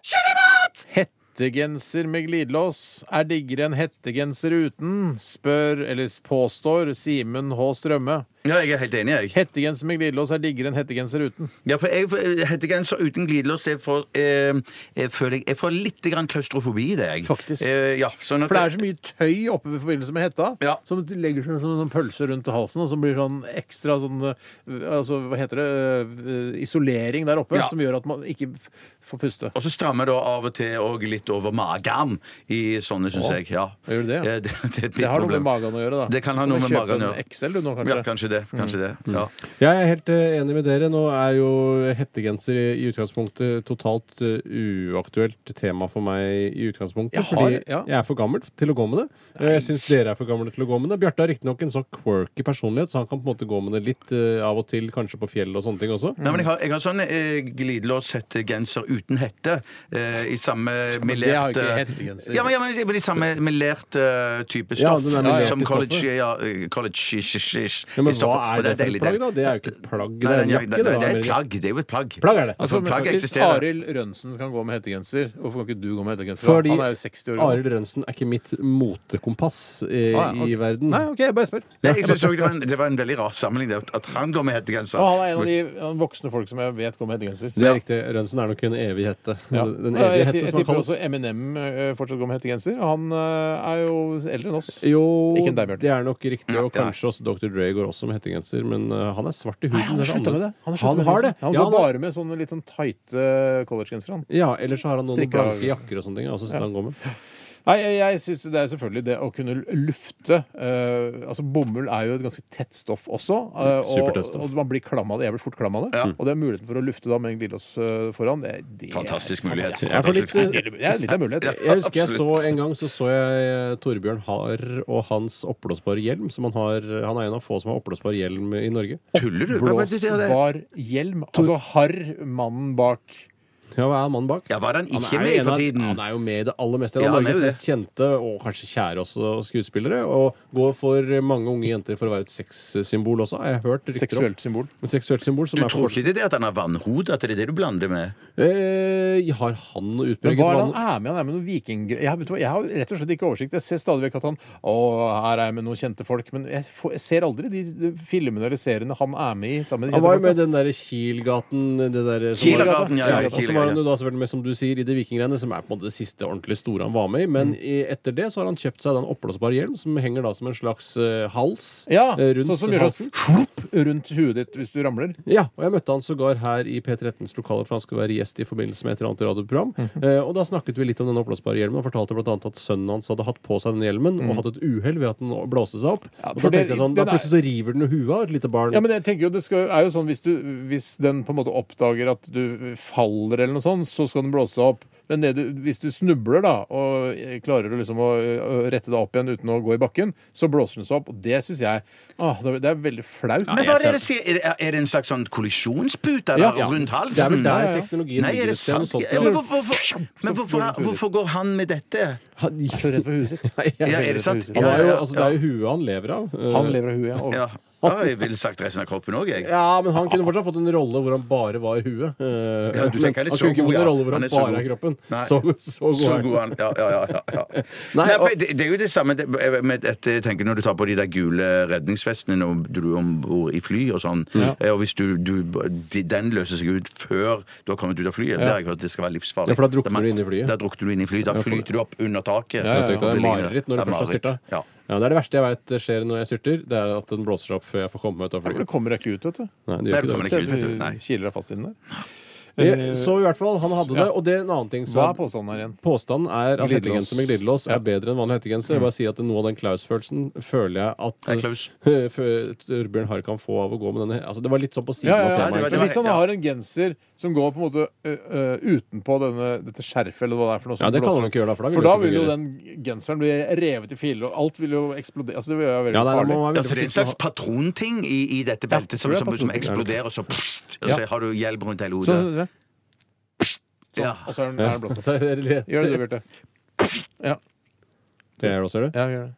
Speaker 1: Hettegenser med glidelås er diggere enn hettegenser uten, spør, eller påstår, Simen H. Strømme.
Speaker 3: Ja, jeg er helt enig, jeg.
Speaker 1: Hettegenser med glidelås er diggere enn hettegenser uten.
Speaker 3: Ja, for jeg for- Hettegenser uten glidelås jeg får, eh, jeg føler jeg, jeg får litt grann klaustrofobi i det, jeg.
Speaker 1: Faktisk.
Speaker 3: Eh, ja, sånn at,
Speaker 1: For det er så mye tøy oppe i forbindelse med hetta
Speaker 3: Ja.
Speaker 1: som legger seg som en sånn pølse rundt halsen, og som blir sånn ekstra sånn eh, altså, Hva heter det? eh, Isolering der oppe,
Speaker 3: Ja.
Speaker 1: som gjør at man ikke f- får puste.
Speaker 3: Og så strammer jeg da av og til òg litt over magen i sånne, syns jeg. Ja.
Speaker 1: Gjør du det, ja?
Speaker 3: Eh, det, det, er et
Speaker 1: Det har noe
Speaker 3: problem.
Speaker 1: med magen å gjøre, da.
Speaker 3: Det kan ha
Speaker 1: Så må
Speaker 3: noe
Speaker 1: du
Speaker 3: med
Speaker 1: kjøpe
Speaker 3: magen å
Speaker 1: en
Speaker 3: gjøre.
Speaker 1: XL, du nå, kanskje.
Speaker 3: Ja, kanskje det. Kanskje det.
Speaker 2: Mm.
Speaker 3: Ja.
Speaker 2: Jeg er helt eh, enig med dere. Nå er jo hettegenser i i utgangspunktet totalt eh, uaktuelt tema for meg i utgangspunktet.
Speaker 1: Jeg har-
Speaker 2: fordi
Speaker 1: ja.
Speaker 2: jeg er for gammel til å gå med det. Eh, Jeg syns dere er for gamle til å gå med det. Bjarte har riktignok en sånn quirky personlighet, så han kan på en måte gå med det litt eh, av og til, kanskje på fjell og sånne ting også.
Speaker 3: Nei, men jeg har, jeg har sånn eh, glidelås-hettegenser uten hette. Eh, I samme eh,
Speaker 1: men det har jo ikke hettegenser.
Speaker 3: Ja, men, ja, men, men i samme melerte eh, type
Speaker 2: Ja,
Speaker 3: stoff.
Speaker 2: den er melerte
Speaker 3: som
Speaker 2: i
Speaker 3: college,
Speaker 2: stoffet.
Speaker 3: ja, eh, college ish, ish, ish,
Speaker 2: Ja, men hva
Speaker 3: i stoffet. Og
Speaker 2: er det for
Speaker 3: deilig,
Speaker 2: et plagg, da? Det er jo ikke et plagg.
Speaker 3: Nei,
Speaker 2: Det er
Speaker 3: den
Speaker 2: en
Speaker 3: jakke,
Speaker 2: jakke.
Speaker 3: det, det
Speaker 2: da,
Speaker 3: er
Speaker 2: mer-
Speaker 3: et plagg. Det er jo et plagg.
Speaker 2: Plagg er det.
Speaker 1: Altså,
Speaker 3: Altså,
Speaker 1: men,
Speaker 3: plagg
Speaker 1: hvis
Speaker 3: eksisterer.
Speaker 1: Arild Rønnsen kan gå med hettegenser, hvorfor kan ikke du gå med hettegenser? da?
Speaker 2: Fordi
Speaker 1: Han er jo 60 år gammel.
Speaker 2: Arild Rønnsen er ikke mitt motekompass eh,
Speaker 1: Ah, ja, ok.
Speaker 2: i verden.
Speaker 1: Nei, OK, jeg bare spør.
Speaker 3: Nei, jeg synes også det, var en, det var en veldig rar sammenligning det, at han går med hettegenser.
Speaker 1: Og han er en av de eh, voksne folk som jeg vet går med hettegenser.
Speaker 2: Det er riktig. Rønnsen er nok en evig hette. Den
Speaker 1: Ja,
Speaker 2: evige
Speaker 1: jeg,
Speaker 2: hette
Speaker 1: jeg
Speaker 2: som han
Speaker 1: tipper
Speaker 2: kalles.
Speaker 1: også Eminem eh, fortsatt går med hettegenser. Han eh, er jo eldre enn oss.
Speaker 2: Jo,
Speaker 1: Ikke en deg, Bjørn.
Speaker 2: det er nok riktig. Og kanskje også Dr. Dre går også med hettegenser, men eh, han er svart i huden.
Speaker 1: han
Speaker 2: det
Speaker 1: har
Speaker 2: er
Speaker 1: slutta med det.
Speaker 2: annerledes. Han,
Speaker 1: sluttet med
Speaker 2: har det.
Speaker 1: hettegenser. Han
Speaker 2: Ja,
Speaker 1: går bare med sånne litt sånn tighte collegegensere. han.
Speaker 2: ja, eller så har han noen
Speaker 1: Strikka-
Speaker 2: blanke jakker og sånne ting. Også, så han går med.
Speaker 1: Nei, jeg, jeg syns det er selvfølgelig det å kunne lufte eh, Altså, bomull er jo et ganske tett stoff også. eh, og,
Speaker 2: Supertett stoff.
Speaker 1: og man blir klam av det. Jeg blir fort klam av det. Og det er muligheten for å lufte da med en glidelås eh, foran. Det, det
Speaker 3: Fantastisk mulighet.
Speaker 2: Jeg får litt, eh,
Speaker 1: Det er litt av en mulighet.
Speaker 2: jeg husker jeg så en gang så så jeg eh, Torbjørn Haar og hans oppblåsbare hjelm. Som han, har, han er en av få som har oppblåsbar hjelm i Norge.
Speaker 3: Tuller du? Hva- hva- det- det- det-
Speaker 1: Blåsbar hjelm. Altså harr mannen bak.
Speaker 2: Ja, hva er mannen bak?
Speaker 3: Ja, var han
Speaker 2: Han er
Speaker 3: ikke
Speaker 2: jo
Speaker 3: med
Speaker 2: en
Speaker 3: for
Speaker 2: av-
Speaker 3: tiden?
Speaker 2: Han er jo med i det aller meste. Han
Speaker 3: Ja,
Speaker 2: er
Speaker 3: han er
Speaker 2: Norges
Speaker 3: jo det.
Speaker 2: mest kjente, og kanskje kjære også, skuespillere. Og går for mange unge jenter for å være et sexsymbol også, har jeg hørt. rykter om.
Speaker 1: Seksuelt symbol.
Speaker 2: Et seksuelt symbol som
Speaker 3: Du
Speaker 2: er for-
Speaker 3: tror ikke det er det at han har vannhode? At det er det du blander det med?
Speaker 2: Eh, har han noe
Speaker 1: Men
Speaker 2: utpreget
Speaker 1: hva er det
Speaker 2: vann?
Speaker 1: han er med? Han er med noen vikinggreier. Jeg, vet du hva, jeg har rett og slett ikke oversikt. Jeg ser stadig vekk at han Å, her er jeg med noen kjente folk. Men jeg, får, jeg ser aldri de, de filmene eller seriene han er med i sammen med de
Speaker 2: Han var jo
Speaker 1: kjente
Speaker 2: med i
Speaker 1: folka.
Speaker 2: den derre Kielgaten det derre som var-
Speaker 3: Kielgaten, ja, ja,
Speaker 2: Og så var
Speaker 3: Kielgaten,
Speaker 2: han jo
Speaker 3: ja.
Speaker 2: da selvfølgelig med, som du sier, i de vikinggreiene, som er på en måte det siste ordentlig store han var med i.
Speaker 3: Mm.
Speaker 2: Men i, etter det så har han kjøpt seg den oppblåsbare hjelm, som henger da som en slags eh, hals
Speaker 1: Ja,
Speaker 2: eh, rundt
Speaker 1: sånn som gjør
Speaker 2: halsen.
Speaker 1: sånn slupp rundt huet ditt hvis du ramler.
Speaker 2: Ja, og jeg møtte han sågar her i P13s lokaler, for han skulle være gjest i forbindelse med et eller annet radioprogram.
Speaker 3: Mhm.
Speaker 2: eh, og da snakket vi litt om den oppblåsbare hjelmen, og fortalte bl.a. at sønnen hans hadde hatt på seg den hjelmen,
Speaker 3: Mhm.
Speaker 2: og hatt et uhell ved at den blåste seg opp.
Speaker 1: Ja,
Speaker 2: og
Speaker 1: for
Speaker 2: så
Speaker 1: det-
Speaker 2: tenkte jeg
Speaker 1: den
Speaker 2: sånn, da
Speaker 1: er-
Speaker 2: plutselig så river den i huet av et lite barn.
Speaker 1: Ja, men jeg tenker jo det skal, er jo sånn hvis, du, hvis den på en måte oppdager at du faller eller noe sånt, så skal den blåse seg opp. Men Men det du, hvis du snubler da, og klarer å liksom å, å rette deg opp igjen uten å gå i bakken, så blåser den seg opp. Og det syns jeg åh, det er- det er veldig flaut.
Speaker 3: Men hva er det dere sier? Er det- Er det en slags sånn kollisjonspute
Speaker 1: Ja,
Speaker 3: eller,
Speaker 1: ja.
Speaker 3: rundt halsen?
Speaker 2: Det er vel der
Speaker 1: ja.
Speaker 2: teknologien
Speaker 3: Nei, er det
Speaker 2: ligger et sted, noe
Speaker 3: sant?
Speaker 2: sånt.
Speaker 3: Ja, men hvorfor, hvorfor, men hvorfor, hvorfor går han med dette?
Speaker 2: Han-
Speaker 1: Jeg er så redd for huet sitt.
Speaker 2: Nei, jeg-
Speaker 3: Ja, er det sant?
Speaker 2: Han
Speaker 3: Ja,
Speaker 2: er jo,
Speaker 3: ja,
Speaker 2: altså, det er jo huet han lever av. Eh,
Speaker 1: Han lever av huet. Og
Speaker 3: Ja. Da har jeg ville sagt resten av kroppen òg, jeg.
Speaker 2: Ja, men han kunne fortsatt fått en rolle hvor han bare var huet. Eh,
Speaker 3: Ja, du
Speaker 2: men
Speaker 3: tenker
Speaker 2: han
Speaker 3: litt så
Speaker 2: kunne ikke
Speaker 3: god,
Speaker 2: fått en
Speaker 3: ja.
Speaker 2: rolle hvor
Speaker 3: Han
Speaker 2: han,
Speaker 3: er så
Speaker 2: bare er
Speaker 3: god.
Speaker 2: kroppen.
Speaker 3: Nei.
Speaker 2: Så, så god
Speaker 3: Så
Speaker 2: er
Speaker 3: god
Speaker 2: han.
Speaker 3: han Ja, ja, ja. ja, ja.
Speaker 2: Nei,
Speaker 3: Nei,
Speaker 2: og-
Speaker 3: for det, det er jo det samme det, eh, med, et, jeg tenker Når du tar på de der gule redningsvestene når du er om bord i fly og sånn eh, Og hvis du, du de, Den løser seg ut før du har kommet ut av flyet. Det har jeg hørt det skal være livsfarlig.
Speaker 2: Ja, for da drukner
Speaker 3: man-
Speaker 2: du inne i flyet.
Speaker 3: Da drukner du inn i flyet. Da flyter du opp under
Speaker 2: Ja,
Speaker 3: taket.
Speaker 2: ja, ja. Det er
Speaker 3: Blir liggende.
Speaker 2: mareritt når du
Speaker 3: Det er
Speaker 2: først har
Speaker 3: mareritt.
Speaker 2: styrta.
Speaker 3: Ja.
Speaker 2: Ja, det er det verste jeg veit skjer når jeg styrter. Det er at den blåser seg opp før jeg får komme meg ut av
Speaker 1: For det
Speaker 2: flyet.
Speaker 1: kommer deg ikke ut, vet du.
Speaker 2: Nei, det
Speaker 3: Nei,
Speaker 2: gjør
Speaker 3: det
Speaker 2: ikke
Speaker 3: kommer
Speaker 2: det.
Speaker 3: ikke ut, vet du. Nei.
Speaker 1: Se, Kiler deg fast inn der.
Speaker 2: Eh, Så i hvert fall, han hadde det.
Speaker 1: Ja.
Speaker 2: Og det er en annen ting som
Speaker 1: Hva er påstanden her igjen?
Speaker 2: Påstanden er at
Speaker 1: Glidelås.
Speaker 2: hettegenser med glidelås Mm. er bedre enn vanlig hettegenser. Jeg bare sier at noe av den Klaus-følelsen føler jeg at
Speaker 3: Nei, Klaus.
Speaker 2: eh, fø- Torbjørn Harr kan få av å gå med denne Altså, det var litt sånn på
Speaker 1: Ja,
Speaker 2: siden
Speaker 1: ja, ja.
Speaker 2: av
Speaker 3: det
Speaker 2: temaet.
Speaker 3: var-
Speaker 1: Men hvis han
Speaker 3: ja.
Speaker 1: har en genser som går på en måte ø, ø, utenpå denne, dette skjerfet eller hva det er for noe som
Speaker 2: Ja, det kan
Speaker 1: blåser
Speaker 2: han ikke gjøre da, for da vil
Speaker 1: For
Speaker 2: det
Speaker 1: da
Speaker 2: ikke
Speaker 1: vil jo den
Speaker 2: fungere.
Speaker 1: genseren bli revet i filer, og alt vil jo eksplodere. Altså, det vil jo være veldig
Speaker 2: Ja, nei, da må
Speaker 1: farlig.
Speaker 2: man være
Speaker 3: Ja, så Altså, det
Speaker 2: veldig
Speaker 3: er en
Speaker 2: forsiktig.
Speaker 3: slags patronting i, i dette beltet som,
Speaker 1: tror det er
Speaker 3: som, som
Speaker 1: patronting.
Speaker 3: eksploderer, og så, pst, og
Speaker 1: Ja.
Speaker 3: så har du hjelm rundt hele
Speaker 1: Så,
Speaker 3: hodet. Ja.
Speaker 1: og så er den, er
Speaker 2: Ja.
Speaker 1: den blåst opp.
Speaker 2: Så er det lett.
Speaker 1: Gjør det du, Bjarte. Ja.
Speaker 2: Det er det også, gjør det.
Speaker 1: ja, gjør det.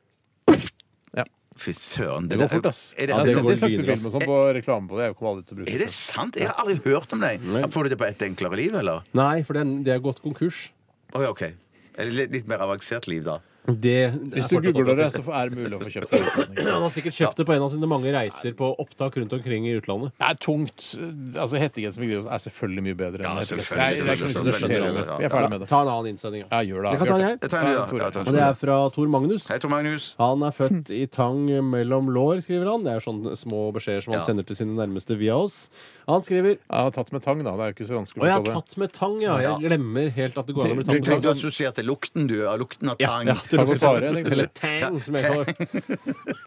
Speaker 3: Fy søren.
Speaker 1: Det
Speaker 3: der
Speaker 1: går fort,
Speaker 3: er-
Speaker 1: ass.
Speaker 3: Er
Speaker 1: Ja,
Speaker 3: det,
Speaker 1: det,
Speaker 2: går
Speaker 1: det snakket
Speaker 2: videre, ass.
Speaker 1: film og sånn på reklame på det. Jeg kommer aldri til å bruke
Speaker 3: er det
Speaker 1: det.
Speaker 3: sant? Jeg har aldri hørt om deg.
Speaker 2: Nei.
Speaker 3: Får du det på ett enklere liv, eller?
Speaker 2: Nei, for det er, det er gått konkurs.
Speaker 3: Å, ja, OK. Eller litt, litt mer avansert liv, da.
Speaker 2: Det
Speaker 1: Hvis du googler det, så er det mulig å få kjøpt det.
Speaker 2: Han har sikkert kjøpt det på en av sine mange reiser på opptak rundt omkring i utlandet.
Speaker 1: Det er tungt. Altså, Hettegenser med glidelås er selvfølgelig mye bedre enn
Speaker 3: Ja,
Speaker 1: hettegenser.
Speaker 3: selvfølgelig,
Speaker 1: Jeg- jeg har ikke lyst til å
Speaker 3: selvfølgelig,
Speaker 1: diskutere det.
Speaker 3: selvfølgelig.
Speaker 1: Vi er ferdig med det.
Speaker 2: Ta en annen innsending. ja.
Speaker 1: Ja, gjør det.
Speaker 2: Jeg kan ta en,
Speaker 1: Bjarte.
Speaker 2: jeg.
Speaker 3: Jeg tar en, ja.
Speaker 1: Tore.
Speaker 3: Ja, jeg tar en,
Speaker 2: Og det er fra Tor Magnus.
Speaker 3: Hei, Tor Magnus.
Speaker 2: Han er født i tang mellom lår, skriver han. Det er sånne små beskjeder som han
Speaker 3: Ja.
Speaker 2: sender til sine nærmeste via oss. Han skriver
Speaker 1: Jeg har tatt med tang, da. Det er jo ikke så vanskelig å
Speaker 2: Å, jeg har
Speaker 1: forstå det.
Speaker 2: tatt med tang, ja.
Speaker 3: Ja.
Speaker 2: Jeg glemmer helt at det går an
Speaker 1: Du-
Speaker 2: å bli tang.
Speaker 1: du-
Speaker 2: med
Speaker 3: Du
Speaker 2: tang.
Speaker 3: assosierte lukten, du. Av lukten av
Speaker 2: Ja,
Speaker 3: tang.
Speaker 2: ja, det
Speaker 1: Tang og
Speaker 2: lukter tang.
Speaker 1: tare, tenkte jeg.
Speaker 2: Eller tang, som jeg kaller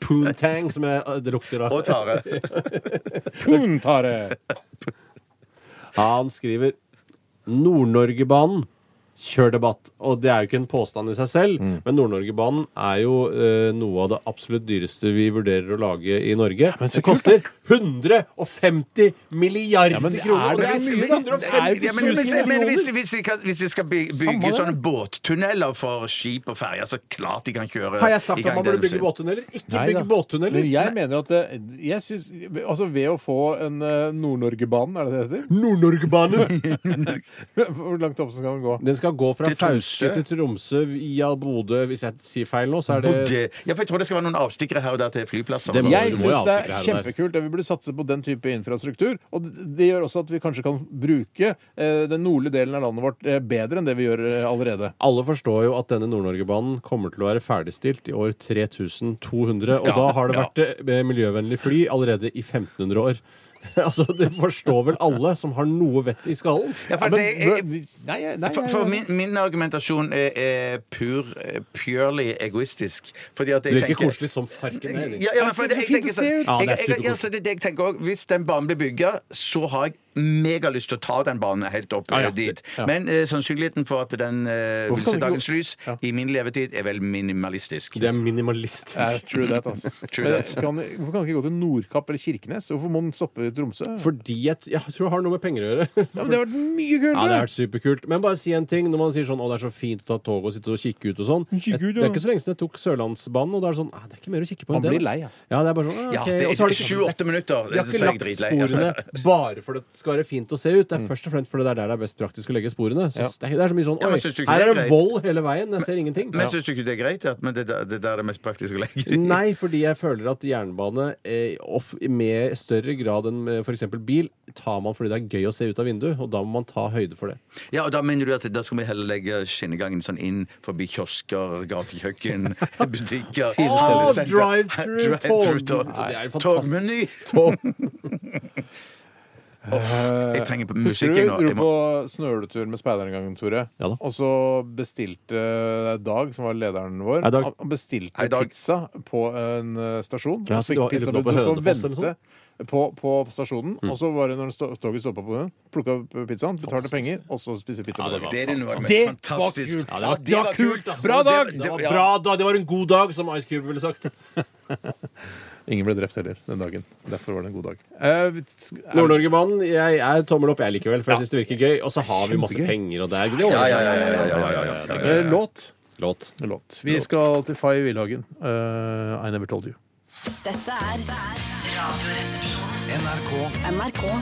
Speaker 2: Poontang, som jeg, eh, det lukter av.
Speaker 3: Og tare.
Speaker 1: Puntare!
Speaker 2: Han skriver Nord-Norgebanen kjørdebatt. Og det er jo ikke en påstand i seg selv,
Speaker 3: Mm.
Speaker 2: men Nord-Norgebanen er jo eh, noe av det absolutt dyreste vi vurderer å lage i Norge. det koster 150 milliarder
Speaker 1: Ja, men det
Speaker 2: kroner!
Speaker 1: er
Speaker 2: og
Speaker 1: det så mye, da? Det er jo ikke
Speaker 3: Ja, men, men,
Speaker 1: så
Speaker 3: men
Speaker 1: mye
Speaker 3: hvis, hvis, de kan, hvis de skal by-
Speaker 1: Samme
Speaker 3: bygge
Speaker 1: det.
Speaker 3: sånne båttunneler for skip og ferjer, så klart de kan kjøre
Speaker 2: Har jeg sagt
Speaker 3: i
Speaker 2: at
Speaker 3: gang
Speaker 2: man
Speaker 3: det
Speaker 2: burde
Speaker 3: du
Speaker 2: bygge
Speaker 3: sier.
Speaker 2: båttunneler? Ikke
Speaker 1: Nei da.
Speaker 2: bygge båttunneler!
Speaker 1: Men jeg mener at det, jeg synes, altså Ved å få en eh, Nord-Norgebanen, er det det heter?
Speaker 2: Nord-Norgebanen!
Speaker 1: Hvor langt opp skal den gå?
Speaker 2: Den skal gå fra
Speaker 3: Til Tromsø.
Speaker 2: Fauske til Tromsø via Bodø. Hvis jeg sier feil nå, så er det
Speaker 3: Bodø. Ja, for jeg tror det skal være noen avstikkere her og der til flyplasser.
Speaker 2: Det må-
Speaker 1: Jeg
Speaker 2: du jo
Speaker 1: syns det er
Speaker 2: avstikke her og der.
Speaker 1: kjempekult. at Vi burde satse på den type infrastruktur. Og det, det gjør også at vi kanskje kan bruke eh, den nordlige delen av landet vårt eh, bedre enn det vi gjør eh, allerede.
Speaker 2: Alle forstår jo at denne Nord-Norge-banen kommer til å være ferdigstilt i år 3200. Og da har det vært eh, miljøvennlig fly allerede i 1500 år. altså, Det forstår vel alle som har noe vett i skallen?
Speaker 3: Ja, for
Speaker 1: Men,
Speaker 3: det er,
Speaker 1: nei, Eh, nei, nei,
Speaker 3: For, for min, min argumentasjon er, er pur, eh, purely egoistisk. Fordi at
Speaker 2: Du
Speaker 3: jeg
Speaker 2: er ikke
Speaker 3: tenker
Speaker 2: koselig som farken er. Henrik.
Speaker 3: ja, ja, men
Speaker 1: Ja,
Speaker 3: for det,
Speaker 1: så fint
Speaker 3: jeg
Speaker 1: å
Speaker 3: tenker
Speaker 1: se
Speaker 3: sånn,
Speaker 1: ut.
Speaker 2: Ja, det er
Speaker 3: jeg, jeg, jeg,
Speaker 2: superkoselig.
Speaker 3: altså, det, er det jeg tenker også, Hvis den banen blir bygga, så har jeg megalyst til å ta den banen helt opp
Speaker 2: ja.
Speaker 3: eh, dit. Men eh, sannsynligheten for at den
Speaker 1: Hvorfor
Speaker 3: eh, vil
Speaker 1: kan
Speaker 3: se
Speaker 1: det ikke
Speaker 3: dagens lys i min levetid, er vel minimalistisk.
Speaker 2: Det er minimalistisk.
Speaker 1: Ja, true that, altså.
Speaker 3: True
Speaker 1: Men
Speaker 3: that.
Speaker 1: Kan, hvorfor kan den ikke gå til Nordkapp eller Kirkenes? Hvorfor må den stoppe i Tromsø?
Speaker 2: Fordi jeg, t- jeg tror det har noe med penger å gjøre.
Speaker 1: Ja, men det har vært mye
Speaker 2: Ja, det
Speaker 1: kulere!
Speaker 2: har vært superkult. Men bare si en ting. Når man sier sånn 'Å, det er så fint å ta toget og sitte og kikke ut' og sånn
Speaker 1: Kikke ut,
Speaker 2: Det er
Speaker 1: ja.
Speaker 2: ikke så lenge siden jeg tok Sørlandsbanen, og da er det sånn «Ah, 'Det er ikke mer å kikke på enn
Speaker 1: Man
Speaker 2: det'.
Speaker 1: blir
Speaker 2: da».
Speaker 1: lei, altså.
Speaker 2: Ja, det er bare sånn, ah,
Speaker 3: Ja,
Speaker 2: ok.
Speaker 3: det
Speaker 2: Og så har
Speaker 3: er
Speaker 2: de ikke-
Speaker 3: sju-åtte minutter.
Speaker 2: De har
Speaker 3: så
Speaker 2: ikke
Speaker 3: er jeg
Speaker 2: lagt
Speaker 3: dritlei.
Speaker 2: sporene bare for det skal være fint å se ut. Det er først og fremst fordi det er der det er best praktisk å legge sporene. Så
Speaker 1: Ja.
Speaker 2: det, er, det er så mye sånn
Speaker 3: Ja, men
Speaker 2: Oi,
Speaker 3: synes du ikke
Speaker 2: her
Speaker 3: det
Speaker 2: er
Speaker 3: er
Speaker 2: det
Speaker 3: greit?
Speaker 2: vold hele veien. Jeg ser ingenting.
Speaker 3: Men syns du ikke det er greit at men det, er der- det er der det er mest praktisk å legge det?
Speaker 2: Nei, fordi jeg føler at jernbane eh, off, med større grad enn f.eks. bil tar man fordi det er gøy å se ut av vinduet, og da må man ta høyde for det.
Speaker 3: Ja, og da mener du at da skal vi heller legge skinnegangen sånn inn forbi kiosker, gatekjøkken, butikker
Speaker 2: Åh,
Speaker 3: selgesenter.
Speaker 2: drive-thru,
Speaker 3: Drive-thru,
Speaker 2: tog.
Speaker 3: tog-
Speaker 2: Nei, det er jo fantastisk.
Speaker 3: Togmeny! Jeg trenger
Speaker 1: Eh, Husker
Speaker 3: musikk
Speaker 1: du
Speaker 3: jeg,
Speaker 1: du
Speaker 3: nå.
Speaker 1: dro
Speaker 3: Jeg
Speaker 1: på
Speaker 3: må,
Speaker 1: snøletur med speideren en gang, Tore?
Speaker 2: Ja da.
Speaker 1: Og så bestilte eh, Dag, som var lederen vår,
Speaker 2: Hei, Dag.
Speaker 1: han- han bestilte
Speaker 3: Hei, Dag.
Speaker 1: pizza på en eh, stasjon.
Speaker 2: Ja,
Speaker 1: og
Speaker 2: så
Speaker 1: fikk
Speaker 2: det var- det
Speaker 1: pizza
Speaker 2: lå på
Speaker 1: og så
Speaker 2: Hønefoss eller
Speaker 1: vente. på, på stasjonen, og så bare når stå, toget stoppa på den, plukka opp pizzaen, betalte penger, og så spiste vi pizza på dagen.
Speaker 3: Det er det noe av det
Speaker 1: Det
Speaker 3: mest
Speaker 1: var
Speaker 3: fantastiske.
Speaker 1: kult!
Speaker 2: Ja, det var,
Speaker 1: Det var
Speaker 3: altså.
Speaker 1: kult! Bra dag!
Speaker 2: Det var bra dag! Det var en god dag, som Ice Cube ville sagt.
Speaker 1: Ingen ble drept heller den dagen. Derfor var det en god dag. Eh, vi-
Speaker 2: Nord-Norge-mannen, jeg er tommel opp, jeg likevel, for jeg syns det virker gøy. Og så har vi masse
Speaker 1: Kjempegøy.
Speaker 2: penger, og det er
Speaker 3: Ja, ja, ja, ja, ja, ja, ja, ja.
Speaker 1: eh, låt.
Speaker 2: Låt.
Speaker 1: låt. Vi skal til Faye Wilhagen. Eh, I Never Told You.
Speaker 6: Dette er Radioresepsjonen.
Speaker 7: NRK
Speaker 6: NRK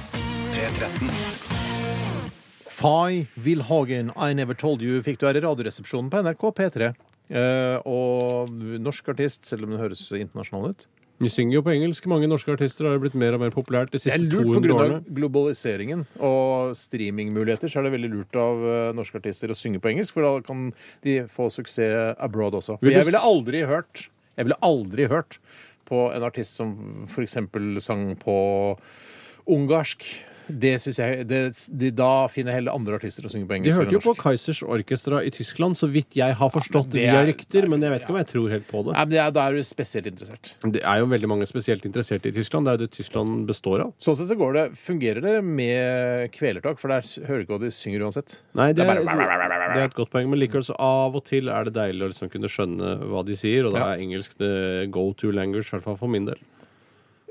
Speaker 7: P13.
Speaker 1: Faye Wilhagen, I Never Told You, fikk du her i Radioresepsjonen på NRK P3. Eh, og norsk artist, selv om hun høres internasjonal ut.
Speaker 2: Vi synger jo på engelsk. Mange norske artister har jo blitt mer og mer populært de
Speaker 1: Det
Speaker 2: siste
Speaker 1: er lurt på
Speaker 2: 200
Speaker 1: grunn
Speaker 2: årene.
Speaker 1: av globaliseringen og streamingmuligheter. Så er det veldig lurt av eh, norske artister å synge på engelsk, for da kan de få suksess abroad også. Men
Speaker 2: Vil du
Speaker 1: jeg
Speaker 2: s-
Speaker 1: ville aldri hørt Jeg ville aldri hørt på en artist som f.eks. sang på ungarsk. Det synes jeg det, de, Da finner jeg heller andre artister å synge på
Speaker 2: De
Speaker 1: engelsk. enn
Speaker 2: hørte jo på
Speaker 1: norsk.
Speaker 2: Kaizers Orkestra i Tyskland, så vidt jeg har forstått
Speaker 1: det
Speaker 2: via
Speaker 1: er-
Speaker 2: rykter, men jeg vet ikke om jeg tror helt på det.
Speaker 1: Nei, men det er, Da er du spesielt interessert.
Speaker 2: Det er jo veldig mange spesielt interesserte i Tyskland. Det er jo det Tyskland består av.
Speaker 1: Sånn sett så går det, fungerer det med kvelertak, for der s- hører du ikke hva de synger uansett.
Speaker 2: Nei, det, er,
Speaker 1: Det er bare-
Speaker 2: det er et godt poeng, men likevel så av og til er det deilig å liksom kunne skjønne hva de sier, og da
Speaker 1: Ja.
Speaker 2: er engelsk the go to language, i hvert fall for min del.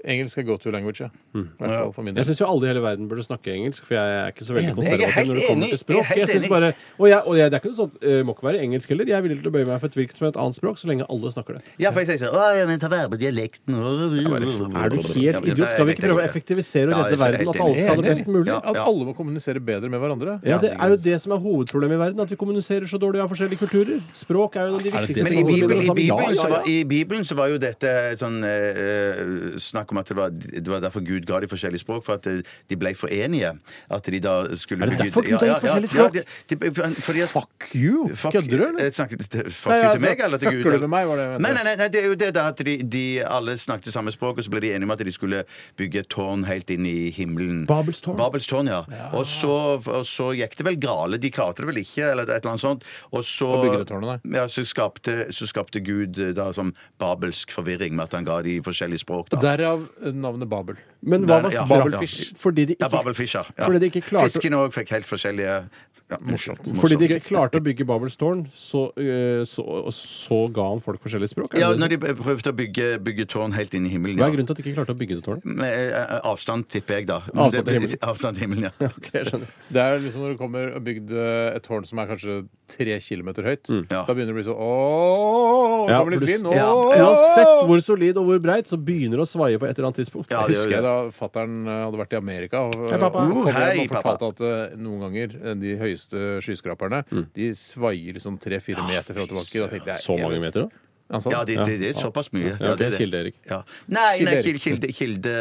Speaker 1: Engelsk er go to language, ja. I hvert fall for min del.
Speaker 2: Jeg syns jo alle i hele verden burde snakke engelsk, for jeg er ikke så veldig
Speaker 3: Enig, jeg er
Speaker 2: konservativ
Speaker 3: helt
Speaker 2: når det kommer
Speaker 3: enig,
Speaker 2: til
Speaker 3: jeg er
Speaker 2: språk.
Speaker 3: helt
Speaker 2: Jeg synes
Speaker 3: enig.
Speaker 2: bare, og jeg, og jeg, det er ikke noe sånt, eh, må ikke være engelsk heller. Jeg er villig til å bøye meg for et hvilket som et annet språk, så lenge alle snakker det.
Speaker 3: Ja, for jeg tenker sånn Å, jeg tar vare på dialekten
Speaker 2: Er
Speaker 3: Er
Speaker 2: du helt idiot? Skal vi ikke prøve å effektivisere og
Speaker 3: Ja,
Speaker 2: redde
Speaker 3: jeg er
Speaker 2: verden?
Speaker 3: helt
Speaker 2: At alle skal ha det
Speaker 3: enig.
Speaker 2: best mulig?
Speaker 3: Ja,
Speaker 1: At alle må kommunisere bedre med hverandre.
Speaker 2: Ja, Det er jo det som er hovedproblemet i verden, at vi kommuniserer så dårlig av forskjellige kulturer. Språk er jo en av de
Speaker 1: det
Speaker 2: viktigste
Speaker 3: Men i
Speaker 2: tingene som
Speaker 3: Bibelen,
Speaker 2: binder
Speaker 3: i,
Speaker 2: oss sammen. Ja,
Speaker 3: Bibelen, så
Speaker 2: ja,
Speaker 3: var, I Bibelen så var jo dette sånn eh, eh, snakk om at det var, det var derfor Gud ga de forskjellige språk, for at eh, de ble for enige. At de da skulle
Speaker 2: Er det
Speaker 3: bli-
Speaker 2: derfor Gud har gitt forskjellige språk?
Speaker 3: Ja, de, de, for- fordi at,
Speaker 1: Fuck you!
Speaker 3: Fuck-
Speaker 1: Kødder du, eller?
Speaker 3: eh, Snakket til- fuck
Speaker 1: Nei,
Speaker 3: you
Speaker 1: altså,
Speaker 3: til meg eller til
Speaker 1: fucker
Speaker 3: Gud?
Speaker 1: du
Speaker 3: eller?
Speaker 1: med meg, var det jeg mente.
Speaker 3: nei, nei, nei, nei, det er jo det da at de, de alle snakket samme språk, og så ble de enige om at de skulle bygge et tårn helt inn i himmelen.
Speaker 2: Babels tårn.
Speaker 3: Babels tårn, ja. Og, så, og så gikk det vel grale. De klarte det vel ikke, eller et eller annet sånt. Og så,
Speaker 1: Å bygge det tårnet,
Speaker 3: ja, så, skapte, så skapte Gud eh, da som babelsk forvirring med at han ga de forskjellige språk. Da.
Speaker 1: Derav navnet Babel.
Speaker 2: Men hva
Speaker 3: Der-
Speaker 2: var
Speaker 3: ja,
Speaker 2: Babelfish?
Speaker 3: ja.
Speaker 2: Fordi de
Speaker 3: Ja,
Speaker 2: ikke
Speaker 3: Babelfish, ja. ja.
Speaker 2: Fordi de ikke klarte-
Speaker 3: Fiskene òg fikk helt forskjellige ja, Morsomt.
Speaker 2: Fordi de ikke klarte å bygge Babels tårn, så, eh, så, så ga han folk forskjellige språk? Er
Speaker 3: Ja,
Speaker 2: det
Speaker 3: når
Speaker 2: det
Speaker 3: de prøvde å bygge, bygge tårn helt inn i himmelen.
Speaker 2: som- Hva
Speaker 3: Ja.
Speaker 2: er grunnen til at de ikke klarte å bygge det tårnet?
Speaker 3: Med, eh, avstand, tipper jeg, da.
Speaker 2: Avstand
Speaker 3: Det-
Speaker 2: til himmelen.
Speaker 3: Avstand til himmelen, ja.
Speaker 2: Jeg skjønner.
Speaker 1: Det er liksom når du kommer og bygd eh, et tårn som er kanskje tre kilometer høyt.
Speaker 3: Ja.
Speaker 1: Da begynner det å bli sånn Ååå,
Speaker 2: Ja,
Speaker 1: kommer litt
Speaker 2: pluss-
Speaker 1: vind!
Speaker 3: Ja.
Speaker 1: Ååå!
Speaker 2: Uansett hvor solid og hvor breit, så begynner det å svaie på et eller annet tidspunkt.
Speaker 3: Ja, det gjør
Speaker 1: Husker jeg da fattern eh, hadde vært i Amerika og, eh,
Speaker 3: pappa.
Speaker 1: og kom hjem
Speaker 3: Hei,
Speaker 1: og fortalte at eh, noen ganger eh, de høyeste skyskraperne
Speaker 3: Mm.
Speaker 1: De svaier liksom tre-fire meter fra og tilbake. Da tenkte jeg
Speaker 2: Så mange meter, da?
Speaker 1: Ja, sant?
Speaker 3: Ja, det, det, det er såpass mye.
Speaker 2: Ja, det er Kilde Erik.
Speaker 3: Ja. Nei, nei,
Speaker 1: Kilde Erik.
Speaker 3: Kilde, kilde, kilde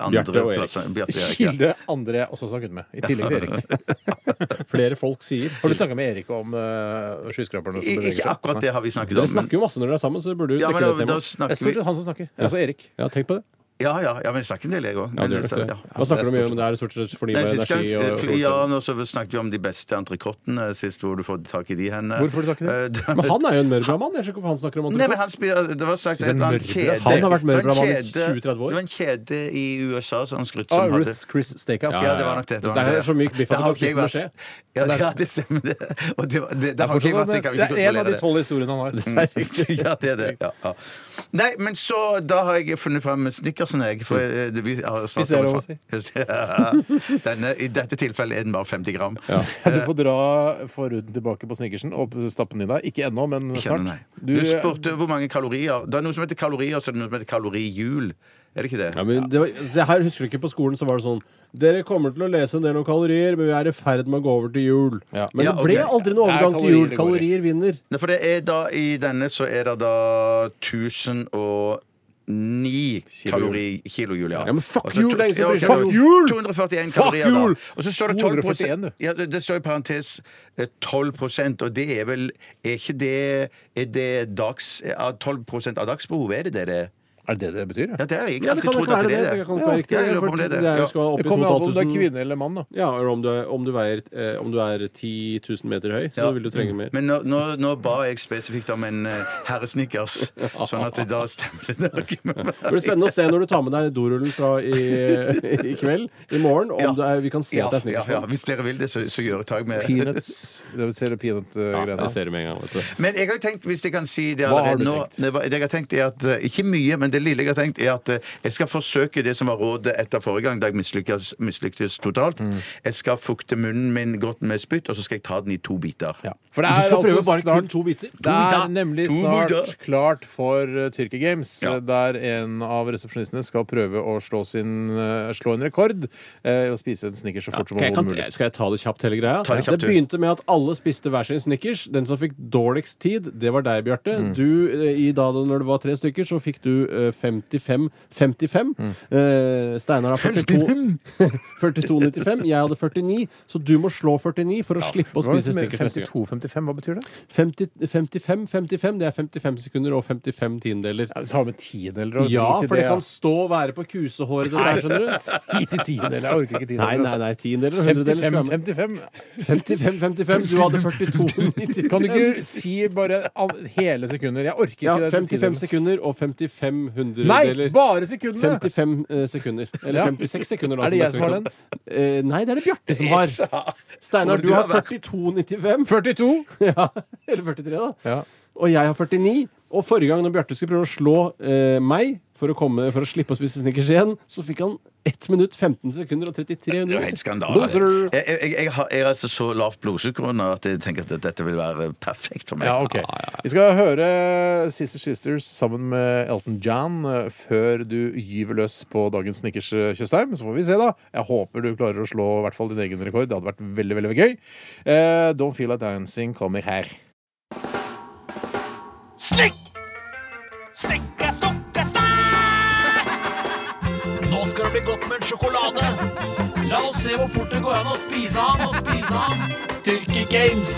Speaker 3: andre
Speaker 2: Bjarte og Erik.
Speaker 3: plasser. Bjarte og Erik, ja.
Speaker 1: Kilde andre jeg også snakket med, i tillegg til Erik.
Speaker 2: Flere folk sier
Speaker 1: Har du snakka med Erik om eh, skyskraperne
Speaker 3: I-
Speaker 1: som beveger
Speaker 3: Ikke
Speaker 1: seg?
Speaker 3: akkurat det har vi snakket om.
Speaker 2: Dere snakker jo masse når dere er sammen, så dere burde jo
Speaker 3: ja, men
Speaker 2: dekke
Speaker 3: da,
Speaker 2: det temaet.
Speaker 3: da
Speaker 1: Det er
Speaker 3: snakker
Speaker 1: stort
Speaker 3: vi
Speaker 1: sett han som snakker. Altså Erik.
Speaker 2: Ja, tenk på det.
Speaker 3: Ja, ja, ja, men jeg snakker en del, jeg òg.
Speaker 2: Ja, dere gjør nok det. Hva snakker du mye om? Det er stort sett fornybar
Speaker 3: Nei, sist gang,
Speaker 2: energi og sånn.
Speaker 3: fly- ja,
Speaker 2: solceller.
Speaker 3: nå så snakket vi om de beste entrecôtene sist, hvor du får tak i de hen.
Speaker 1: Hvor får du tak i de?
Speaker 3: det?
Speaker 2: Men han er jo en mørbramann. Jeg skjønner ikke hvorfor han snakker om
Speaker 3: Eh, Nei, men
Speaker 2: antikropp.
Speaker 3: han spiller, det var sagt
Speaker 1: Spiser
Speaker 3: et eller annet
Speaker 1: mørbrød.
Speaker 3: kjede.
Speaker 2: Han har vært
Speaker 3: Det var en
Speaker 2: mørbrødmann i
Speaker 3: kjede-
Speaker 2: 20-30 år.
Speaker 3: Det var en kjede i USA som han skrutt
Speaker 1: Ah,
Speaker 3: som hadde
Speaker 1: Ruth's Chris Steakhouse.
Speaker 3: Ja, det var nok det.
Speaker 2: Det
Speaker 3: var nok
Speaker 2: er så myk biff at
Speaker 3: Det
Speaker 2: du
Speaker 3: har
Speaker 2: kan spise
Speaker 3: ikke jeg
Speaker 2: med
Speaker 3: vært.
Speaker 2: skje.
Speaker 3: Ja, det- ja, det stemmer det. Og det, var- det, det har ikke jeg vært, så jeg kan
Speaker 1: Det er
Speaker 3: ikke
Speaker 1: en av
Speaker 3: kontrollere
Speaker 1: de
Speaker 3: det. Mm.
Speaker 1: tolv historiene han har. Det er riktig.
Speaker 3: Ja, det er det. Ja, ja. Nei, men så Da har jeg funnet frem snickersen, jeg. For eh, det, vi har
Speaker 1: Hvis
Speaker 3: snart
Speaker 1: det er lov å si.
Speaker 3: Ja. Denne, I dette tilfellet er den bare 50 gram.
Speaker 1: Du får dra forhuden tilbake på snickersen og stappe den i deg. Ikke ennå, men
Speaker 3: Ikke ennå,
Speaker 1: snart. eh,
Speaker 3: nei. Du spurte hvor mange kalorier Det er noe som heter kalorier, så er det noe som heter kalorihjul. Er det ikke det?
Speaker 2: Ja, men det, var, det her husker du ikke på skolen, så var det sånn Dere kommer til å lese en del om kalorier, men vi er i ferd med å gå over til jul.
Speaker 1: Ja.
Speaker 2: Men
Speaker 3: Ja,
Speaker 2: det ble
Speaker 3: ok.
Speaker 2: aldri noen
Speaker 1: Det er
Speaker 2: overgang til
Speaker 1: kalorier
Speaker 2: jul.
Speaker 1: det går i.
Speaker 2: Kalorier vinner.
Speaker 3: Nei, for det er da I denne så er det da 1009 kalori kilohjul, ja.
Speaker 2: Ja, men fuck
Speaker 3: Altså,
Speaker 2: jul,
Speaker 3: to-
Speaker 2: det er ingen som bryr seg
Speaker 3: ok,
Speaker 2: om
Speaker 3: to-
Speaker 2: jul!
Speaker 3: 241
Speaker 2: Fuck
Speaker 3: kalorier, da.
Speaker 2: jul!
Speaker 3: Og så står det 12
Speaker 1: 241, du.
Speaker 3: ja, det, det står i parentes eh, 12 og det eh, er vel Er ikke det Er det dags er 12 av dagsbehovet? Er det det det er?
Speaker 1: Er det det det betyr?
Speaker 3: Ja, det har jeg
Speaker 2: Ja,
Speaker 3: egentlig
Speaker 2: det
Speaker 3: alltid
Speaker 2: kan
Speaker 3: trodd
Speaker 2: ikke
Speaker 3: at
Speaker 2: være
Speaker 3: det
Speaker 2: det.
Speaker 3: er
Speaker 2: Det kan ikke være riktig.
Speaker 3: Ja, jeg lurer
Speaker 2: for
Speaker 3: på om det er det.
Speaker 2: det er jo
Speaker 3: Ja.
Speaker 2: skal opp
Speaker 1: Det
Speaker 2: i
Speaker 1: kommer an på om du er
Speaker 2: 2000
Speaker 1: kvinne eller mann, da.
Speaker 2: Ja, eller om du, er, om du veier eh, Om du er 10 000 meter høy, så
Speaker 3: Ja.
Speaker 2: vil du trenge mer.
Speaker 3: Men nå, nå, nå ba jeg spesifikt om en eh, herresnickers, sånn at det da stemmer det nok.
Speaker 2: Det blir spennende å se når du tar med deg dorullen fra i, i kveld, i morgen, om
Speaker 3: Ja.
Speaker 2: det er, vi kan se
Speaker 3: Ja,
Speaker 2: at det er
Speaker 3: ja,
Speaker 2: snickers
Speaker 3: ja,
Speaker 2: på.
Speaker 3: hvis dere vil det, så, så gjør jeg tak med
Speaker 1: Peanuts. Det vil si eh, det peanut-greiene.
Speaker 2: Det ser du med en gang, vet du.
Speaker 3: Men jeg har jo tenkt, hvis jeg kan si det
Speaker 1: Hva har
Speaker 3: allerede
Speaker 1: du
Speaker 3: nå
Speaker 1: tenkt?
Speaker 3: det, var- det jeg har tenkt er at, eh, Ikke mye, men det lille jeg har tenkt, er at eh, jeg skal forsøke det som var rådet etter forrige gang, da jeg mislyktes, mislyktes totalt.
Speaker 1: Mm.
Speaker 3: Jeg skal fukte munnen min godt med spytt, og så skal jeg ta den i to biter.
Speaker 1: Ja. For det
Speaker 2: Du
Speaker 1: er
Speaker 2: skal prøve
Speaker 1: altså
Speaker 2: bare kun
Speaker 1: snart
Speaker 2: to biter.
Speaker 1: Det er nemlig
Speaker 3: To
Speaker 1: snart
Speaker 3: biter.
Speaker 1: klart for uh, Tyrkia Games,
Speaker 3: Ja.
Speaker 1: eh, der en av resepsjonistene skal prøve å slå, sin, eh, slå en rekord eh, i å spise en snickers så fort som
Speaker 2: Ok, jeg
Speaker 1: overhodet
Speaker 2: kan,
Speaker 1: mulig.
Speaker 2: skal jeg ta det kjapt, hele greia?
Speaker 3: Ta det kjapt, du.
Speaker 2: begynte med at alle spiste hver sin Snickers. Den som fikk dårligst tid, det var deg, Bjarte. Du, eh, i da det- når det var tre stykker, så fikk du eh, 55-55. Eh, Steinar har 42 42,95. Jeg hadde 49, så du må slå 49 for å slippe å
Speaker 1: Hva er det liksom
Speaker 2: spise
Speaker 1: som er
Speaker 2: Snickers neste gang.
Speaker 1: 52-55, hva betyr det?
Speaker 2: 55-55, det er 55 sekunder og 55 tiendedeler.
Speaker 1: Ja, så har vi med tiendedeler og
Speaker 2: Ja,
Speaker 1: drit i
Speaker 2: for det
Speaker 1: ja.
Speaker 2: kan stå og være på kusehåret det der, skjønner du.
Speaker 1: Drit i tiendedeler. Jeg orker ikke
Speaker 2: Nei,
Speaker 1: tiendedeler.
Speaker 2: nei, nei. Tiendedeler og hundredeler. skal være med.
Speaker 1: 55-55.
Speaker 2: 55-55. Du hadde 42,95.
Speaker 1: Kan du ikke si bare an- hele sekunder? Jeg orker ikke
Speaker 2: Ja,
Speaker 1: det.
Speaker 2: 55
Speaker 1: tiendedeler.
Speaker 2: sekunder og 55
Speaker 1: Nei,
Speaker 2: hundredeler.
Speaker 1: bare sekundene!
Speaker 2: 55 eh, sekunder. Eller
Speaker 1: Ja.
Speaker 2: 56 sekunder. da,
Speaker 1: Er det jeg
Speaker 2: beste
Speaker 1: som har
Speaker 2: vi kan. Eh, nei, det er det Bjarte som har. Steinar, du har 42,95.
Speaker 1: 42.
Speaker 2: Ja, eller 43, da.
Speaker 1: Ja.
Speaker 2: Og jeg har 49. Og forrige gang når Bjarte skulle prøve å slå eh, meg for å, komme, for å slippe å spise snickers igjen, så fikk han 1 minutt 15 sekunder og 33
Speaker 3: Det er jo helt
Speaker 2: minutter.
Speaker 3: skandale.
Speaker 1: Loser.
Speaker 3: Jeg, jeg, jeg, har, jeg har altså så lavt blodsukker nå at jeg tenker at dette vil være perfekt for meg.
Speaker 1: Ja, ok. Vi skal høre Sister Sisters sammen med Elton John eh, før du gyver løs på dagens Snickers eh, Tjøstheim. Så får vi se, da. Jeg håper du klarer å slå i hvert fall din egen rekord. Det hadde vært veldig, veldig gøy. Eh, Don't Feel Like Dancing kommer her.
Speaker 4: Slikk! Slikka, stukka, stæ! Nå skal det bli godt med en sjokolade. La oss se hvor fort det går an å spise han og spise han. Tyrki Games.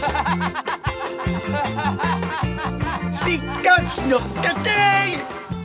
Speaker 4: Stikka, snokka, deg!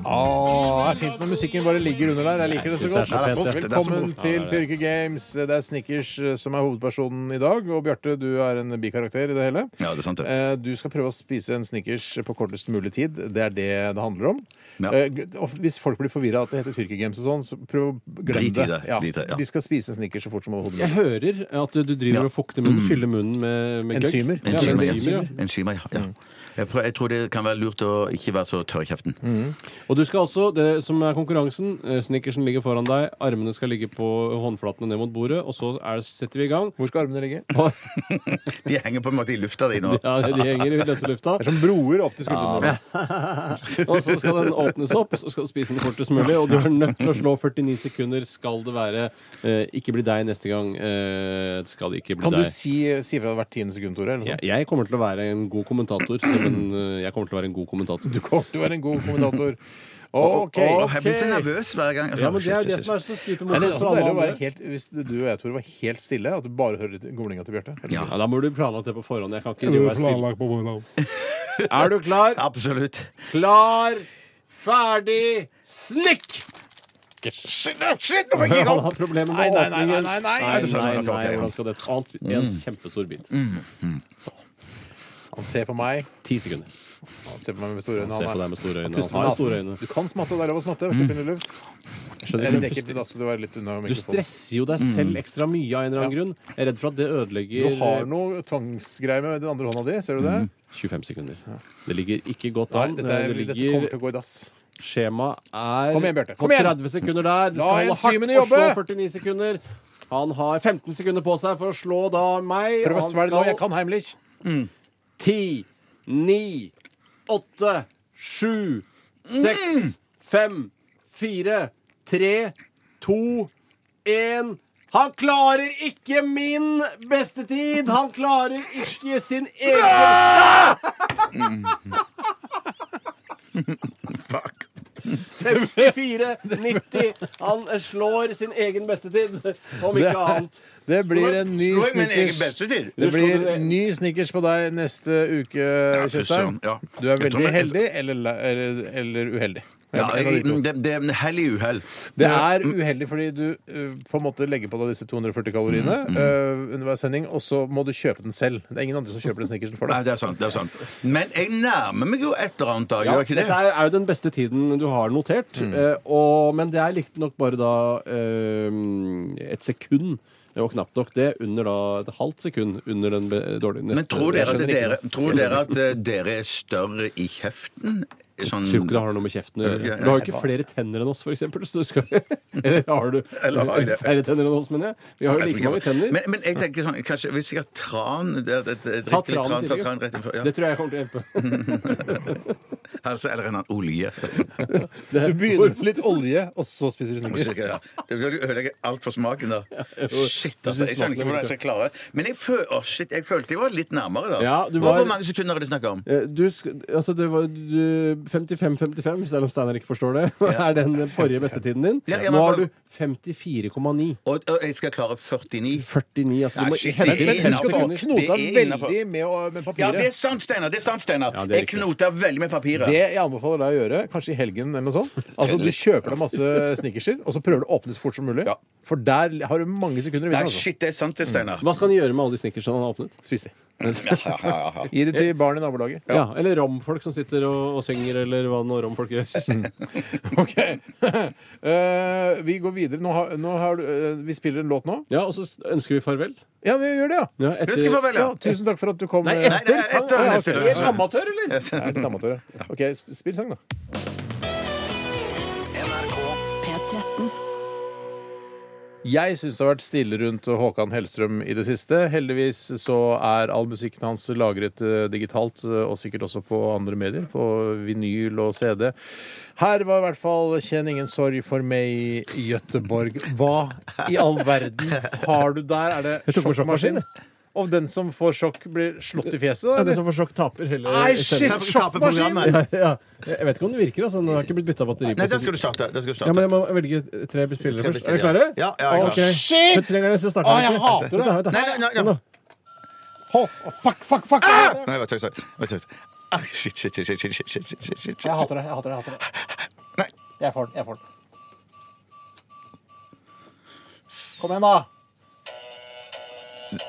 Speaker 1: Ah, det er fint når musikken bare ligger under der. Jeg liker det så
Speaker 2: Jeg synes
Speaker 1: godt.
Speaker 2: det er så
Speaker 3: fint, det.
Speaker 1: Velkommen
Speaker 3: Det er så
Speaker 1: til Tyrkia Games. Det er Snickers eh, som er hovedpersonen i dag. Og Bjarte, du er en bikarakter i det hele.
Speaker 3: Ja, det er sant det.
Speaker 1: Eh, Du skal prøve å spise en Snickers på kortest mulig tid. Det er det det handler om.
Speaker 3: Ja.
Speaker 1: Eh, Og hvis folk blir forvirra at det heter Tyrkia Games og sånn, så prøv å glemme
Speaker 3: Drit i
Speaker 1: det.
Speaker 3: det, drit i det, ja.
Speaker 1: Vi skal spise en Snickers så fort som overhodet
Speaker 2: Jeg
Speaker 1: mulig.
Speaker 2: hører at du driver og fukter munnen, fyller munnen med, med gøgg.
Speaker 1: Mm. Enzymer. Mm.
Speaker 2: Ja,
Speaker 3: Enzymer, ja.
Speaker 2: enzymer, ja.
Speaker 3: Enzymer, ja. ja. Jeg, prøver, jeg tror det kan være lurt å ikke være så tørr i kjeften.
Speaker 1: Mm.
Speaker 2: Og du skal altså, det som er konkurransen eh, Snickersen ligger foran deg, armene skal ligge på håndflatene ned mot bordet, og så er, setter vi i gang.
Speaker 1: Hvor skal armene ligge?
Speaker 3: De henger på en måte i lufta di nå.
Speaker 2: Ja, de henger i løse lufta.
Speaker 1: Det er som broer opp til skuldrene.
Speaker 2: Og så skal den åpnes opp, så skal du spise den kortest mulig. Og du er nødt til å slå 49 sekunder. Skal det være eh, 'ikke bli deg neste gang'? Eh, det skal det ikke bli
Speaker 1: Kan du
Speaker 2: deg.
Speaker 1: si, si fra hvert tiende sekund, Tore? Eller sånn? noe
Speaker 2: jeg,
Speaker 1: sånt?
Speaker 2: jeg kommer til å være en god kommentator. Som en, eh, jeg kommer til å være en god kommentator.
Speaker 1: Du kommer til å være en god kommentator. OK.
Speaker 3: Åh, jeg blir så nervøs hver gang.
Speaker 2: Ja, men Det er jo
Speaker 3: Shit,
Speaker 2: det
Speaker 3: shit,
Speaker 2: som er så
Speaker 1: Men altså, det er
Speaker 2: supermorsomt.
Speaker 1: også
Speaker 2: for alle
Speaker 1: deilig å være
Speaker 2: andre.
Speaker 1: helt, hvis du og jeg Tore, var helt stille, at du bare hører gomlinga til Bjarte.
Speaker 3: Ja.
Speaker 2: Ja, Da må du planlagt det på forhånd. Jeg kan ikke drive og være stille. Er du
Speaker 3: shit.
Speaker 2: klar?
Speaker 3: Absolutt.
Speaker 2: Klar, ferdig, snikk! Han har problemer med
Speaker 1: Nei, nei, nei,
Speaker 2: åpningen.
Speaker 1: nei, nei, nei.
Speaker 2: nei, nei, nei, Hvordan skal det annet En kjempestor bit.
Speaker 1: Han ser på meg.
Speaker 2: Ti sekunder.
Speaker 1: Han ser på meg med store øyne.
Speaker 2: Se på
Speaker 1: Han er-
Speaker 2: deg med store øyne.
Speaker 1: Puste
Speaker 2: Han
Speaker 1: med
Speaker 2: har store
Speaker 1: nasen.
Speaker 2: øyne. Mm.
Speaker 1: Du kan smatte, og det er lov å smatte. Slipp inn litt luft.
Speaker 2: Skjønner
Speaker 1: Eller
Speaker 2: ikke,
Speaker 1: dekker, da skal du være litt unna
Speaker 2: Du
Speaker 1: mikrofonen.
Speaker 2: stresser jo deg selv ekstra mye av en eller annen grunn. Jeg er redd for at det
Speaker 1: Du
Speaker 2: ødelegger
Speaker 1: har noe tvangsgreier med den andre hånda di, ser du det?
Speaker 2: 25 sekunder. Det ligger ikke godt
Speaker 1: Nei,
Speaker 2: an.
Speaker 1: dette, er,
Speaker 2: Mm. det
Speaker 1: dette
Speaker 2: ligger
Speaker 1: kommer til å gå i dass.
Speaker 2: Skjema er
Speaker 1: Kom igjen, Bjarte.
Speaker 2: på
Speaker 1: Kom igjen.
Speaker 2: 30 sekunder der. Det
Speaker 1: La
Speaker 2: skal holde
Speaker 1: enzymene
Speaker 2: hardt å slå
Speaker 1: jobbe.
Speaker 2: 49 sekunder. Han har 15 sekunder på seg for å slå da meg.
Speaker 1: Prøv å
Speaker 2: Han
Speaker 1: svelge nå. Jeg
Speaker 2: skal-
Speaker 1: kan Heimlich.
Speaker 2: 10, 9, 8, 7, 6, 5, 4, 3, 2, 1 Han klarer ikke min beste tid! Han klarer ikke sin egen
Speaker 3: Fuck.
Speaker 2: 54-90. Han slår sin egen beste tid, om ikke annet.
Speaker 1: Det blir en ny
Speaker 3: Slår jeg min egen
Speaker 1: snickers.
Speaker 3: beste tid?
Speaker 1: Det
Speaker 2: Du slår
Speaker 1: blir
Speaker 2: din-
Speaker 1: ny snickers på deg neste uke,
Speaker 3: fy
Speaker 1: Tjøstheim.
Speaker 3: søren, ja.
Speaker 1: Du er
Speaker 3: Jeg tror
Speaker 1: veldig
Speaker 3: jeg-
Speaker 1: heldig eller, eller, eller uheldig.
Speaker 3: Ja, mm,
Speaker 1: En av de to.
Speaker 3: det, det er hell i uhell.
Speaker 1: Det er uheldig fordi du eh, på en måte legger på deg disse 240 kaloriene
Speaker 3: Mm,
Speaker 1: eh, under hver sending, og så må du kjøpe den selv. Det er ingen andre som kjøper den snickersen for
Speaker 3: Nei,
Speaker 1: deg.
Speaker 3: det er sant. det er sant Men jeg nærmer meg jo et eller annet, da. Gjør jeg ikke det? Mm.
Speaker 2: Dette er jo den beste tiden du har notert, eh, og, men det er riktignok bare da eh, et sekund. Det var knapt nok det, under da et halvt sekund under den be- dårlige neste.
Speaker 3: Men tror dere, at
Speaker 2: Jeg skjønner ikke
Speaker 3: dere,
Speaker 2: det.
Speaker 3: tror dere at eh, dere er større i kjeften? Sånn,
Speaker 2: Jeg tror ikke det har noe med kjeften å gjøre. Du har jo ikke flere tenner enn oss, for eksempel. Så du skal, eller har du
Speaker 3: Eller har jeg det?
Speaker 2: færre tenner enn oss, mener jeg? Vi har jo
Speaker 3: Jeg tror
Speaker 2: like mange
Speaker 3: ikke-
Speaker 2: tenner.
Speaker 3: Men, men jeg tenker sånn, kanskje hvis jeg har tran det, det, det,
Speaker 2: Ta
Speaker 3: drikker litt
Speaker 2: tranen
Speaker 3: ta
Speaker 2: tidligere.
Speaker 3: tran rett innenfor,
Speaker 2: Det
Speaker 3: ja.
Speaker 2: tror jeg kommer til å hjelpe.
Speaker 3: altså, Eller en annen olje.
Speaker 1: Du begynner med litt olje, og så spiser du snickers.
Speaker 3: Sikkert, ja. Det vil jo ødelegge alt for smaken, da. Shit, altså.
Speaker 1: synes
Speaker 3: Jeg skjønner ikke hvordan jeg skal klare det. Men jeg, føl, å, shit, jeg følte jeg var litt nærmere, da.
Speaker 2: Ja, du
Speaker 3: Hvor-
Speaker 2: var-
Speaker 3: Hvor mange sekunder er det snakk om?
Speaker 2: Eh, Du, sk- altså det var du- 55-55, selv om Steinar ikke forstår det, er den forrige bestetiden din.
Speaker 3: Ja, ja, men
Speaker 2: Nå har
Speaker 3: for-
Speaker 2: du 54,9.
Speaker 3: Og, og jeg skal klare 49.
Speaker 2: 49, altså
Speaker 3: Nei,
Speaker 2: du må
Speaker 3: shit,
Speaker 2: hente
Speaker 3: det er
Speaker 2: inn fem
Speaker 3: innenfor.
Speaker 2: sekunder.
Speaker 1: Knota
Speaker 3: Det er innenfor.
Speaker 1: veldig med, å- med
Speaker 3: Ja, det er
Speaker 1: papiret.
Speaker 3: sant, Steinar! Det er sant, Steinar.
Speaker 2: det er
Speaker 3: Jeg
Speaker 2: riktig.
Speaker 3: knota veldig med papiret.
Speaker 1: Det jeg anbefaler deg å gjøre, kanskje i helgen eller noe sånt Altså, Du kjøper deg masse snickerser, og så prøver du å åpne så fort som mulig.
Speaker 3: Ja.
Speaker 1: For der har du mange sekunder å
Speaker 3: Nei,
Speaker 1: vinne. Altså.
Speaker 3: shit, det er sant, det, Steinar.
Speaker 2: Mm. Hva skal han gjøre med alle de snickersene han har åpnet?
Speaker 1: Spis de.
Speaker 3: Ja, ja, ja, ja.
Speaker 1: Gi det til barn i nabolaget.
Speaker 2: Ja. eller romfolk som sitter og, og synger, eller hva nå romfolk gjør.
Speaker 1: Ok. Eh, vi går videre. Nå har, nå har du, eh, vi spiller en låt nå.
Speaker 2: Ja, og så ønsker vi farvel.
Speaker 1: Ja, vi gjør det, ja!
Speaker 2: Ja,
Speaker 3: Husk å farvel, ja.
Speaker 1: Ja, tusen takk for at du kom.
Speaker 2: Nei,
Speaker 1: eh,
Speaker 2: etter
Speaker 3: nei,
Speaker 2: sang.
Speaker 3: etter-
Speaker 2: Ja,
Speaker 3: etter-
Speaker 2: ok. Er du amatør, eller?
Speaker 1: Jeg er litt amatør, ja. OK, sp- spill sang, da.
Speaker 6: P13.
Speaker 1: Jeg syns det har vært stille rundt Håkan Hellstrøm i det siste. Heldigvis så er all musikken hans lagret eh, digitalt, eh, og sikkert også på andre medier. På vinyl og CD. Her var i hvert fall 'Kjenn ingen sorg for meg' i Gøteborg. Hva i all verden har du der? Er det
Speaker 2: tok på sjokkmaskin,
Speaker 1: sjokkmaskin? Og den som får sjokk, blir slått i fjeset? da,
Speaker 2: Ja,
Speaker 1: eller?
Speaker 2: det som får sjokk, taper hele
Speaker 1: Nei, shit!
Speaker 2: sendingen.
Speaker 3: Taper programmet.
Speaker 1: Sjokkmaskin!
Speaker 2: Ja, ja. Jeg vet ikke om det virker. altså. Den har ikke blitt bytta batteri på.
Speaker 3: Nei, der skal du starte. Der skal du
Speaker 2: Ja, men
Speaker 3: starte.
Speaker 2: jeg må velge tre spillere først. Er
Speaker 3: Tre
Speaker 2: dere
Speaker 3: spillere.
Speaker 2: klare?
Speaker 3: Ja, ja, jeg er klar.
Speaker 2: Ok.
Speaker 1: Shit!
Speaker 2: Putt tre ganger, så starter
Speaker 1: Å,
Speaker 2: vi
Speaker 1: jeg
Speaker 2: ikke.
Speaker 1: hater det.
Speaker 2: Vent da, vent da.
Speaker 3: Nei, nei, nei, nei. Ah!
Speaker 2: Sånn, da.
Speaker 1: Hå, Fuck, fuck, fuck!
Speaker 3: Nei, vent, vent, vent, vent, vent. Ah, shit, shit, shit, shit, shit, shit, shit, shit, shit, shit.
Speaker 1: Jeg hater det. Jeg hater det. Jeg, hater det.
Speaker 3: Nei.
Speaker 1: jeg får den. Jeg får den. Kom igjen, da.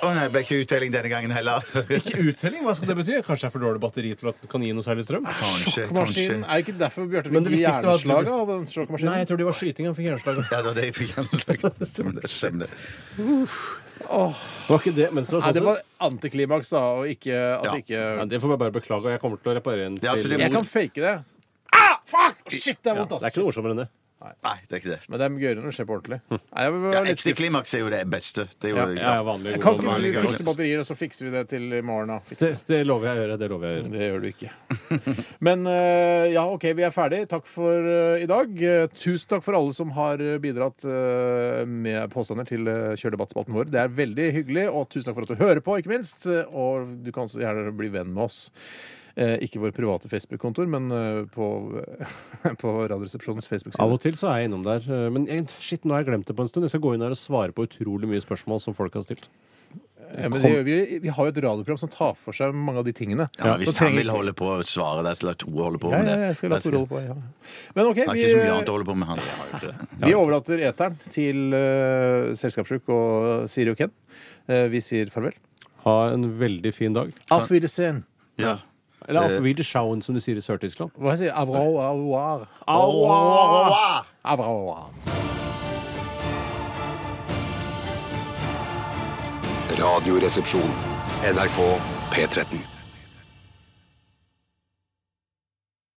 Speaker 3: Å nei, det ble ikke utdeling denne gangen heller.
Speaker 2: Ikke uttelling? Hva skal det bety? Kanskje det er for dårlig batteri til at den kan gi noe særlig strøm?
Speaker 3: Kanskje,
Speaker 1: Sjokkmaskinen er jo ikke derfor Bjarte fikk
Speaker 2: Men det viktigste var at du-
Speaker 1: hjerneslag av den sjokkmaskinen.
Speaker 2: Nei, jeg tror det var skyting han fikk hjerneslag av.
Speaker 3: Ja, det var det jeg fikk anlagt. Stemmer det. stemmer det.
Speaker 2: Det var ikke det, men så,
Speaker 1: Nei, det var antiklimaks, da, og ikke at
Speaker 3: Ja.
Speaker 1: det ikke
Speaker 2: ja, det får jeg bare beklage, og jeg kommer til å reparere en
Speaker 3: Ja, altså,
Speaker 2: til.
Speaker 3: det-
Speaker 1: Jeg kan fake det. Ah, fuck! Shit, det er
Speaker 2: Ja,
Speaker 1: vondt,
Speaker 2: det er
Speaker 1: ass.
Speaker 2: ikke noe Hm. morsommere enn det.
Speaker 3: Nei, det er ikke det.
Speaker 1: Men det er gøyere når det skjer på ordentlig. Nei, jeg var
Speaker 3: Ja,
Speaker 1: litt
Speaker 3: ekte
Speaker 1: skuffet.
Speaker 3: klimaks er jo det beste. Det er jo,
Speaker 1: Ja,
Speaker 2: Ja,
Speaker 3: ja.
Speaker 2: vanlig,
Speaker 1: Kan
Speaker 2: god,
Speaker 1: ikke
Speaker 2: vanlig.
Speaker 1: du
Speaker 3: vanskelig.
Speaker 1: fikse batterier, og så fikser vi det til i morgen, da?
Speaker 2: Det,
Speaker 1: Fikse.
Speaker 2: det lover jeg å gjøre. det lover jeg å gjøre.
Speaker 1: Det gjør du ikke. Men eh, ja, OK, vi er ferdig. Takk for eh, i dag. Eh, Tusen takk for alle som har eh, bidratt eh, med påstander til uh, kjørdebattspalten vår. Det er veldig hyggelig, og tusen takk for at du hører på, ikke minst. Eh, Og du kan også gjerne bli venn med oss. Eh, ikke vår private Facebook-kontor, men eh, på, på Radioresepsjonens
Speaker 2: Av
Speaker 1: Facebook-side.
Speaker 2: og til så er jeg innom der. eh, Men jeg, shit, nå har jeg glemt det på en stund. Jeg skal gå inn her og svare på utrolig mye spørsmål som folk har stilt.
Speaker 1: Ja, men det gjør vi, vi har jo et radioprogram som tar for seg mange av de tingene.
Speaker 3: Ja, hvis
Speaker 1: Så
Speaker 3: han
Speaker 1: trenger-
Speaker 3: vil holde på å svare der, så la Tore holde på
Speaker 1: ja,
Speaker 3: med
Speaker 1: ja,
Speaker 3: det.
Speaker 1: ja, jeg skal la Tore holde på. Ja. Men OK,
Speaker 3: Han har
Speaker 1: vi,
Speaker 3: ikke så mye annet å holde på med, han. har jo ikke det.
Speaker 1: Vi overlater eteren til uh, Selskapssjuk og Siri og Ken. Eh, vi sier farvel.
Speaker 2: Ha en veldig fin dag.
Speaker 1: Auf Wiedersehen.
Speaker 3: Ja.
Speaker 2: Eller auf Wiederschauen, som de sier i Sør-Tyskland.
Speaker 1: Hva sier jeg? Au revoir. Au revoir.
Speaker 7: Radioresepsjon. NRK P13.